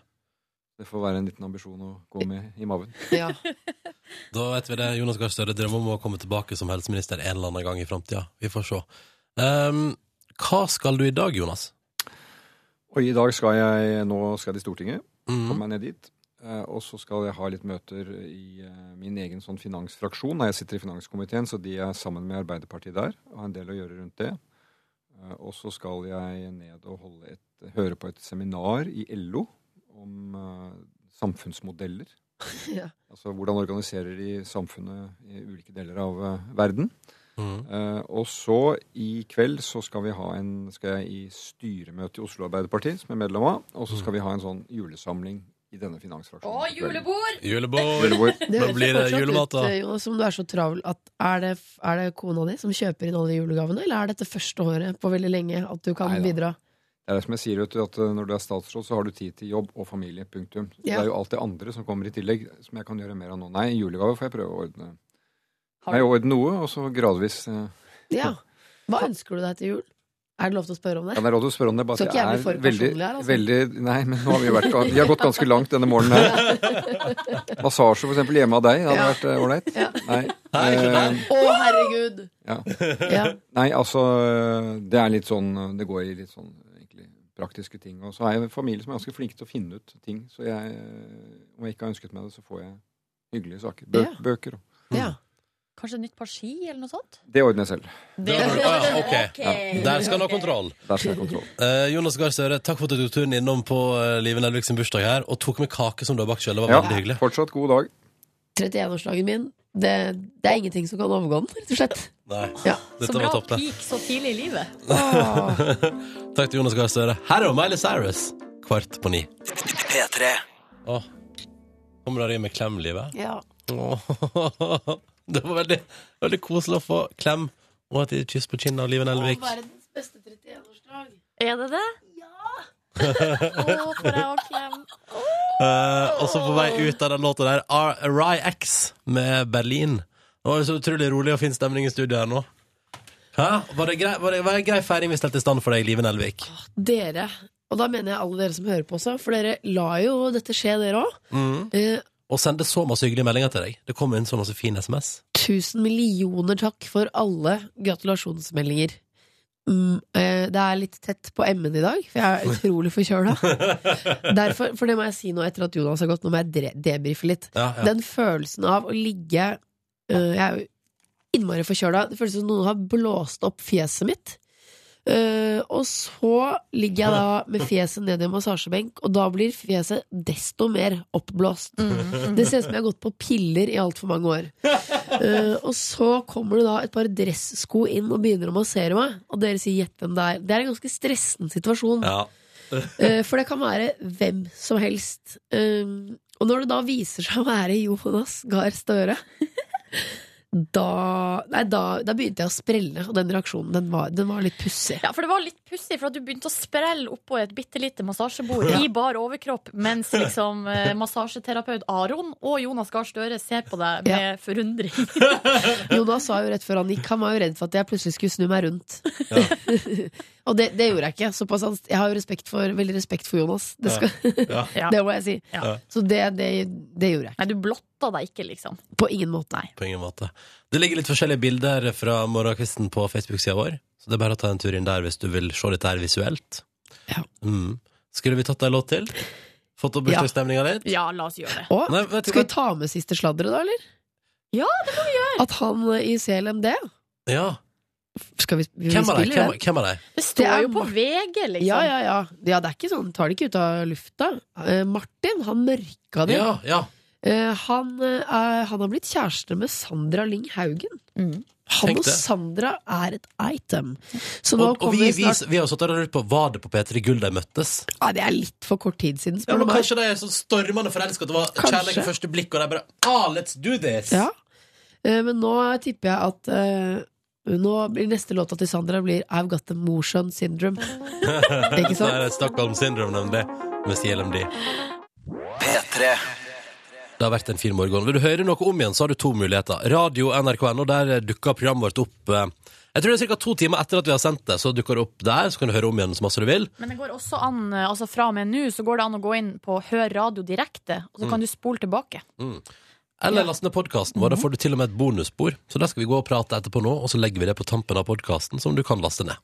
Speaker 11: Det får være en liten ambisjon å gå med i maven.
Speaker 3: Ja.
Speaker 2: Da vet vi det. Jonas Gahr Støre drømmer om å komme tilbake som helseminister en eller annen gang i framtida. Vi får se. Ehm, hva skal du i dag, Jonas?
Speaker 11: Og i dag skal jeg nå skal jeg til Stortinget.
Speaker 2: Mhm.
Speaker 11: Komme meg ned dit. Eh, Og så skal jeg ha litt møter i eh, min egen sånn finansfraksjon. Nei, Jeg sitter i finanskomiteen, så de er sammen med Arbeiderpartiet der. Og har en del å gjøre rundt det. Eh, Og så skal jeg ned og holde et, høre på et seminar i LO om eh, samfunnsmodeller.
Speaker 3: Ja.
Speaker 11: Altså hvordan organiserer de samfunnet i ulike deler av eh, verden.
Speaker 2: Mhm.
Speaker 11: Eh, og så i kveld så skal vi ha en skal jeg i styremøte i Oslo Arbeiderparti, som jeg er medlem av. Og så skal vi ha en sånn julesamling i denne finansfraksjonen.
Speaker 8: Å, julebord!
Speaker 2: Julebord!
Speaker 3: [LAUGHS]
Speaker 11: Julebord.
Speaker 3: Det
Speaker 2: Da
Speaker 3: høres
Speaker 2: blir
Speaker 3: jo
Speaker 2: det
Speaker 3: fortsatt
Speaker 2: julemat, da.
Speaker 3: ut, eh, Jonas, som du er så travel at er det, er det kona di som kjøper inn alle julegavene, eller er dette første året på veldig lenge at du kan
Speaker 11: Neida.
Speaker 3: bidra?
Speaker 11: Det er det som jeg sier, vet du, at eh, når du er statsråd, så har du tid til jobb og familie. Punktum. Så
Speaker 3: Ja.
Speaker 11: Det er jo alt det andre som kommer i tillegg, som jeg kan gjøre mer av nå. Nei, julegave får jeg prøve å ordne.
Speaker 3: Har
Speaker 11: Nei, ordne noe, og så gradvis. eh. [LAUGHS]
Speaker 3: Ja. Hva ønsker du deg til jul? Er det lov til å spørre om
Speaker 11: Ja,
Speaker 3: det?
Speaker 11: det er råd å spørre om det, bare
Speaker 3: Så
Speaker 11: at
Speaker 3: ikke jeg
Speaker 11: jeg
Speaker 3: blir for
Speaker 11: er veldig,
Speaker 3: personlig her, altså.
Speaker 11: veldig Nei, men nå har vi jo vært Vi har gått ganske langt denne
Speaker 3: [LAUGHS]
Speaker 11: morgenen her. Massasje, for eksempel, hjemme av deg hadde vært eh, ålreit. Nei. eh,
Speaker 3: Å, herregud!
Speaker 11: Ja.
Speaker 3: Ja.
Speaker 11: Nei, altså Det er litt sånn Det går i litt sånn egentlig praktiske ting. Og så er jeg en familie som er ganske flink til å finne ut ting. Så jeg Om jeg ikke har ønsket meg det, så får jeg hyggelige saker. Bø
Speaker 3: Ja.
Speaker 11: Bøker og
Speaker 3: ja.
Speaker 8: Kanskje et nytt par ski, eller noe sånt?
Speaker 11: Det ordner jeg selv.
Speaker 2: Det var- ah, ja, ok. Der skal han ha kontroll.
Speaker 11: Der skal jeg ha kontroll.
Speaker 2: Eh, Jonas Gahr Støre, takk for at du tok turen innom på eh, Live Nelvik sin bursdag her, og tok med kake som du har bakt sjøl. Det var
Speaker 11: Ja,
Speaker 2: veldig hyggelig.
Speaker 11: fortsatt god dag.
Speaker 3: 31-årsdagen min, det, det er ingenting som kan overgå den, rett og slett.
Speaker 2: Nei,
Speaker 3: Ja.
Speaker 2: dette
Speaker 8: Så
Speaker 2: var
Speaker 8: bra
Speaker 2: topp, det.
Speaker 8: peak så tidlig i livet.
Speaker 3: Åh.
Speaker 2: Takk til Jonas Gahr Støre. Her er Miley Cyrus, kvart på ni.
Speaker 1: P3.
Speaker 2: Åh. Kommer du deg med klem, livet?
Speaker 3: Ja.
Speaker 2: Åh. [LAUGHS] Det var veldig, veldig koselig å få klem og et kyss på kinnet av Live Nelvik.
Speaker 3: Verdens beste 31-årsdag.
Speaker 8: Er det det? Ja! Å, for ei klem.
Speaker 2: Eh, og så på vei ut av den låta der, R- Rai X med Berlin. Det var jo så utrolig rolig og fin stemning i studio her nå. Hæ? Var det grei, var det, var det grei feiring vi stelte i stand for deg, Live Nelvik?
Speaker 3: Dere, og da mener jeg alle dere som hører på også, for dere lar jo dette skje, dere Eh, òg.
Speaker 2: Og sende så masse hyggelige meldinger til deg. Det kom inn så masse fin SMS.
Speaker 3: Tusen millioner takk for alle gratulasjonsmeldinger. Mm, eh, det er litt tett på M-en i dag, for jeg er utrolig forkjøla. Derfor- For det må jeg si nå etter at Jonas har gått, nå må jeg dre- debrife litt.
Speaker 2: Ja, ja.
Speaker 3: Den følelsen av å ligge eh, Jeg er jo innmari forkjøla. Det føles som noen har blåst opp fjeset mitt. Eh, og så ligger jeg da med fjeset ned i en massasjebenk, og da blir fjeset desto mer oppblåst. Det ser ut som jeg har gått på piller i altfor mange år. Eh, og så kommer det da et par dressko inn og begynner å massere meg, og dere sier 'gjett hvem det er'. Det er en ganske stressende situasjon,
Speaker 2: Ja.
Speaker 3: eh, for det kan være hvem som helst. Um, og når det da viser seg å være Jonas Gahr Støre [LAUGHS] da, nei, da, da begynte jeg å sprelle, og den reaksjonen den var, den var litt pussig.
Speaker 8: Ja, for det var litt pussig, for at du begynte å sprelle oppå et bitte lite massasjebord i bar overkropp, mens liksom eh, massasjeterapeut Aron og Jonas Gahr Støre ser på deg med forundring.
Speaker 3: Jonas sa jo rett før han gikk, han var jo redd for at jeg plutselig skulle snu meg rundt. [LAUGHS] og det, det gjorde jeg ikke. Såpass, han- jeg har jo respekt for, veldig respekt for Jonas. Det skal,
Speaker 2: Ja.
Speaker 8: Ja.
Speaker 3: Det må jeg si.
Speaker 8: Ja.
Speaker 3: Så det, det, det gjorde jeg.
Speaker 8: Nei, du blotta deg ikke, liksom.
Speaker 3: På ingen måte, nei.
Speaker 2: På ingen måte. Det ligger litt forskjellige bilder fra morgenkvisten på Facebook-sida vår. Så det er bare å ta en tur inn der hvis du vil se dette her visuelt.
Speaker 3: Ja.
Speaker 2: Mm. Skulle vi tatt ei låt til? Fått opp
Speaker 3: Ja.
Speaker 2: bursdagsstemninga litt?
Speaker 8: Ja, la oss gjøre det.
Speaker 3: Å,
Speaker 2: Nei, vet du
Speaker 3: skal vi
Speaker 2: hva?
Speaker 3: ta med siste sladderet, da, eller?
Speaker 8: Ja,
Speaker 3: det må vi gjøre! At han eh, i CLMD
Speaker 2: Ja.
Speaker 3: Skal vi, vi
Speaker 2: Hvem er de?
Speaker 3: spiller
Speaker 2: Hvem,
Speaker 3: den?
Speaker 2: hvem er de?
Speaker 8: Det
Speaker 3: Det
Speaker 8: står
Speaker 3: er
Speaker 8: jo på VG, liksom.
Speaker 3: Ja, ja, ja. ja, det er ikke sånn. Tar det ikke ut av lufta. Eh, Martin, han mørka det.
Speaker 2: Ja, ja.
Speaker 3: Eh, han, eh, er, han har blitt kjæreste med Sandra Lyng Haugen.
Speaker 8: Mm.
Speaker 3: Han
Speaker 2: Tenk
Speaker 3: og
Speaker 2: det.
Speaker 3: Sandra er et item. Så nå
Speaker 2: Og, og
Speaker 3: kommer
Speaker 2: vi, vi,
Speaker 3: snart
Speaker 2: vi har jo satt der og lurt på var det på P3 Gull de møttes.
Speaker 3: Nei, Det er litt for kort tid siden,
Speaker 2: Ja,
Speaker 3: spør
Speaker 2: men
Speaker 3: du meg.
Speaker 2: Kanskje de er sånn stormende forelska at det var
Speaker 3: Kanskje.
Speaker 2: kjærlighet ved første blikk, og de bare ah, let's do this!
Speaker 3: Ja. Eh, Men nå tipper jeg at eh, Nå blir neste låta til Sandra blir I've got the motion
Speaker 2: [LAUGHS]
Speaker 3: syndrome. Ikke sant?
Speaker 2: Det er Stockholm Syndrome, nemlig. Med CLMD. P3. Det har vært en fin morgen. Vil du høre noe om igjen, så har du to muligheter. Radio NRK.no, der dukker programmet vårt opp eh, Jeg tror det er ca. to timer etter at vi har sendt det. Så dukker det opp der, så kan du høre om igjen så masse du vil.
Speaker 8: Men det går også an, eh, altså fra og med nå, så går det an å gå inn på Hør radio direkte, og så kan
Speaker 2: Mm.
Speaker 8: du spole tilbake.
Speaker 2: Mm. Eller last ned podkasten vår. Da får du til og med et bonusspor. Så der skal vi gå og prate etterpå nå, og så legger vi det på tampen av podkasten, som du kan laste ned.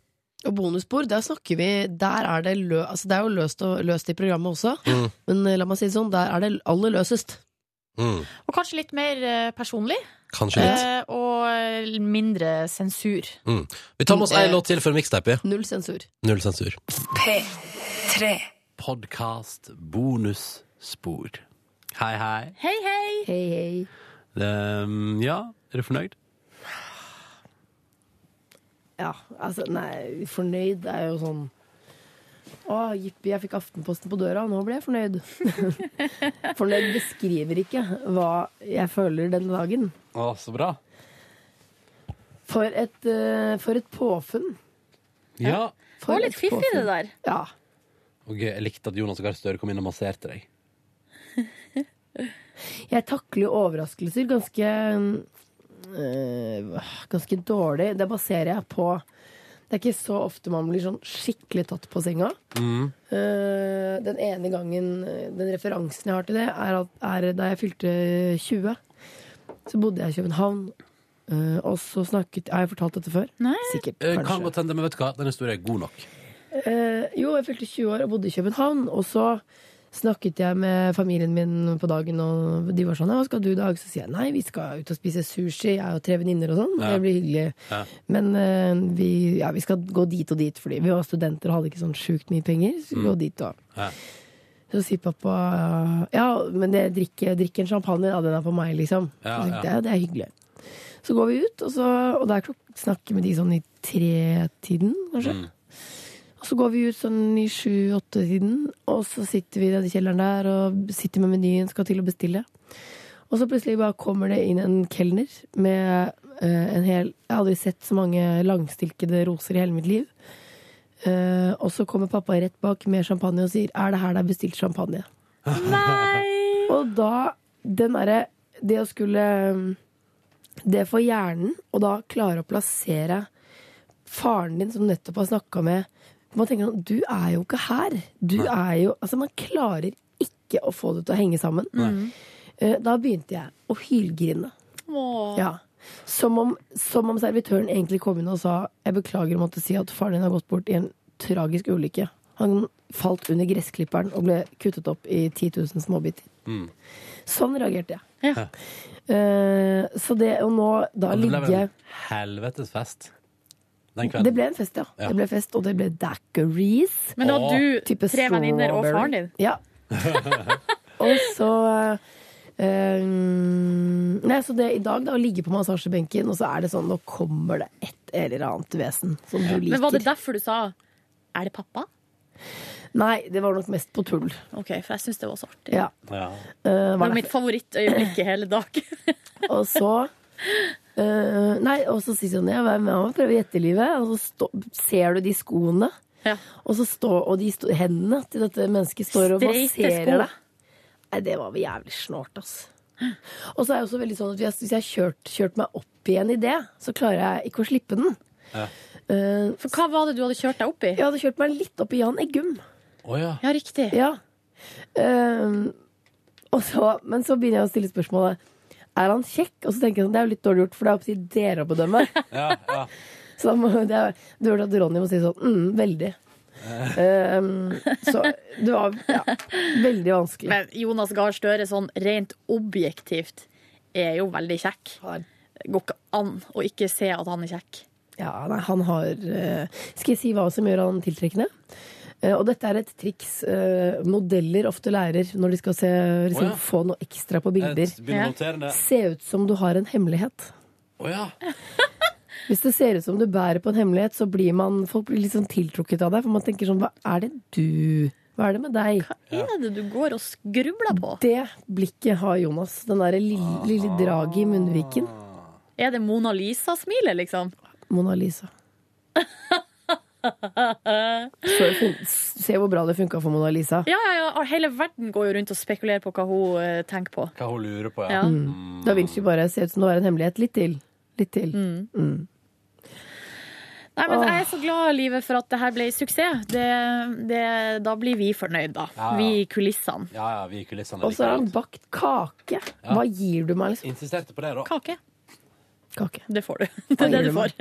Speaker 3: Og bonusspor, der snakker vi Der er det lø, altså det er jo løst, og, løst i programmet også,
Speaker 2: Mm.
Speaker 3: men eh, la meg si det sånn, der er det aller løsest.
Speaker 2: Mm.
Speaker 8: Og kanskje litt mer eh, personlig.
Speaker 2: Kanskje litt.
Speaker 8: eh, Og mindre sensur.
Speaker 2: Mm. Vi tar med oss
Speaker 8: Eh,
Speaker 2: en låt til før mixtape.
Speaker 3: Null sensur.
Speaker 2: Null sensur.
Speaker 8: P3.
Speaker 2: Podkast bonusspor. Hei, hei.
Speaker 8: Hei, hei!
Speaker 3: Hei, hei.
Speaker 2: Ehm, ja, er du fornøyd?
Speaker 3: Ja, altså, nei, fornøyd er jo sånn Å, jippi, jeg fikk Aftenposten på døra, nå ble jeg fornøyd. [LAUGHS] fornøyd beskriver ikke hva jeg føler denne dagen.
Speaker 2: Å, så bra.
Speaker 3: For et, eh, for et påfunn.
Speaker 2: Ja.
Speaker 5: Det var litt fiffig, det der.
Speaker 3: Ja.
Speaker 2: Og jeg likte at Jonas Gahr Støre kom inn og masserte deg.
Speaker 3: Jeg takler jo overraskelser ganske øh, Ganske dårlig. Det baserer jeg på Det er ikke så ofte man blir sånn skikkelig tatt på senga.
Speaker 2: Mm.
Speaker 3: Eh, den ene gangen Den referansen jeg har til det, er, at, er da jeg fylte 20. Så bodde jeg i København, eh, og så snakket Har jeg fortalt dette før? Sikkert.
Speaker 2: Eh,
Speaker 3: kanskje.
Speaker 2: Kan godt hende, men vet du hva? Den historien er god nok.
Speaker 3: Eh, jo, jeg fylte 20 år og bodde i København. Og så snakket jeg med familien min på dagen, og de var sånn «Ja, 'Hva skal du i dag?' Så sier jeg nei, vi skal ut og spise sushi, jeg og tre venninner og sånn.
Speaker 12: Ja.
Speaker 3: Det blir hyggelig. Men eh, vi, ja, vi skal gå dit og dit, fordi vi var studenter og hadde ikke sånn sjukt mye penger. Så vi
Speaker 12: Mm.
Speaker 3: gå dit og så sier pappa ja, men det drikker, drikker en champagne, da, den er på meg, liksom.
Speaker 12: Ja,
Speaker 3: så tenkte
Speaker 12: ja.
Speaker 3: jeg, det er hyggelig. Så går vi ut, og, så, og der klok- snakker vi med de sånn i tre-tiden, kanskje.
Speaker 12: Mm.
Speaker 3: Og så går vi ut sånn i sju-åtte-tiden, og så sitter vi i den kjelleren der og sitter med menyen, skal til å bestille. Og så plutselig bare kommer det inn en kelner med eh, en hel Jeg har aldri sett så mange langstilkede roser i hele mitt liv. Eh, og så kommer pappa rett bak med champagne og sier 'Er det her det er bestilt champagne?' Nei! [LAUGHS] Og da den derre Det å skulle eh, Det for hjernen, og da klare å plassere faren din som nettopp har snakka med Man tenker sånn Du er jo ikke her. Du er jo Altså, man klarer ikke å få det til å henge sammen. Eh, Da begynte jeg å hylgrine.
Speaker 5: Åh.
Speaker 3: Ja. Som, om, som om servitøren egentlig kom inn og sa Jeg beklager å måtte si at faren din har gått bort i en tragisk ulykke. Han falt under gressklipperen og ble kuttet opp i 10 000 småbiter.
Speaker 2: Mm.
Speaker 3: Sånn reagerte jeg.
Speaker 2: Ja.
Speaker 3: Eh, så det Og nå, da
Speaker 2: Og det ble
Speaker 3: ligger jeg
Speaker 2: en helvetes fest den kvelden.
Speaker 3: Det ble en fest, ja.
Speaker 2: Ja.
Speaker 3: Det ble fest, og det ble daiquiris.
Speaker 5: Men da
Speaker 2: Åh.
Speaker 5: du,
Speaker 3: Type
Speaker 5: tre venninner og
Speaker 3: strawberry.
Speaker 5: faren din.
Speaker 3: Ja. [LAUGHS] Og så eh, Nei, så det i dag, da, å ligge på massasjebenken, og så er det sånn Nå kommer det et eller annet vesen som du liker.
Speaker 5: Men var det derfor du sa 'er det pappa'?
Speaker 3: Nei, det var nok mest på tull.
Speaker 5: Ok, For jeg syns det var så artig.
Speaker 3: Ja.
Speaker 5: Det
Speaker 3: Eh, var
Speaker 5: var mitt favorittøyeblikk i hele [LAUGHS] dag.
Speaker 3: Og så eh, Nei, og så sier hun ja, vær med og prøve gjettelivet. Og så stå, ser du de skoene. Og, så stå, og de stå, hendene til dette mennesket står og
Speaker 12: Streite
Speaker 3: masserer
Speaker 12: sko.
Speaker 3: deg. Nei, det var jævlig snålt, ass. Og så er jeg også veldig sånn at hvis jeg- hvis jeg har kjørt, kjørt meg opp i en idé, så klarer jeg ikke å slippe den. Eh, For
Speaker 5: hva var det du hadde kjørt deg opp i?
Speaker 3: Jeg hadde kjørt meg litt opp i Jan Eggum.
Speaker 2: ja.
Speaker 5: riktig.
Speaker 3: Ja. Ehm, og så, men så begynner jeg å stille spørsmålet Er han kjekk? Og så tenker jeg sånn, det er jo litt dårlig gjort, for det er opp til dere å bedømme.
Speaker 2: [LAUGHS]
Speaker 3: så da må, det er, du hørte at Ronny må si sånn mm, veldig. Ehm, så det var ja, veldig vanskelig.
Speaker 5: Men Jonas Gahr Støre sånn rent objektivt er jo veldig kjekk. Går ikke an å ikke se at han er kjekk.
Speaker 3: Ja, nei, han har eh, Skal jeg si hva som gjør han tiltrekkende? Eh, og dette er et triks eh, modeller ofte lærer når de skal se, liksom,
Speaker 2: Å, ja.
Speaker 3: få noe ekstra på
Speaker 2: Jeg
Speaker 3: bilder.
Speaker 2: Eh, begynner å notere det.
Speaker 3: Se ut som du har en hemmelighet.
Speaker 2: Å ja.
Speaker 3: Hvis det ser ut som du bærer på en hemmelighet, så blir man, folk blir litt sånn tiltrukket av deg. For man tenker sånn Hva er det du Hva er det med deg?
Speaker 5: Hva er det du går og skrubler på?
Speaker 3: Det blikket har Jonas. Den derre lille, lille draget i munnviken.
Speaker 5: Er det Mona Lisa-smilet, liksom?
Speaker 3: Mona Lisa. Så det fun- Se hvor bra det funka for Mona Lisa.
Speaker 5: Ja, ja, ja. og Hele verden går jo rundt og spekulerer på hva hun eh, tenker på.
Speaker 2: Hva hun lurer på,
Speaker 5: ja. Ja.
Speaker 3: Mm. Da Vinci bare ser ut som det var en hemmelighet. Litt til. Litt til. Mm.
Speaker 5: Nei, men Jeg er så glad livet for at det her ble suksess. Det, det, da blir vi fornøyd, da.
Speaker 2: Ja, ja.
Speaker 5: Vi i kulissene.
Speaker 2: Ja, ja, vi i kulissene
Speaker 3: Og så
Speaker 2: liker
Speaker 3: har han
Speaker 2: det.
Speaker 3: bakt kake. Hva gir du meg, liksom?
Speaker 2: Insisterte på det, da.
Speaker 5: Kake.
Speaker 3: Kake.
Speaker 5: Det får du. [LAUGHS] Det er det du får.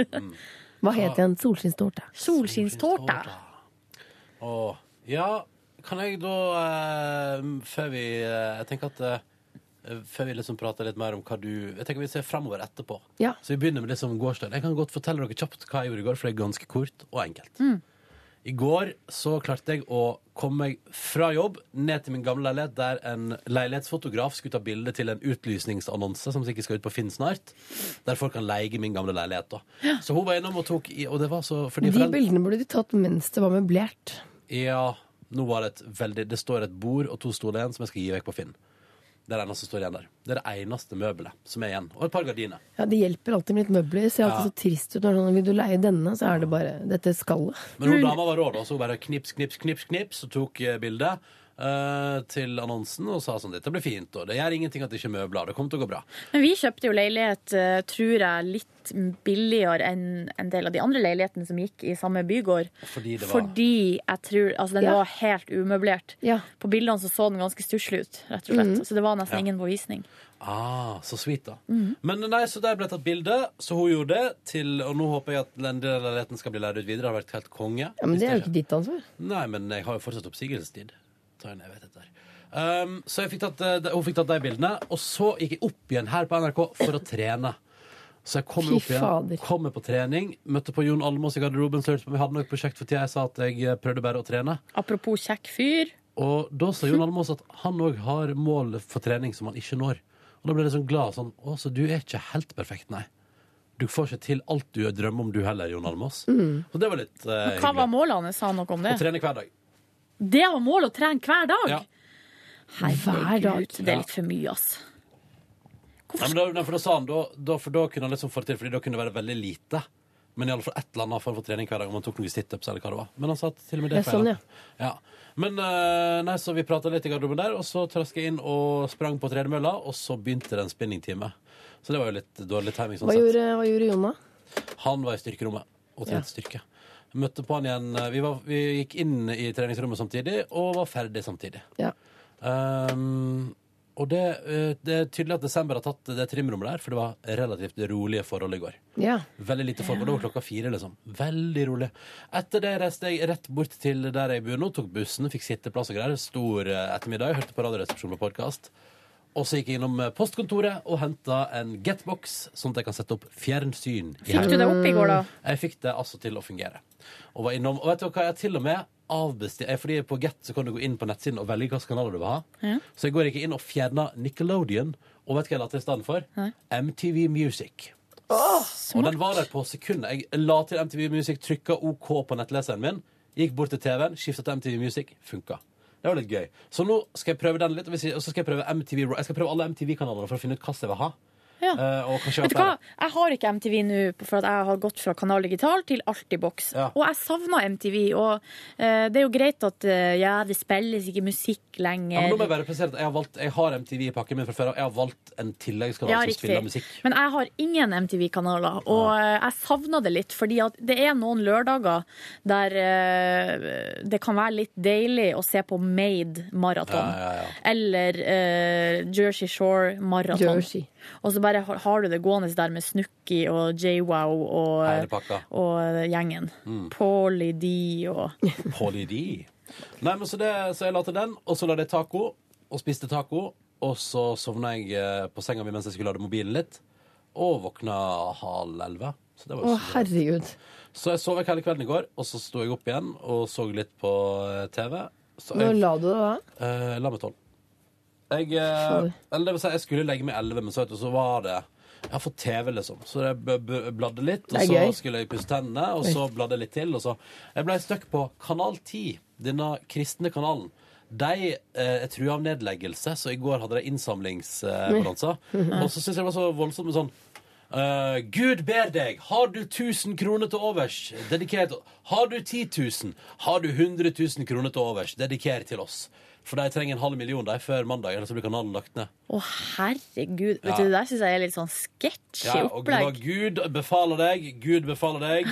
Speaker 3: Hva het igjen? Solskinnstårte.
Speaker 5: Solskinnstårta.
Speaker 2: Åh, ja, kan jeg da eh, Før vi eh, Jeg tenker at eh, Før vi liksom prater litt mer om hva du Jeg tenker vi ser fremover etterpå.
Speaker 3: Ja.
Speaker 2: Så vi begynner med det som gårsdagen. Jeg kan godt fortelle dere kjapt hva jeg gjorde i går, for det er ganske kort og enkelt. I går så klarte jeg å komme meg fra jobb ned til min gamle leilighet, der en leilighetsfotograf skulle ta bilde til en utlysningsannonse som sikkert skal ut på Finn snart, der folk kan leie min gamle leilighet. da. Så hun var innom og tok i, og det var så fordi
Speaker 3: De bildene burde du tatt mens det var møblert.
Speaker 2: ja, nå var det et veldig Det står et bord og to stoler igjen som jeg skal gi vekk på Finn. Det er det eneste som står igjen der. Det er det eneste møbelet som er igjen. Og et par gardiner.
Speaker 3: Ja, Det hjelper alltid med litt møbler. Det ser alltid
Speaker 2: Ja.
Speaker 3: så trist ut når sånn, vil du leie denne, så er det bare dette skallet.
Speaker 2: Men hun dama var rå, da, så hun bare knips, knips, knips, knips og tok eh, bildet. eh, til annonsen og sa sånn Dette blir fint, og det gjør ingenting at det ikke er møbler. Det kommer til å gå bra.
Speaker 5: Men vi kjøpte jo leilighet, eh, tror jeg, litt billigere enn en del av de andre leilighetene som gikk i samme bygård.
Speaker 2: Fordi det var
Speaker 5: Fordi jeg tror Altså, den
Speaker 3: Ja.
Speaker 5: var helt umøblert.
Speaker 3: Ja. Mm.
Speaker 5: På bildene så, så den ganske stusslig ut, rett og slett. Så det var nesten
Speaker 2: Ja.
Speaker 5: ingen påvisning.
Speaker 2: Ah, så sweet, da.
Speaker 3: Mhm.
Speaker 2: Men nei, så der ble tatt bilde, så hun gjorde det til Og nå håper jeg at den delen av leiligheten skal bli leid ut videre. Det har vært helt konge.
Speaker 3: Ja, Men
Speaker 2: Hvis
Speaker 3: det er jo
Speaker 2: ikke-
Speaker 3: ikke ditt ansvar.
Speaker 5: Sånn
Speaker 2: Nei, men jeg har jo fortsatt oppsigelsestid. Ta en, jeg vet dette her. Um, så jeg fikk tatt, eh, de- hun fikk tatt de bildene, og så gikk jeg opp igjen her på NRK for å trene. Så jeg kom
Speaker 3: Fy
Speaker 2: opp igjen,
Speaker 3: fader.
Speaker 2: kom meg på trening, møtte på Jon Almaas i garderoben. så lurte jeg på om Vi hadde noe prosjekt for tida. Jeg sa at jeg eh, prøvde bare å trene.
Speaker 5: Apropos kjekk fyr.
Speaker 2: Og da sa Jon Almaas at han òg har mål for trening som han ikke når. Og da ble jeg sånn glad. sånn, Å, så du er ikke helt perfekt, nei. Du får ikke til alt du drømmer om, du heller, Jon Almaas. Så det var litt eh,
Speaker 5: Mm. Hva var
Speaker 2: hyggelig.
Speaker 5: målet hans? Sa han noe
Speaker 2: Å
Speaker 5: om det?
Speaker 2: trene hver dag.
Speaker 5: Det var målet å trene hver dag!
Speaker 2: Ja.
Speaker 3: Hver dag.
Speaker 5: Herregud, det er litt for mye, altså.
Speaker 2: Nei, men da, nei, for da sa han da, da, For da kunne han liksom få det til, fordi da kunne det være veldig lite. Men i alle fall et eller annet form for trening hver dag. Om han tok noen situps eller hva det var. Men han sa at til og med det
Speaker 3: Ja, sånn,
Speaker 2: feilet. Ja. Men eh, nei, så vi prata litt i garderoben der, og så traska jeg inn og sprang på tredemølla, og så begynte det en spinningtime. Så det var jo litt dårlig timing. sånn
Speaker 3: Hva
Speaker 2: sett.
Speaker 3: gjorde, hva gjorde Jonna?
Speaker 2: Han var i styrkerommet og trente styrke. Møtte på han igjen. eh, Vi, var, vi gikk inn i treningsrommet samtidig og var ferdig samtidig.
Speaker 3: Ja.
Speaker 2: Um, og det, eh, det er tydelig at desember har tatt det trimrommet der, for det var relativt rolige forhold i går.
Speaker 3: ja.
Speaker 2: Veldig lite folk, og det var klokka fire, liksom. Veldig rolig. Etter det reiste jeg rett bort til der jeg bor nå, tok bussen, fikk sitteplass og greier. Stor eh, ettermiddag, hørte på Radioresepsjonen og podkast. Og så gikk jeg innom eh, postkontoret og henta en getbox, sånn at jeg kan sette opp fjernsyn. i
Speaker 5: Fikk du det opp i går, da?
Speaker 3: Mm.
Speaker 2: jeg fikk det altså til å fungere. Og, var innom, og vet du hva, jeg til og med avbestilte Fordi på Get så kan du gå inn på nettsiden og velge hvilke kanaler du vil ha. Så jeg går ikke inn og fjerner Nickelodeon. Og vet du hva jeg la til i stedet for? MTV Music. og den var der på sekundet. Jeg la til MTV Music, trykka OK på nettleseren min, gikk bort til TV-en, skifta til MTV Music, funka. Det var litt gøy. Så nå skal jeg prøve den litt, og hvis jeg- og så skal jeg prøve MTV Ra- Jeg skal prøve alle MTV-kanalene for å finne ut hva jeg vil ha.
Speaker 5: Ja.
Speaker 2: Eh, og kanskje
Speaker 5: Vet du hva? Jeg har ikke MTV nå, for at jeg har gått fra Kanal Digital til Altibox.
Speaker 2: Ja.
Speaker 5: Og jeg savner MTV. Og eh, det er jo greit at eh, ja, det spilles ikke musikk
Speaker 2: Ja, men nå må jeg
Speaker 5: lenger.
Speaker 2: bare presisere at jeg har, valgt, jeg har MTV i pakken min fra før av. Jeg har valgt en tilleggskanal
Speaker 5: Ja,
Speaker 2: som
Speaker 5: riktig.
Speaker 2: spiller musikk.
Speaker 5: Men jeg har ingen MTV-kanaler, og eh, jeg savner det litt. Fordi at det er noen lørdager der eh, det kan være litt deilig å se på Made maraton.
Speaker 2: Ja, ja, ja.
Speaker 5: Eller eh, Jersey Shore maraton.
Speaker 3: Jersey.
Speaker 5: Og så bare har, har du det gående der med Snooki og JWow
Speaker 2: Hele
Speaker 5: og,
Speaker 2: pakka.
Speaker 5: og gjengen.
Speaker 2: Mm.
Speaker 5: Pauly D og
Speaker 2: Polly D. Nei, men så, det, så jeg la til den, og så la jeg taco, og spiste taco. Og så sovna jeg eh, på senga mi mens jeg skulle lade mobilen litt, og våkna halv elleve. Så, det var
Speaker 3: Å,
Speaker 2: jo så, bra.
Speaker 3: herregud.
Speaker 2: så jeg sov vekk hele kvelden i går, og så sto jeg opp igjen og så litt på eh, TV. Så
Speaker 3: Når
Speaker 2: jeg
Speaker 3: la du det da?
Speaker 2: Eh, la meg tolv. Jeg, eh,
Speaker 3: Sorry.
Speaker 2: eller det vil si, jeg skulle legge meg elleve, men så, vet du, så var det Jeg har fått TV, liksom. Så jeg b- b- bladde litt, og
Speaker 3: Det er
Speaker 2: så
Speaker 3: gøy.
Speaker 2: skulle jeg pusse tennene, og så bladde jeg litt til, og så Jeg ble stuck på Kanal 10, denne kristne kanalen. De eh, er trua av
Speaker 3: [LAUGHS]
Speaker 2: nedleggelse, så i går hadde de innsamlingsbalanser. og så syns jeg det var så voldsomt med sånn Eh, Gud ber deg, har du 1000 kroner til overs, dedikert Har du 10 000, har du 100 000 kroner til overs, dediker til oss. For de trenger en halv million de før mandag, ellers så blir kanalen lagt ned.
Speaker 5: Å, herregud. Vet
Speaker 2: Ja.
Speaker 5: du, Det der syns jeg er litt sånn sketsjy
Speaker 2: Ja, og det var
Speaker 5: opplegg.
Speaker 2: Gud befaler deg, Gud befaler
Speaker 5: [LAUGHS]
Speaker 2: deg.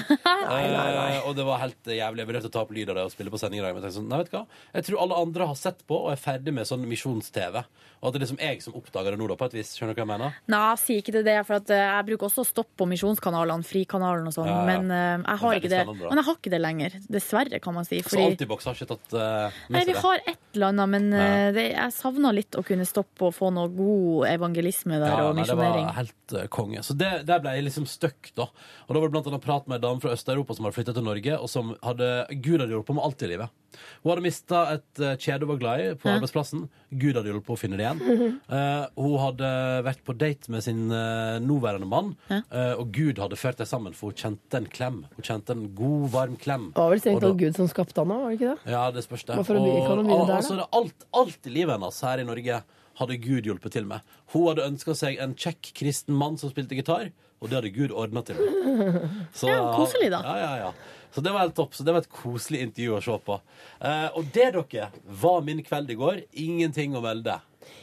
Speaker 2: Eh, og det var helt eh, jævlig. Jeg vurderte å ta opp lyd av det og spille på sending i dag. Men jeg tenkte sånn, nei, vet du hva? Jeg tror alle andre har sett på og er ferdig med sånn misjons-TV. Og at det er liksom jeg som oppdager det nå, da, på et vis. Skjønner du hva jeg mener?
Speaker 5: Nei, jeg sier ikke det, det, for at eh, jeg bruker også å stoppe på misjonskanalene, Frikanalen og sånn,
Speaker 2: Ja, ja.
Speaker 5: men eh, jeg har
Speaker 2: Det er
Speaker 5: ikke
Speaker 2: veldig
Speaker 5: det.
Speaker 2: spennende, da. Altså,
Speaker 5: Men jeg har ikke det lenger. Dessverre, kan man si.
Speaker 2: Så
Speaker 5: Fordi
Speaker 2: Antibox har ikke tatt eh, med
Speaker 5: Nei,
Speaker 2: seg
Speaker 5: vi
Speaker 2: det.
Speaker 5: har et eller annet, men
Speaker 2: Ja.
Speaker 5: eh, det, jeg savna litt å kunne stoppe og få noe god evangelisme der, og
Speaker 2: nei, det var
Speaker 5: misjonering.
Speaker 2: helt eh, konge. Så det, der ble jeg liksom støkk, da. Og da var det blant annet prat med ei dame fra Øst-Europa som hadde flytta til Norge, og som hadde Gud hadde hjulpet på med alt i livet. Hun hadde mista et eh, kjede hun var glad i, på
Speaker 5: Ja.
Speaker 2: arbeidsplassen. Gud hadde hjulpet på å finne det igjen. Eh, hun hadde vært på date med sin eh, nåværende mann, eh, og Gud hadde ført dem sammen, for hun kjente en klem. Hun kjente en god, varm klem.
Speaker 3: Det var vel strengt
Speaker 2: Og da-
Speaker 3: tatt Gud som skapte han òg, var det ikke det?
Speaker 2: ja, det spørs det.
Speaker 3: Hvorfor er det mye økonomi
Speaker 2: og,
Speaker 3: der, da?
Speaker 2: altså, det er alt, alt i livet hennes her i Norge hadde Gud hjulpet til med. Hun hadde ønska seg en kjekk kristen mann som spilte gitar, og det hadde Gud ordna til henne. Så-
Speaker 5: [LAUGHS] Ja, koselig, da.
Speaker 2: Ja, ja, ja. Så det var helt topp. Så det var et koselig intervju å se på. Eh, og det, dere, var min kveld i går. Ingenting å melde.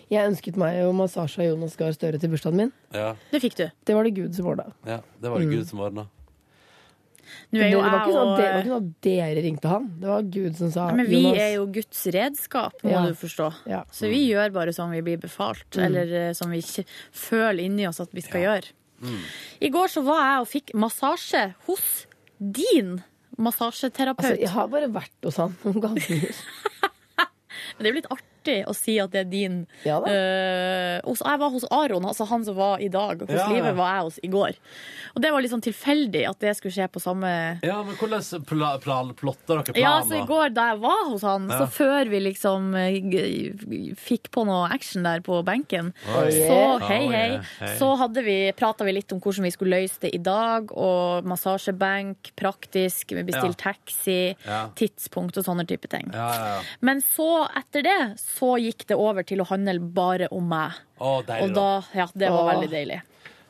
Speaker 3: Jeg ønsket meg jo massasje av Jonas Gahr Støre til bursdagen min.
Speaker 2: Ja,
Speaker 5: Det fikk du.
Speaker 3: Det var det Gud som ordna.
Speaker 2: ja det
Speaker 5: Mm.
Speaker 2: var det Gud som ordna.
Speaker 3: Det,
Speaker 5: Nå er
Speaker 3: det
Speaker 5: jo
Speaker 3: var ikke
Speaker 5: jeg
Speaker 3: sånn
Speaker 5: og
Speaker 3: at det var ikke sånn at dere ringte han. Det var Gud som sa
Speaker 5: Nei, Men vi
Speaker 3: Jonas.
Speaker 5: er jo Guds redskap, må
Speaker 3: Ja.
Speaker 5: du forstå.
Speaker 3: Ja. Mm.
Speaker 5: Så vi gjør bare som vi blir befalt, eller eh, som vi ikke føler inni oss at vi skal gjøre. I går så var jeg og fikk massasje hos din massasjeterapeut.
Speaker 3: Altså, jeg har bare vært hos han noen ganger. [LAUGHS]
Speaker 5: Men det er jo litt artig å si at det er din.
Speaker 3: Ja da.
Speaker 5: Eh, hos, jeg var hos Aron, altså han som var i dag. Hos
Speaker 2: Ja, ja.
Speaker 5: Live var jeg hos i går. Og det var litt sånn tilfeldig at det skulle skje på samme
Speaker 2: Ja, men hvordan pla pla plotter dere planer?
Speaker 5: ja, så I går da jeg var hos han,
Speaker 2: Ja.
Speaker 5: så før vi liksom eh, g- g- fikk på noe action der på benken,
Speaker 2: Oi.
Speaker 5: så
Speaker 2: Oh,
Speaker 5: hei, hei,
Speaker 2: yeah, hei.
Speaker 5: så hadde vi, prata vi litt om hvordan vi skulle løse det i dag, og massasjebenk, praktisk, vi bestilte taxi,
Speaker 2: Ja.
Speaker 5: tidspunkt og sånne type ting.
Speaker 2: Ja, ja, ja.
Speaker 5: Men så, etter det, så gikk det over til å handle bare om meg.
Speaker 2: Å, deilig,
Speaker 5: Og
Speaker 2: da.
Speaker 5: da, ja, det var
Speaker 3: Åh.
Speaker 5: veldig deilig.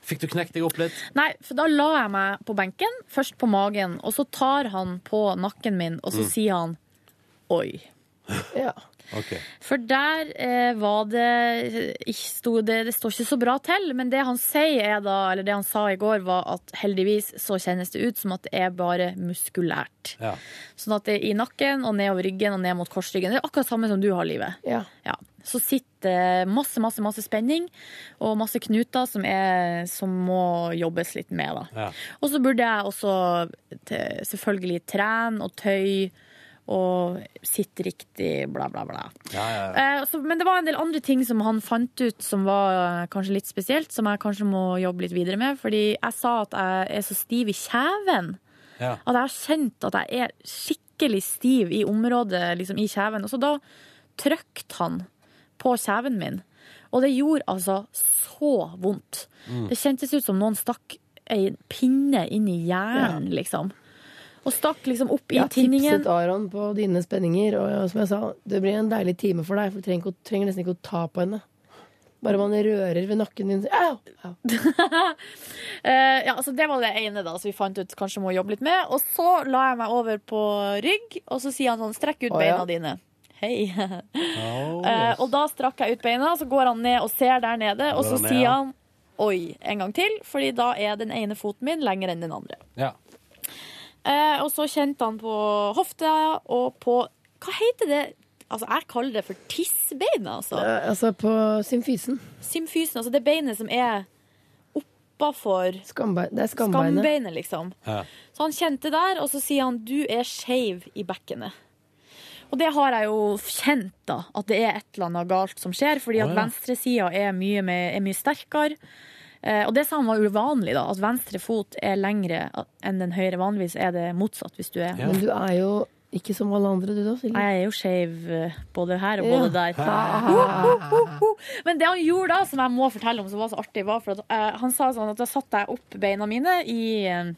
Speaker 2: Fikk du knekt deg opp litt?
Speaker 5: Nei, for da la jeg meg på benken, først på magen, og så tar han på nakken min, og
Speaker 2: Mm.
Speaker 5: så sier han oi.
Speaker 3: Ja.
Speaker 2: Ok.
Speaker 5: For der eh, var det, eh, ikke sto, det Det står ikke så bra til, men det han sier er da, eller det han sa i går, var at heldigvis så kjennes det ut som at det er bare muskulært.
Speaker 2: Ja.
Speaker 5: Sånn at det er i nakken og nedover ryggen og ned mot korsryggen. Det er akkurat samme som du har, livet.
Speaker 3: Ja.
Speaker 5: Ja, så sitter masse, masse, masse spenning og masse knuter som, er, som må jobbes litt med. Da.
Speaker 2: Ja.
Speaker 5: Og så burde jeg også te- selvfølgelig trene og tøy og sitte riktig, bla, bla, bla.
Speaker 2: Ja, ja, ja.
Speaker 5: Eh, så, men det var en del andre ting som han fant ut som var eh, kanskje litt spesielt, som jeg kanskje må jobbe litt videre med. Fordi jeg sa at jeg er så stiv i kjeven.
Speaker 2: Ja.
Speaker 5: At jeg har kjent at jeg er skikkelig stiv i området liksom, i kjeven. Og så da trykte han på kjeven min. Og det gjorde altså så vondt.
Speaker 2: Mm.
Speaker 5: Det kjentes ut som noen stakk ei pinne inn i hjernen, liksom. Og stakk liksom opp i
Speaker 3: Jeg har
Speaker 5: tinningen.
Speaker 3: tipset Aron på dine spenninger, og ja, som jeg sa, det blir en deilig time for deg, for du trenger, ikke å- trenger nesten ikke å ta på henne. Bare man rører ved nakken din så- Au! Au.
Speaker 5: Eh, ja, så Det var det ene da, som vi fant ut kanskje må jobbe litt med. Og så la jeg meg over på rygg, og så sier han sånn Strekk ut
Speaker 3: Å,
Speaker 5: beina
Speaker 3: ja.
Speaker 5: dine. Hei.
Speaker 2: [LAUGHS] Oh,
Speaker 5: Eh, og da strakk jeg ut beina, så går han ned og ser der nede, og
Speaker 2: går
Speaker 5: så
Speaker 2: han ned,
Speaker 5: sier
Speaker 2: ja.
Speaker 5: han oi en gang til, fordi da er den ene foten min lenger enn den andre.
Speaker 2: ja.
Speaker 5: Eh, og så kjente han på hofta og på Hva heter det? Altså, Jeg kaller det for tissbeina, altså.
Speaker 3: Eh, Altså på symfysen.
Speaker 5: Symfysen, altså det beinet som er oppafor
Speaker 3: Skambein. Det er skambeinet.
Speaker 5: skambeinet, liksom.
Speaker 2: Ja.
Speaker 5: Så han kjente der, og så sier han du er skeiv i bekkenet. Og det har jeg jo kjent, da, at det er et eller annet galt som skjer, fordi at
Speaker 2: Å, ja.
Speaker 5: venstresida er, mye med- er mye sterkere. Eh, og det sa han var uvanlig, da, at venstre fot er lengre enn den høyre. Vanligvis er det motsatt hvis du er
Speaker 2: Ja.
Speaker 3: Men du er jo ikke som alle andre, du da, Silje.
Speaker 5: Jeg er jo skeiv eh, både her og
Speaker 3: Ja.
Speaker 5: både der. Men det han gjorde da, som jeg må fortelle om, som var så artig, var for at eh, han sa sånn at da satte jeg opp beina mine i eh,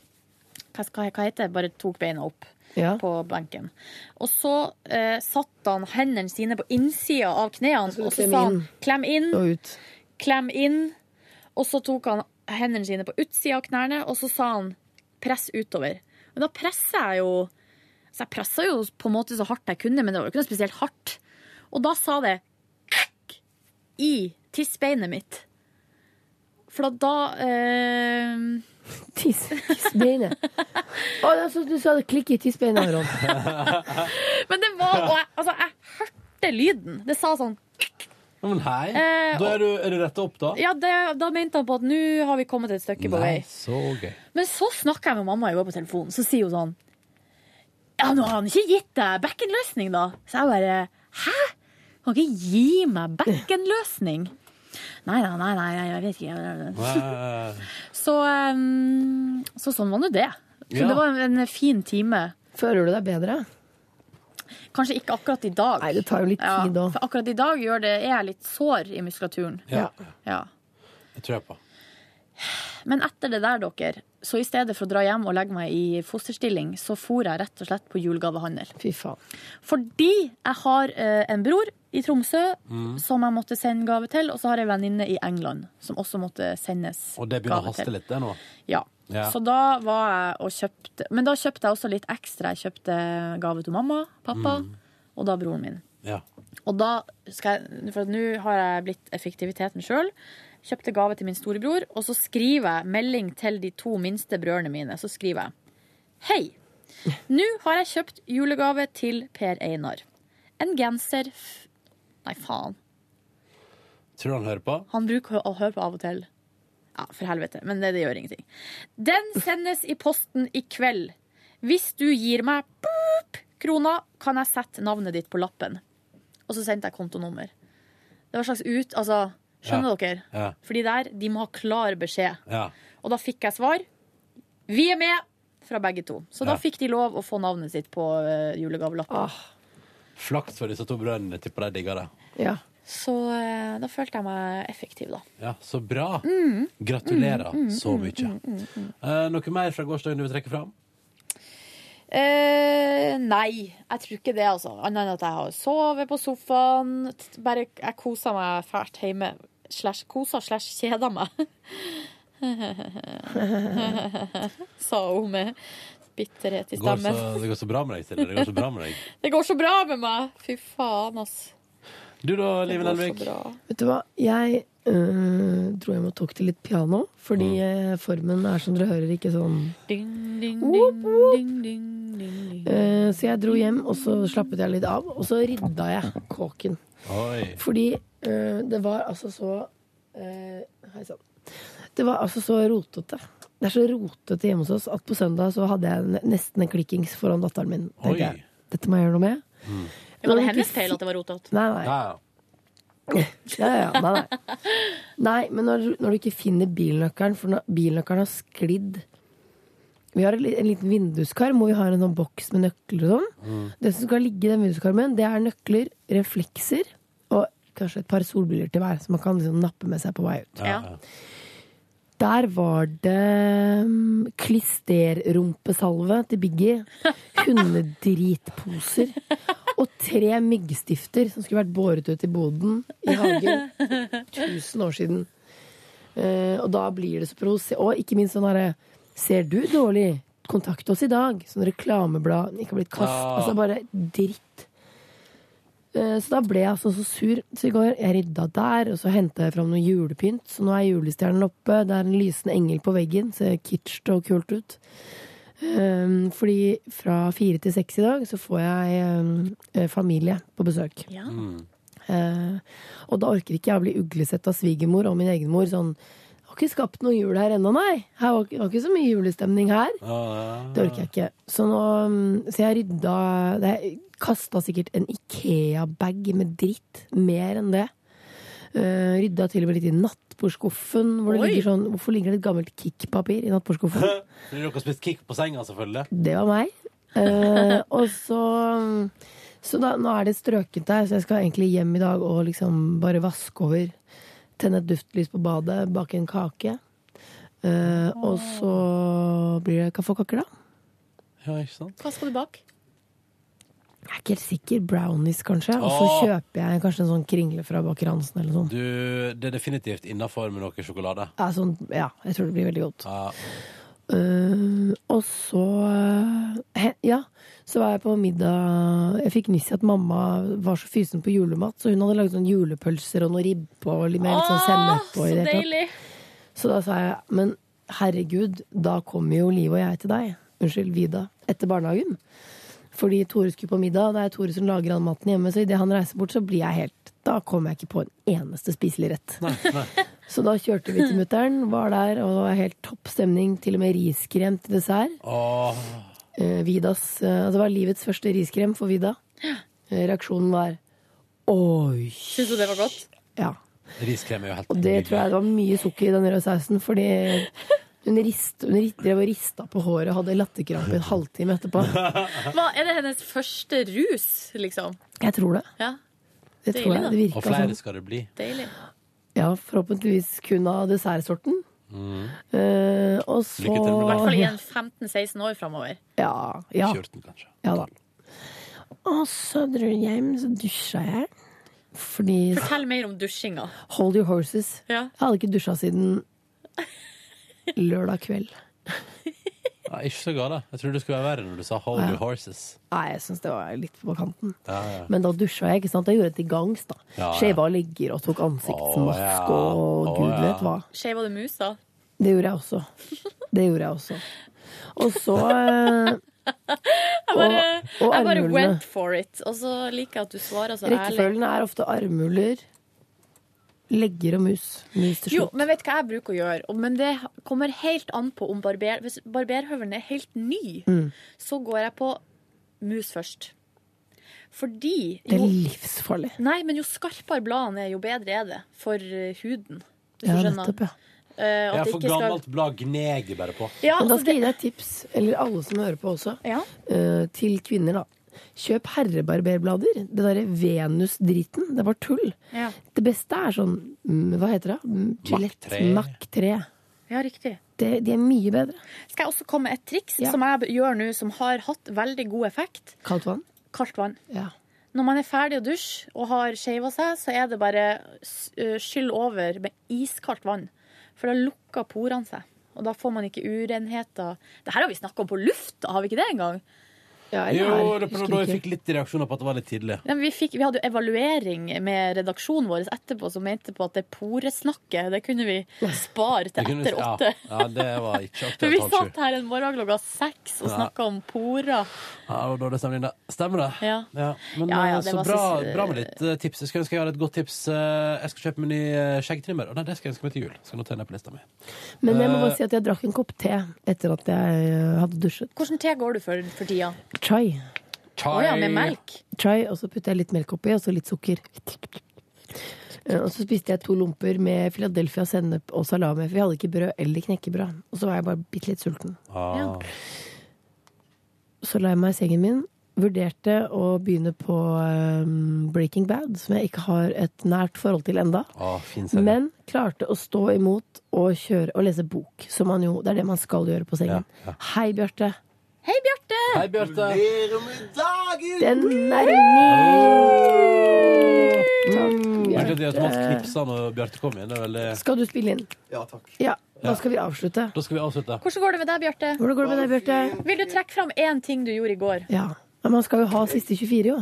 Speaker 5: hva, hva, hva heter det? Bare tok beina opp
Speaker 3: Ja.
Speaker 5: på benken. Og så eh, satte han hendene sine på innsida av knærne,
Speaker 3: skulle
Speaker 5: og så
Speaker 3: klemme
Speaker 5: sa han
Speaker 3: inn.
Speaker 5: klem inn,
Speaker 3: Og ut.
Speaker 5: klem inn. Og så tok han hendene sine på utsida av knærne, og så sa han 'press utover'. Men da presser jeg jo Så jeg pressa jo på en måte så hardt jeg kunne, men det var jo ikke noe spesielt hardt. Og da sa det «kakk» i tissbeinet mitt. For at da eh,
Speaker 3: Tiss, tissbeinet. Å, det er sånn at du sa det klikk i tissbeinet, Aron.
Speaker 5: Men det var Og jeg, altså, jeg hørte lyden. Det sa sånn
Speaker 2: Ja, Men hei.
Speaker 5: Eh,
Speaker 2: Da er du, er du retta opp, da?
Speaker 5: Ja, det, da mente han på at nå har vi kommet et stykke på vei.
Speaker 2: Nei, så gøy.
Speaker 5: Men så snakker jeg med mamma i går på telefonen, så sier hun sånn Ja, nå har han ikke gitt deg bekkenløsning, da. Så jeg bare Hæ? Han kan ikke gi meg bekkenløsning? Nei, nei, nei, nei, jeg vet ikke. Så, um, så sånn var nå det. Så
Speaker 3: Ja.
Speaker 5: det var en fin time.
Speaker 3: Føler du deg bedre?
Speaker 5: Kanskje ikke akkurat i dag.
Speaker 3: Nei, det tar jo litt
Speaker 5: Ja,
Speaker 3: tid òg.
Speaker 5: for akkurat i dag gjør det, er jeg litt sår i muskulaturen.
Speaker 2: Ja.
Speaker 5: Ja.
Speaker 2: Det tror jeg på.
Speaker 5: Men etter det der, dere, så i stedet for å dra hjem og legge meg i fosterstilling, så for jeg rett og slett på julegavehandel.
Speaker 3: Fy faen.
Speaker 5: Fordi jeg har eh, en bror i Tromsø
Speaker 2: Mm.
Speaker 5: som jeg måtte sende gave til, og så har jeg en venninne i England som også måtte sendes
Speaker 2: Og det begynner å
Speaker 5: gave til.
Speaker 2: haste litt, det nå.
Speaker 5: Ja.
Speaker 2: Ja.
Speaker 5: Så da var jeg og kjøpte Men da kjøpte jeg også litt ekstra. Jeg kjøpte gave til mamma, pappa
Speaker 2: Mm.
Speaker 5: og da broren min.
Speaker 2: Ja.
Speaker 5: Og da skal jeg For at nå har jeg blitt effektiviteten sjøl. Kjøpte gave til min storebror, og så skriver jeg melding til de to minste brødrene mine. Så skriver jeg Hei! Nå har jeg kjøpt julegave til Per Einar. En genser f Nei, faen.
Speaker 2: Tror du han hører på?
Speaker 5: Han bruker å høre på av og til. Ja, for helvete. Men det, det gjør ingenting. Den sendes i posten i kveld. Hvis du gir meg boop, krona, kan jeg sette navnet ditt på lappen. Og så sendte jeg kontonummer. Det var en slags ut... Altså, skjønner
Speaker 2: Ja.
Speaker 5: dere?
Speaker 2: Ja.
Speaker 5: Fordi der, de må ha klar beskjed.
Speaker 2: ja.
Speaker 5: Og da fikk jeg svar. Vi er med! Fra begge to. Så da
Speaker 2: Ja.
Speaker 5: fikk de lov å få navnet sitt på eh, julegavelappen.
Speaker 3: Ah.
Speaker 2: Flaks for disse to brødrene. Tipper de digger det.
Speaker 3: Ja.
Speaker 5: Så eh, da følte jeg meg effektiv, da.
Speaker 2: Ja, Så bra.
Speaker 5: Mm.
Speaker 2: Gratulerer så mye. Eh, noe mer fra gårsdagen du vil trekke fram?
Speaker 5: Eh, nei, jeg tror ikke det, altså. Annet enn at jeg har sovet på sofaen. t- Bare jeg koser meg fælt hjemme. Slash kosa slash kjeda meg. [LAUGHS] Sa hun med bitterhet i
Speaker 2: Det går, så,
Speaker 5: stemmen.
Speaker 2: det går så bra med deg, Silje. Det går så bra med deg.
Speaker 5: Det går så bra med meg! Fy faen, ass.
Speaker 2: Du da, Liven
Speaker 5: Det går
Speaker 2: Elvik?
Speaker 5: så bra.
Speaker 3: Vet du hva, jeg øh, dro hjem og tok til litt piano, fordi eh, formen er som dere hører, ikke sånn
Speaker 5: Ding, ding,
Speaker 3: Whoop,
Speaker 5: ding,
Speaker 3: whoop.
Speaker 5: ding, ding, ding, ding.
Speaker 3: Eh, Så jeg dro hjem, og så slappet jeg litt av, og så rydda jeg kåken.
Speaker 2: Oi.
Speaker 3: Fordi eh, det var altså så eh, Hei sann. Det var altså så rotete. Det er så rotete hjemme hos oss at på søndag så hadde jeg ne- nesten en klikkings foran datteren min.
Speaker 2: Oi.
Speaker 3: tenkte Jeg, Dette må jeg gjøre noe med.
Speaker 5: Det var det hennes feil at det var rotete.
Speaker 3: Nei, nei.
Speaker 2: Ja, ja.
Speaker 3: Ja, ja, ja. nei, nei. nei men når, du- når du ikke finner bilnøkkelen, for når- bilnøkkelen har sklidd Vi har en li- en liten vinduskarm hvor vi har en sånn boks med nøkler og sånn. Det som skal ligge i den vinduskarmen, det er nøkler, reflekser og kanskje et par solbriller til hver, som man kan liksom nappe med seg på vei ut.
Speaker 5: Ja.
Speaker 3: Der var det mm, klisterrumpesalve til Biggie, hundedritposer og tre myggstifter som skulle vært båret ut i boden i hagen tusen år siden. Eh, og da blir det så provoserende. Og ikke minst sånn herre Ser du dårlig? Kontakt oss i dag. Sånn reklameblad. Ikke har blitt kast.
Speaker 2: Ah.
Speaker 3: Altså bare dritt. Eh, Så da ble jeg altså så sur. Så i går jeg rydda der, og så henta jeg fram noe julepynt. Så nå er julestjernen oppe. Det er en lysende engel på veggen. Ser kitsch og kult ut. Eh, Fordi fra fire til seks i dag så får jeg eh, familie på besøk.
Speaker 5: Ja.
Speaker 3: Eh, og da orker ikke jeg å bli uglesett av svigermor og min egen mor. Sånn, har ikke skapt noe jul her ennå, nei. Her var, var ikke så mye julestemning her.
Speaker 2: Ah,
Speaker 3: Det orker jeg ikke. Så, nå, mm, så jeg rydda Jeg kasta sikkert en Ikea-bag med dritt. Mer enn det. Eh, rydda til og med litt i nattbordskuffen. Hvor det
Speaker 5: Oi.
Speaker 3: ligger sånn, hvorfor ligger det et gammelt kickpapir i nattbordskuffen?
Speaker 2: [LAUGHS] Fordi dere har spist kick på senga, selvfølgelig.
Speaker 3: Det var meg. Eh, og så Så da, nå er det strøket der, så jeg skal egentlig hjem i dag og liksom bare vaske over. Tenne et duftlys på badet, bake en kake. Eh, og så blir det kaffekaker, da.
Speaker 2: Ja, ikke sant?
Speaker 5: Hva skal du bak?
Speaker 3: Jeg er ikke helt sikker. Brownies, kanskje. Og så
Speaker 2: Åh!
Speaker 3: kjøper jeg kanskje en sånn kringle fra Baker Hansen eller noe sånt.
Speaker 2: Du, det er definitivt innafor med noe sjokolade.
Speaker 3: Ja, sånn. Ja, jeg tror det blir veldig godt.
Speaker 2: Ja.
Speaker 3: Eh, og så eh, he, Ja, så var jeg på middag Jeg fikk nyss i at mamma var så fysen på julemat, så hun hadde laget sånn julepølser og noe ribbe og litt mer litt sånn sennep. og i det hele tatt. Så da sa jeg, men herregud, da kommer jo Liv og jeg til deg, unnskyld, Vida, etter barnehagen. Fordi Tore skulle på middag, og det er Tore som lager all maten hjemme, så idet han reiser bort, så blir jeg helt Da kommer jeg ikke på en eneste spiselig rett. [LAUGHS] Så da kjørte vi til mutter'n, var der, og det var helt topp stemning. Til og med riskrem til dessert.
Speaker 2: Åh.
Speaker 3: Eh, Vidas, eh, altså det var livets første riskrem for Vida. Eh, reaksjonen var oi.
Speaker 5: Syns du det var godt?
Speaker 3: Ja.
Speaker 2: Riskrem er jo helt
Speaker 3: Og det tror jeg det var mye sukker i den røde sausen, fordi hun, rist, hun rist- drev og rista på håret og hadde latterkrampe en halvtime etterpå.
Speaker 5: Hva, er det hennes første rus, liksom?
Speaker 3: Jeg tror det.
Speaker 5: Ja.
Speaker 3: Det tror jeg.
Speaker 5: Deilig,
Speaker 3: Det
Speaker 5: da.
Speaker 2: Og
Speaker 3: virka
Speaker 2: flere
Speaker 3: sånn.
Speaker 2: skal det bli.
Speaker 5: Deilig.
Speaker 3: Ja, forhåpentligvis kun av dessertsorten.
Speaker 2: Mm.
Speaker 3: Eh, og så
Speaker 2: Lykke til med det.
Speaker 5: I hvert fall i en 15-16 år framover.
Speaker 3: Ja. ja.
Speaker 2: 14, kanskje.
Speaker 3: Ja da. Og så dro jeg hjem, så dusja jeg. Fordi
Speaker 5: Fortell mer om dusjinga.
Speaker 3: Hold your horses.
Speaker 5: Ja.
Speaker 3: Jeg hadde ikke dusja siden lørdag kveld.
Speaker 2: Ja, ikke så gale. Jeg trodde det skulle være verre når du sa 'hold your horses'.
Speaker 3: Nei, jeg syns det var litt på kanten.
Speaker 2: Ja, ja.
Speaker 3: Men da dusja jeg, ikke sant. Jeg gjorde det til gangs, da.
Speaker 2: Ja, ja.
Speaker 3: Shava legger og tok ansiktsmask og
Speaker 2: Å, ja. Å,
Speaker 3: gud
Speaker 2: ja.
Speaker 3: vet hva.
Speaker 5: Skeiva du musa?
Speaker 3: Det gjorde jeg også. Det gjorde jeg også. Og
Speaker 2: [LAUGHS]
Speaker 3: så eh,
Speaker 5: Jeg bare,
Speaker 3: Og- og
Speaker 5: jeg bare
Speaker 3: armhulene.
Speaker 5: went for it. Og så liker jeg at du svarer så ærlig.
Speaker 3: Rekkefølgen er ofte armhuler, legger og mus. Mus til
Speaker 5: Jo,
Speaker 3: slutt.
Speaker 5: men vet du hva jeg bruker å gjøre? Og- Men det kommer helt an på om barber... Hvis barberhøvelen er helt ny,
Speaker 3: Mm.
Speaker 5: så går jeg på mus først. Fordi
Speaker 3: Det er
Speaker 5: jo,
Speaker 3: livsfarlig.
Speaker 5: Nei, men jo skarpere bladene er, jo bedre er det for eh, huden. Hvis
Speaker 3: Ja,
Speaker 5: du skjønner.
Speaker 3: nettopp, ja.
Speaker 5: Eh,
Speaker 2: Jeg
Speaker 5: at
Speaker 2: er
Speaker 5: det
Speaker 2: for
Speaker 5: ikke skal...
Speaker 2: gammelt blad gneger bare på.
Speaker 5: Ja,
Speaker 3: Men da
Speaker 5: altså,
Speaker 3: skal
Speaker 5: det...
Speaker 3: jeg gi deg et tips, eller alle som hører på også,
Speaker 5: ja.
Speaker 3: eh, til kvinner, da. Kjøp herrebarberblader. Det derre Venus-driten. Det var tull.
Speaker 5: Ja.
Speaker 3: Det beste er sånn mm, Hva heter det? Mm, Gillette
Speaker 2: Mac
Speaker 3: Mac 3.
Speaker 5: ja, riktig.
Speaker 3: Det, de er mye bedre.
Speaker 5: Skal jeg også komme med et triks
Speaker 3: Ja.
Speaker 5: som jeg gjør nå, som har hatt veldig god effekt?
Speaker 3: Kaldt vann?
Speaker 5: Kaldt vann.
Speaker 3: Ja.
Speaker 5: Når man er ferdig å dusje og har shava seg, så er det bare s- øh, skyll over med iskaldt vann. For da lukker porene seg. Og da får man ikke urenheter. Det her har vi snakka om på lufta, har vi ikke det engang?
Speaker 3: ja eller
Speaker 2: Jo,
Speaker 3: her,
Speaker 2: det var
Speaker 3: husker
Speaker 2: da jeg
Speaker 3: ikke.
Speaker 2: fikk litt reaksjoner på at det var litt tidlig.
Speaker 5: Ja, men vi, fikk, vi hadde jo evaluering med redaksjonen vår etterpå som mente på at det poresnakket, det kunne vi spare
Speaker 2: Det
Speaker 5: til
Speaker 2: kunne-
Speaker 5: etter åtte.
Speaker 2: Ja, ja, det var ikke
Speaker 5: [LAUGHS] For vi
Speaker 2: aktuelt halv sju.
Speaker 5: satt her en morgen klokka seks og snakka om porer.
Speaker 2: Ja, det var dårlig stemning, det. Stemmer det?
Speaker 5: Ja.
Speaker 2: Men
Speaker 5: Ja, ja,
Speaker 2: eh,
Speaker 5: det
Speaker 2: så
Speaker 5: var
Speaker 2: bra,
Speaker 5: så-
Speaker 2: bra med litt eh, tips. Jeg skulle ønske jeg hadde et godt tips. Eh, Jeg skal kjøpe meg ny eh, skjeggtrimmer, og nei, det skal jeg ønske meg til jul. Skal notere ned på lista mi.
Speaker 3: Men jeg må
Speaker 2: Eh,
Speaker 3: bare si at jeg drakk en kopp te etter at jeg eh, hadde dusjet.
Speaker 5: Hvordan te går du for for tida?
Speaker 3: Chai.
Speaker 5: Å ja, med melk?
Speaker 3: Chai, og så putter jeg litt melk oppi, og så litt sukker. Eh, Og så spiste jeg to lomper med Philadelphia sennep og salami, for vi hadde ikke brød eller knekkebrød. Og så var jeg bare bitte litt sulten.
Speaker 2: Ah.
Speaker 3: Så la jeg meg i sengen min. Vurderte å begynne på eh, Breaking Bad, som jeg ikke har et nært forhold til enda.
Speaker 2: Ah, fin serie.
Speaker 3: Men klarte å stå imot og kjøre og lese bok, som man jo Det er det man skal gjøre på sengen. Hei, Bjarte.
Speaker 5: Hei, Bjarte!
Speaker 2: Hei, Bjarte.
Speaker 3: Den er min!
Speaker 2: Merker at vi
Speaker 3: Eh.
Speaker 2: automatisk knipsa når Bjarte kom inn. Det er veldig...
Speaker 3: Skal du spille inn?
Speaker 1: Ja, takk.
Speaker 3: Ja. Da skal vi avslutte.
Speaker 2: Da skal vi avslutte.
Speaker 5: Hvordan går det med deg, Bjarte?
Speaker 3: Hvordan går det med deg, Bjarte?
Speaker 5: Vil du trekke fram én ting du gjorde i går?
Speaker 3: Ja. Men man skal jo ha siste 24, jo.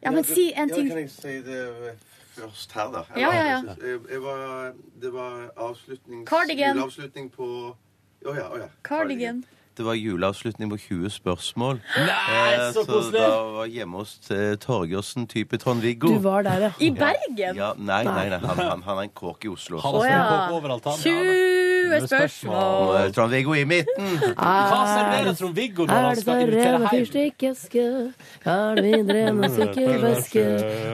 Speaker 5: Ja, men si en
Speaker 12: Ja, kan
Speaker 5: ting.
Speaker 12: jeg si det først her, da?
Speaker 5: Ja, ja, ja.
Speaker 12: Jeg, jeg var, det var avslutnings...
Speaker 5: Cardigan.
Speaker 12: Juleavslutning på Å ja, å ja.
Speaker 5: Cardigan.
Speaker 12: Det var juleavslutning på 20 spørsmål.
Speaker 2: Nei, så koselig!
Speaker 12: da var hjemme hos eh, Torgersen type Trond-Viggo.
Speaker 3: Du var der, ja.
Speaker 5: I Bergen?
Speaker 12: Ja, nei, nei, nei, han, han, han er en kåk i Oslo.
Speaker 2: Han
Speaker 12: Og,
Speaker 2: har
Speaker 5: Å, ja.
Speaker 2: snakket overalt, han. Det
Speaker 5: 20
Speaker 2: er
Speaker 5: spørsmål.
Speaker 12: eh, Trond-Viggo i midten!
Speaker 2: Hva serverer Trond-Viggo når han
Speaker 3: Er det så
Speaker 2: skal
Speaker 3: ræva
Speaker 2: invitere hjem?
Speaker 3: fyrstikkeske? Er det mindre enn en sykkelveske?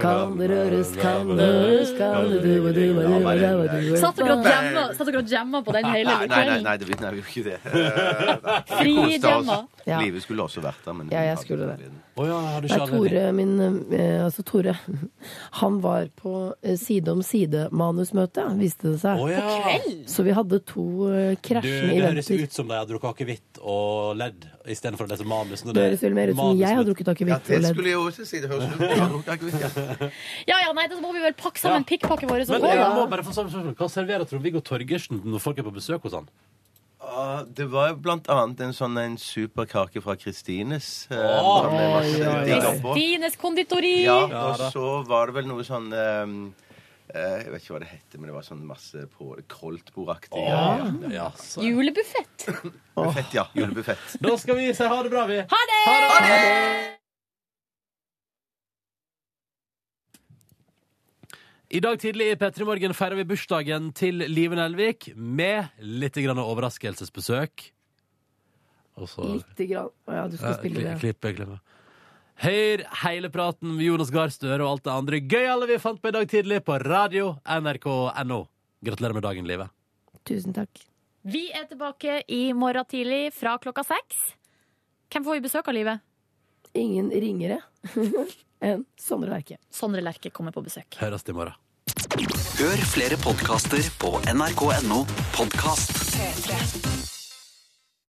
Speaker 3: Kan det røres, kan det høres, kan det duva, duva, duva, duva, duva.
Speaker 5: Satt dere og jamma- satt dere og jamma på den hele
Speaker 12: Nei, nei, nei,
Speaker 5: kvelden? [LAUGHS]
Speaker 12: nei, det nei, vi gjorde ikke det. Eh, vi koste oss.
Speaker 5: Frijamma.
Speaker 3: Ja.
Speaker 12: Live skulle også vært der, men
Speaker 3: Ja, jeg skulle det.
Speaker 2: Å ja, har du
Speaker 3: Nei,
Speaker 2: ikke anledning?
Speaker 3: Tore, min, eh, altså Tore [LAUGHS] Han var på eh, side om side-manusmøte, viste det seg.
Speaker 2: Å ja. På kveld?
Speaker 3: Så vi hadde to eh,
Speaker 2: Du,
Speaker 3: krasjende
Speaker 2: det høres
Speaker 3: eventer.
Speaker 2: ut som de har drukket akevitt og ledd istedenfor å lese manus. når
Speaker 3: Det høres vel mer ut som
Speaker 2: manus-
Speaker 3: jeg har drukket akevitt og ledd.
Speaker 12: jeg også si. Det høres ut som
Speaker 5: Ja, ja, nei, da må vi vel pakke sammen pikkpakket vårt.
Speaker 2: Men
Speaker 5: og gå,
Speaker 2: jeg
Speaker 5: da.
Speaker 2: må bare få samme spørsmål. Hva serverer Trond-Viggo Torgersen når folk er på besøk hos han?
Speaker 12: Ah, Det var blant annet en sånn en superkake fra Kristines. eh,
Speaker 2: Åh,
Speaker 12: som det var så
Speaker 2: oi, oi, oi.
Speaker 12: digg oppå.
Speaker 5: Kristines konditori!
Speaker 12: Ja, og så var det vel noe sånn ehm, eh, Jeg vet ikke hva det heter, men det var sånn masse på koldtbordaktig.
Speaker 2: Ja.
Speaker 12: ja.
Speaker 5: Julebuffett.
Speaker 12: Buffett, ja. Julebuffett.
Speaker 2: Da skal vi si ha det bra, vi.
Speaker 5: Ha det!
Speaker 2: I dag tidlig i P3 Morgen feirer vi bursdagen til Live Nelvik med litt grann overraskelsesbesøk. Og så
Speaker 3: Lite grann. Å Ja, du skal spille
Speaker 2: Ja,
Speaker 3: det.
Speaker 2: kli- klippe, klippe. Hør hele praten med Jonas Gahr Støre og alt det andre gøyale vi fant på i dag tidlig på radio nrk.no. Gratulerer med dagen, Live.
Speaker 3: Tusen takk.
Speaker 5: Vi er tilbake i morgen tidlig fra klokka seks. Hvem får vi besøk av, Livet?
Speaker 3: Ingen ringere [LAUGHS] enn Sondre Lerche.
Speaker 5: Sondre Lerche kommer på besøk.
Speaker 2: Høres i morgen.
Speaker 1: Hør flere podkaster på nrk.no podkast.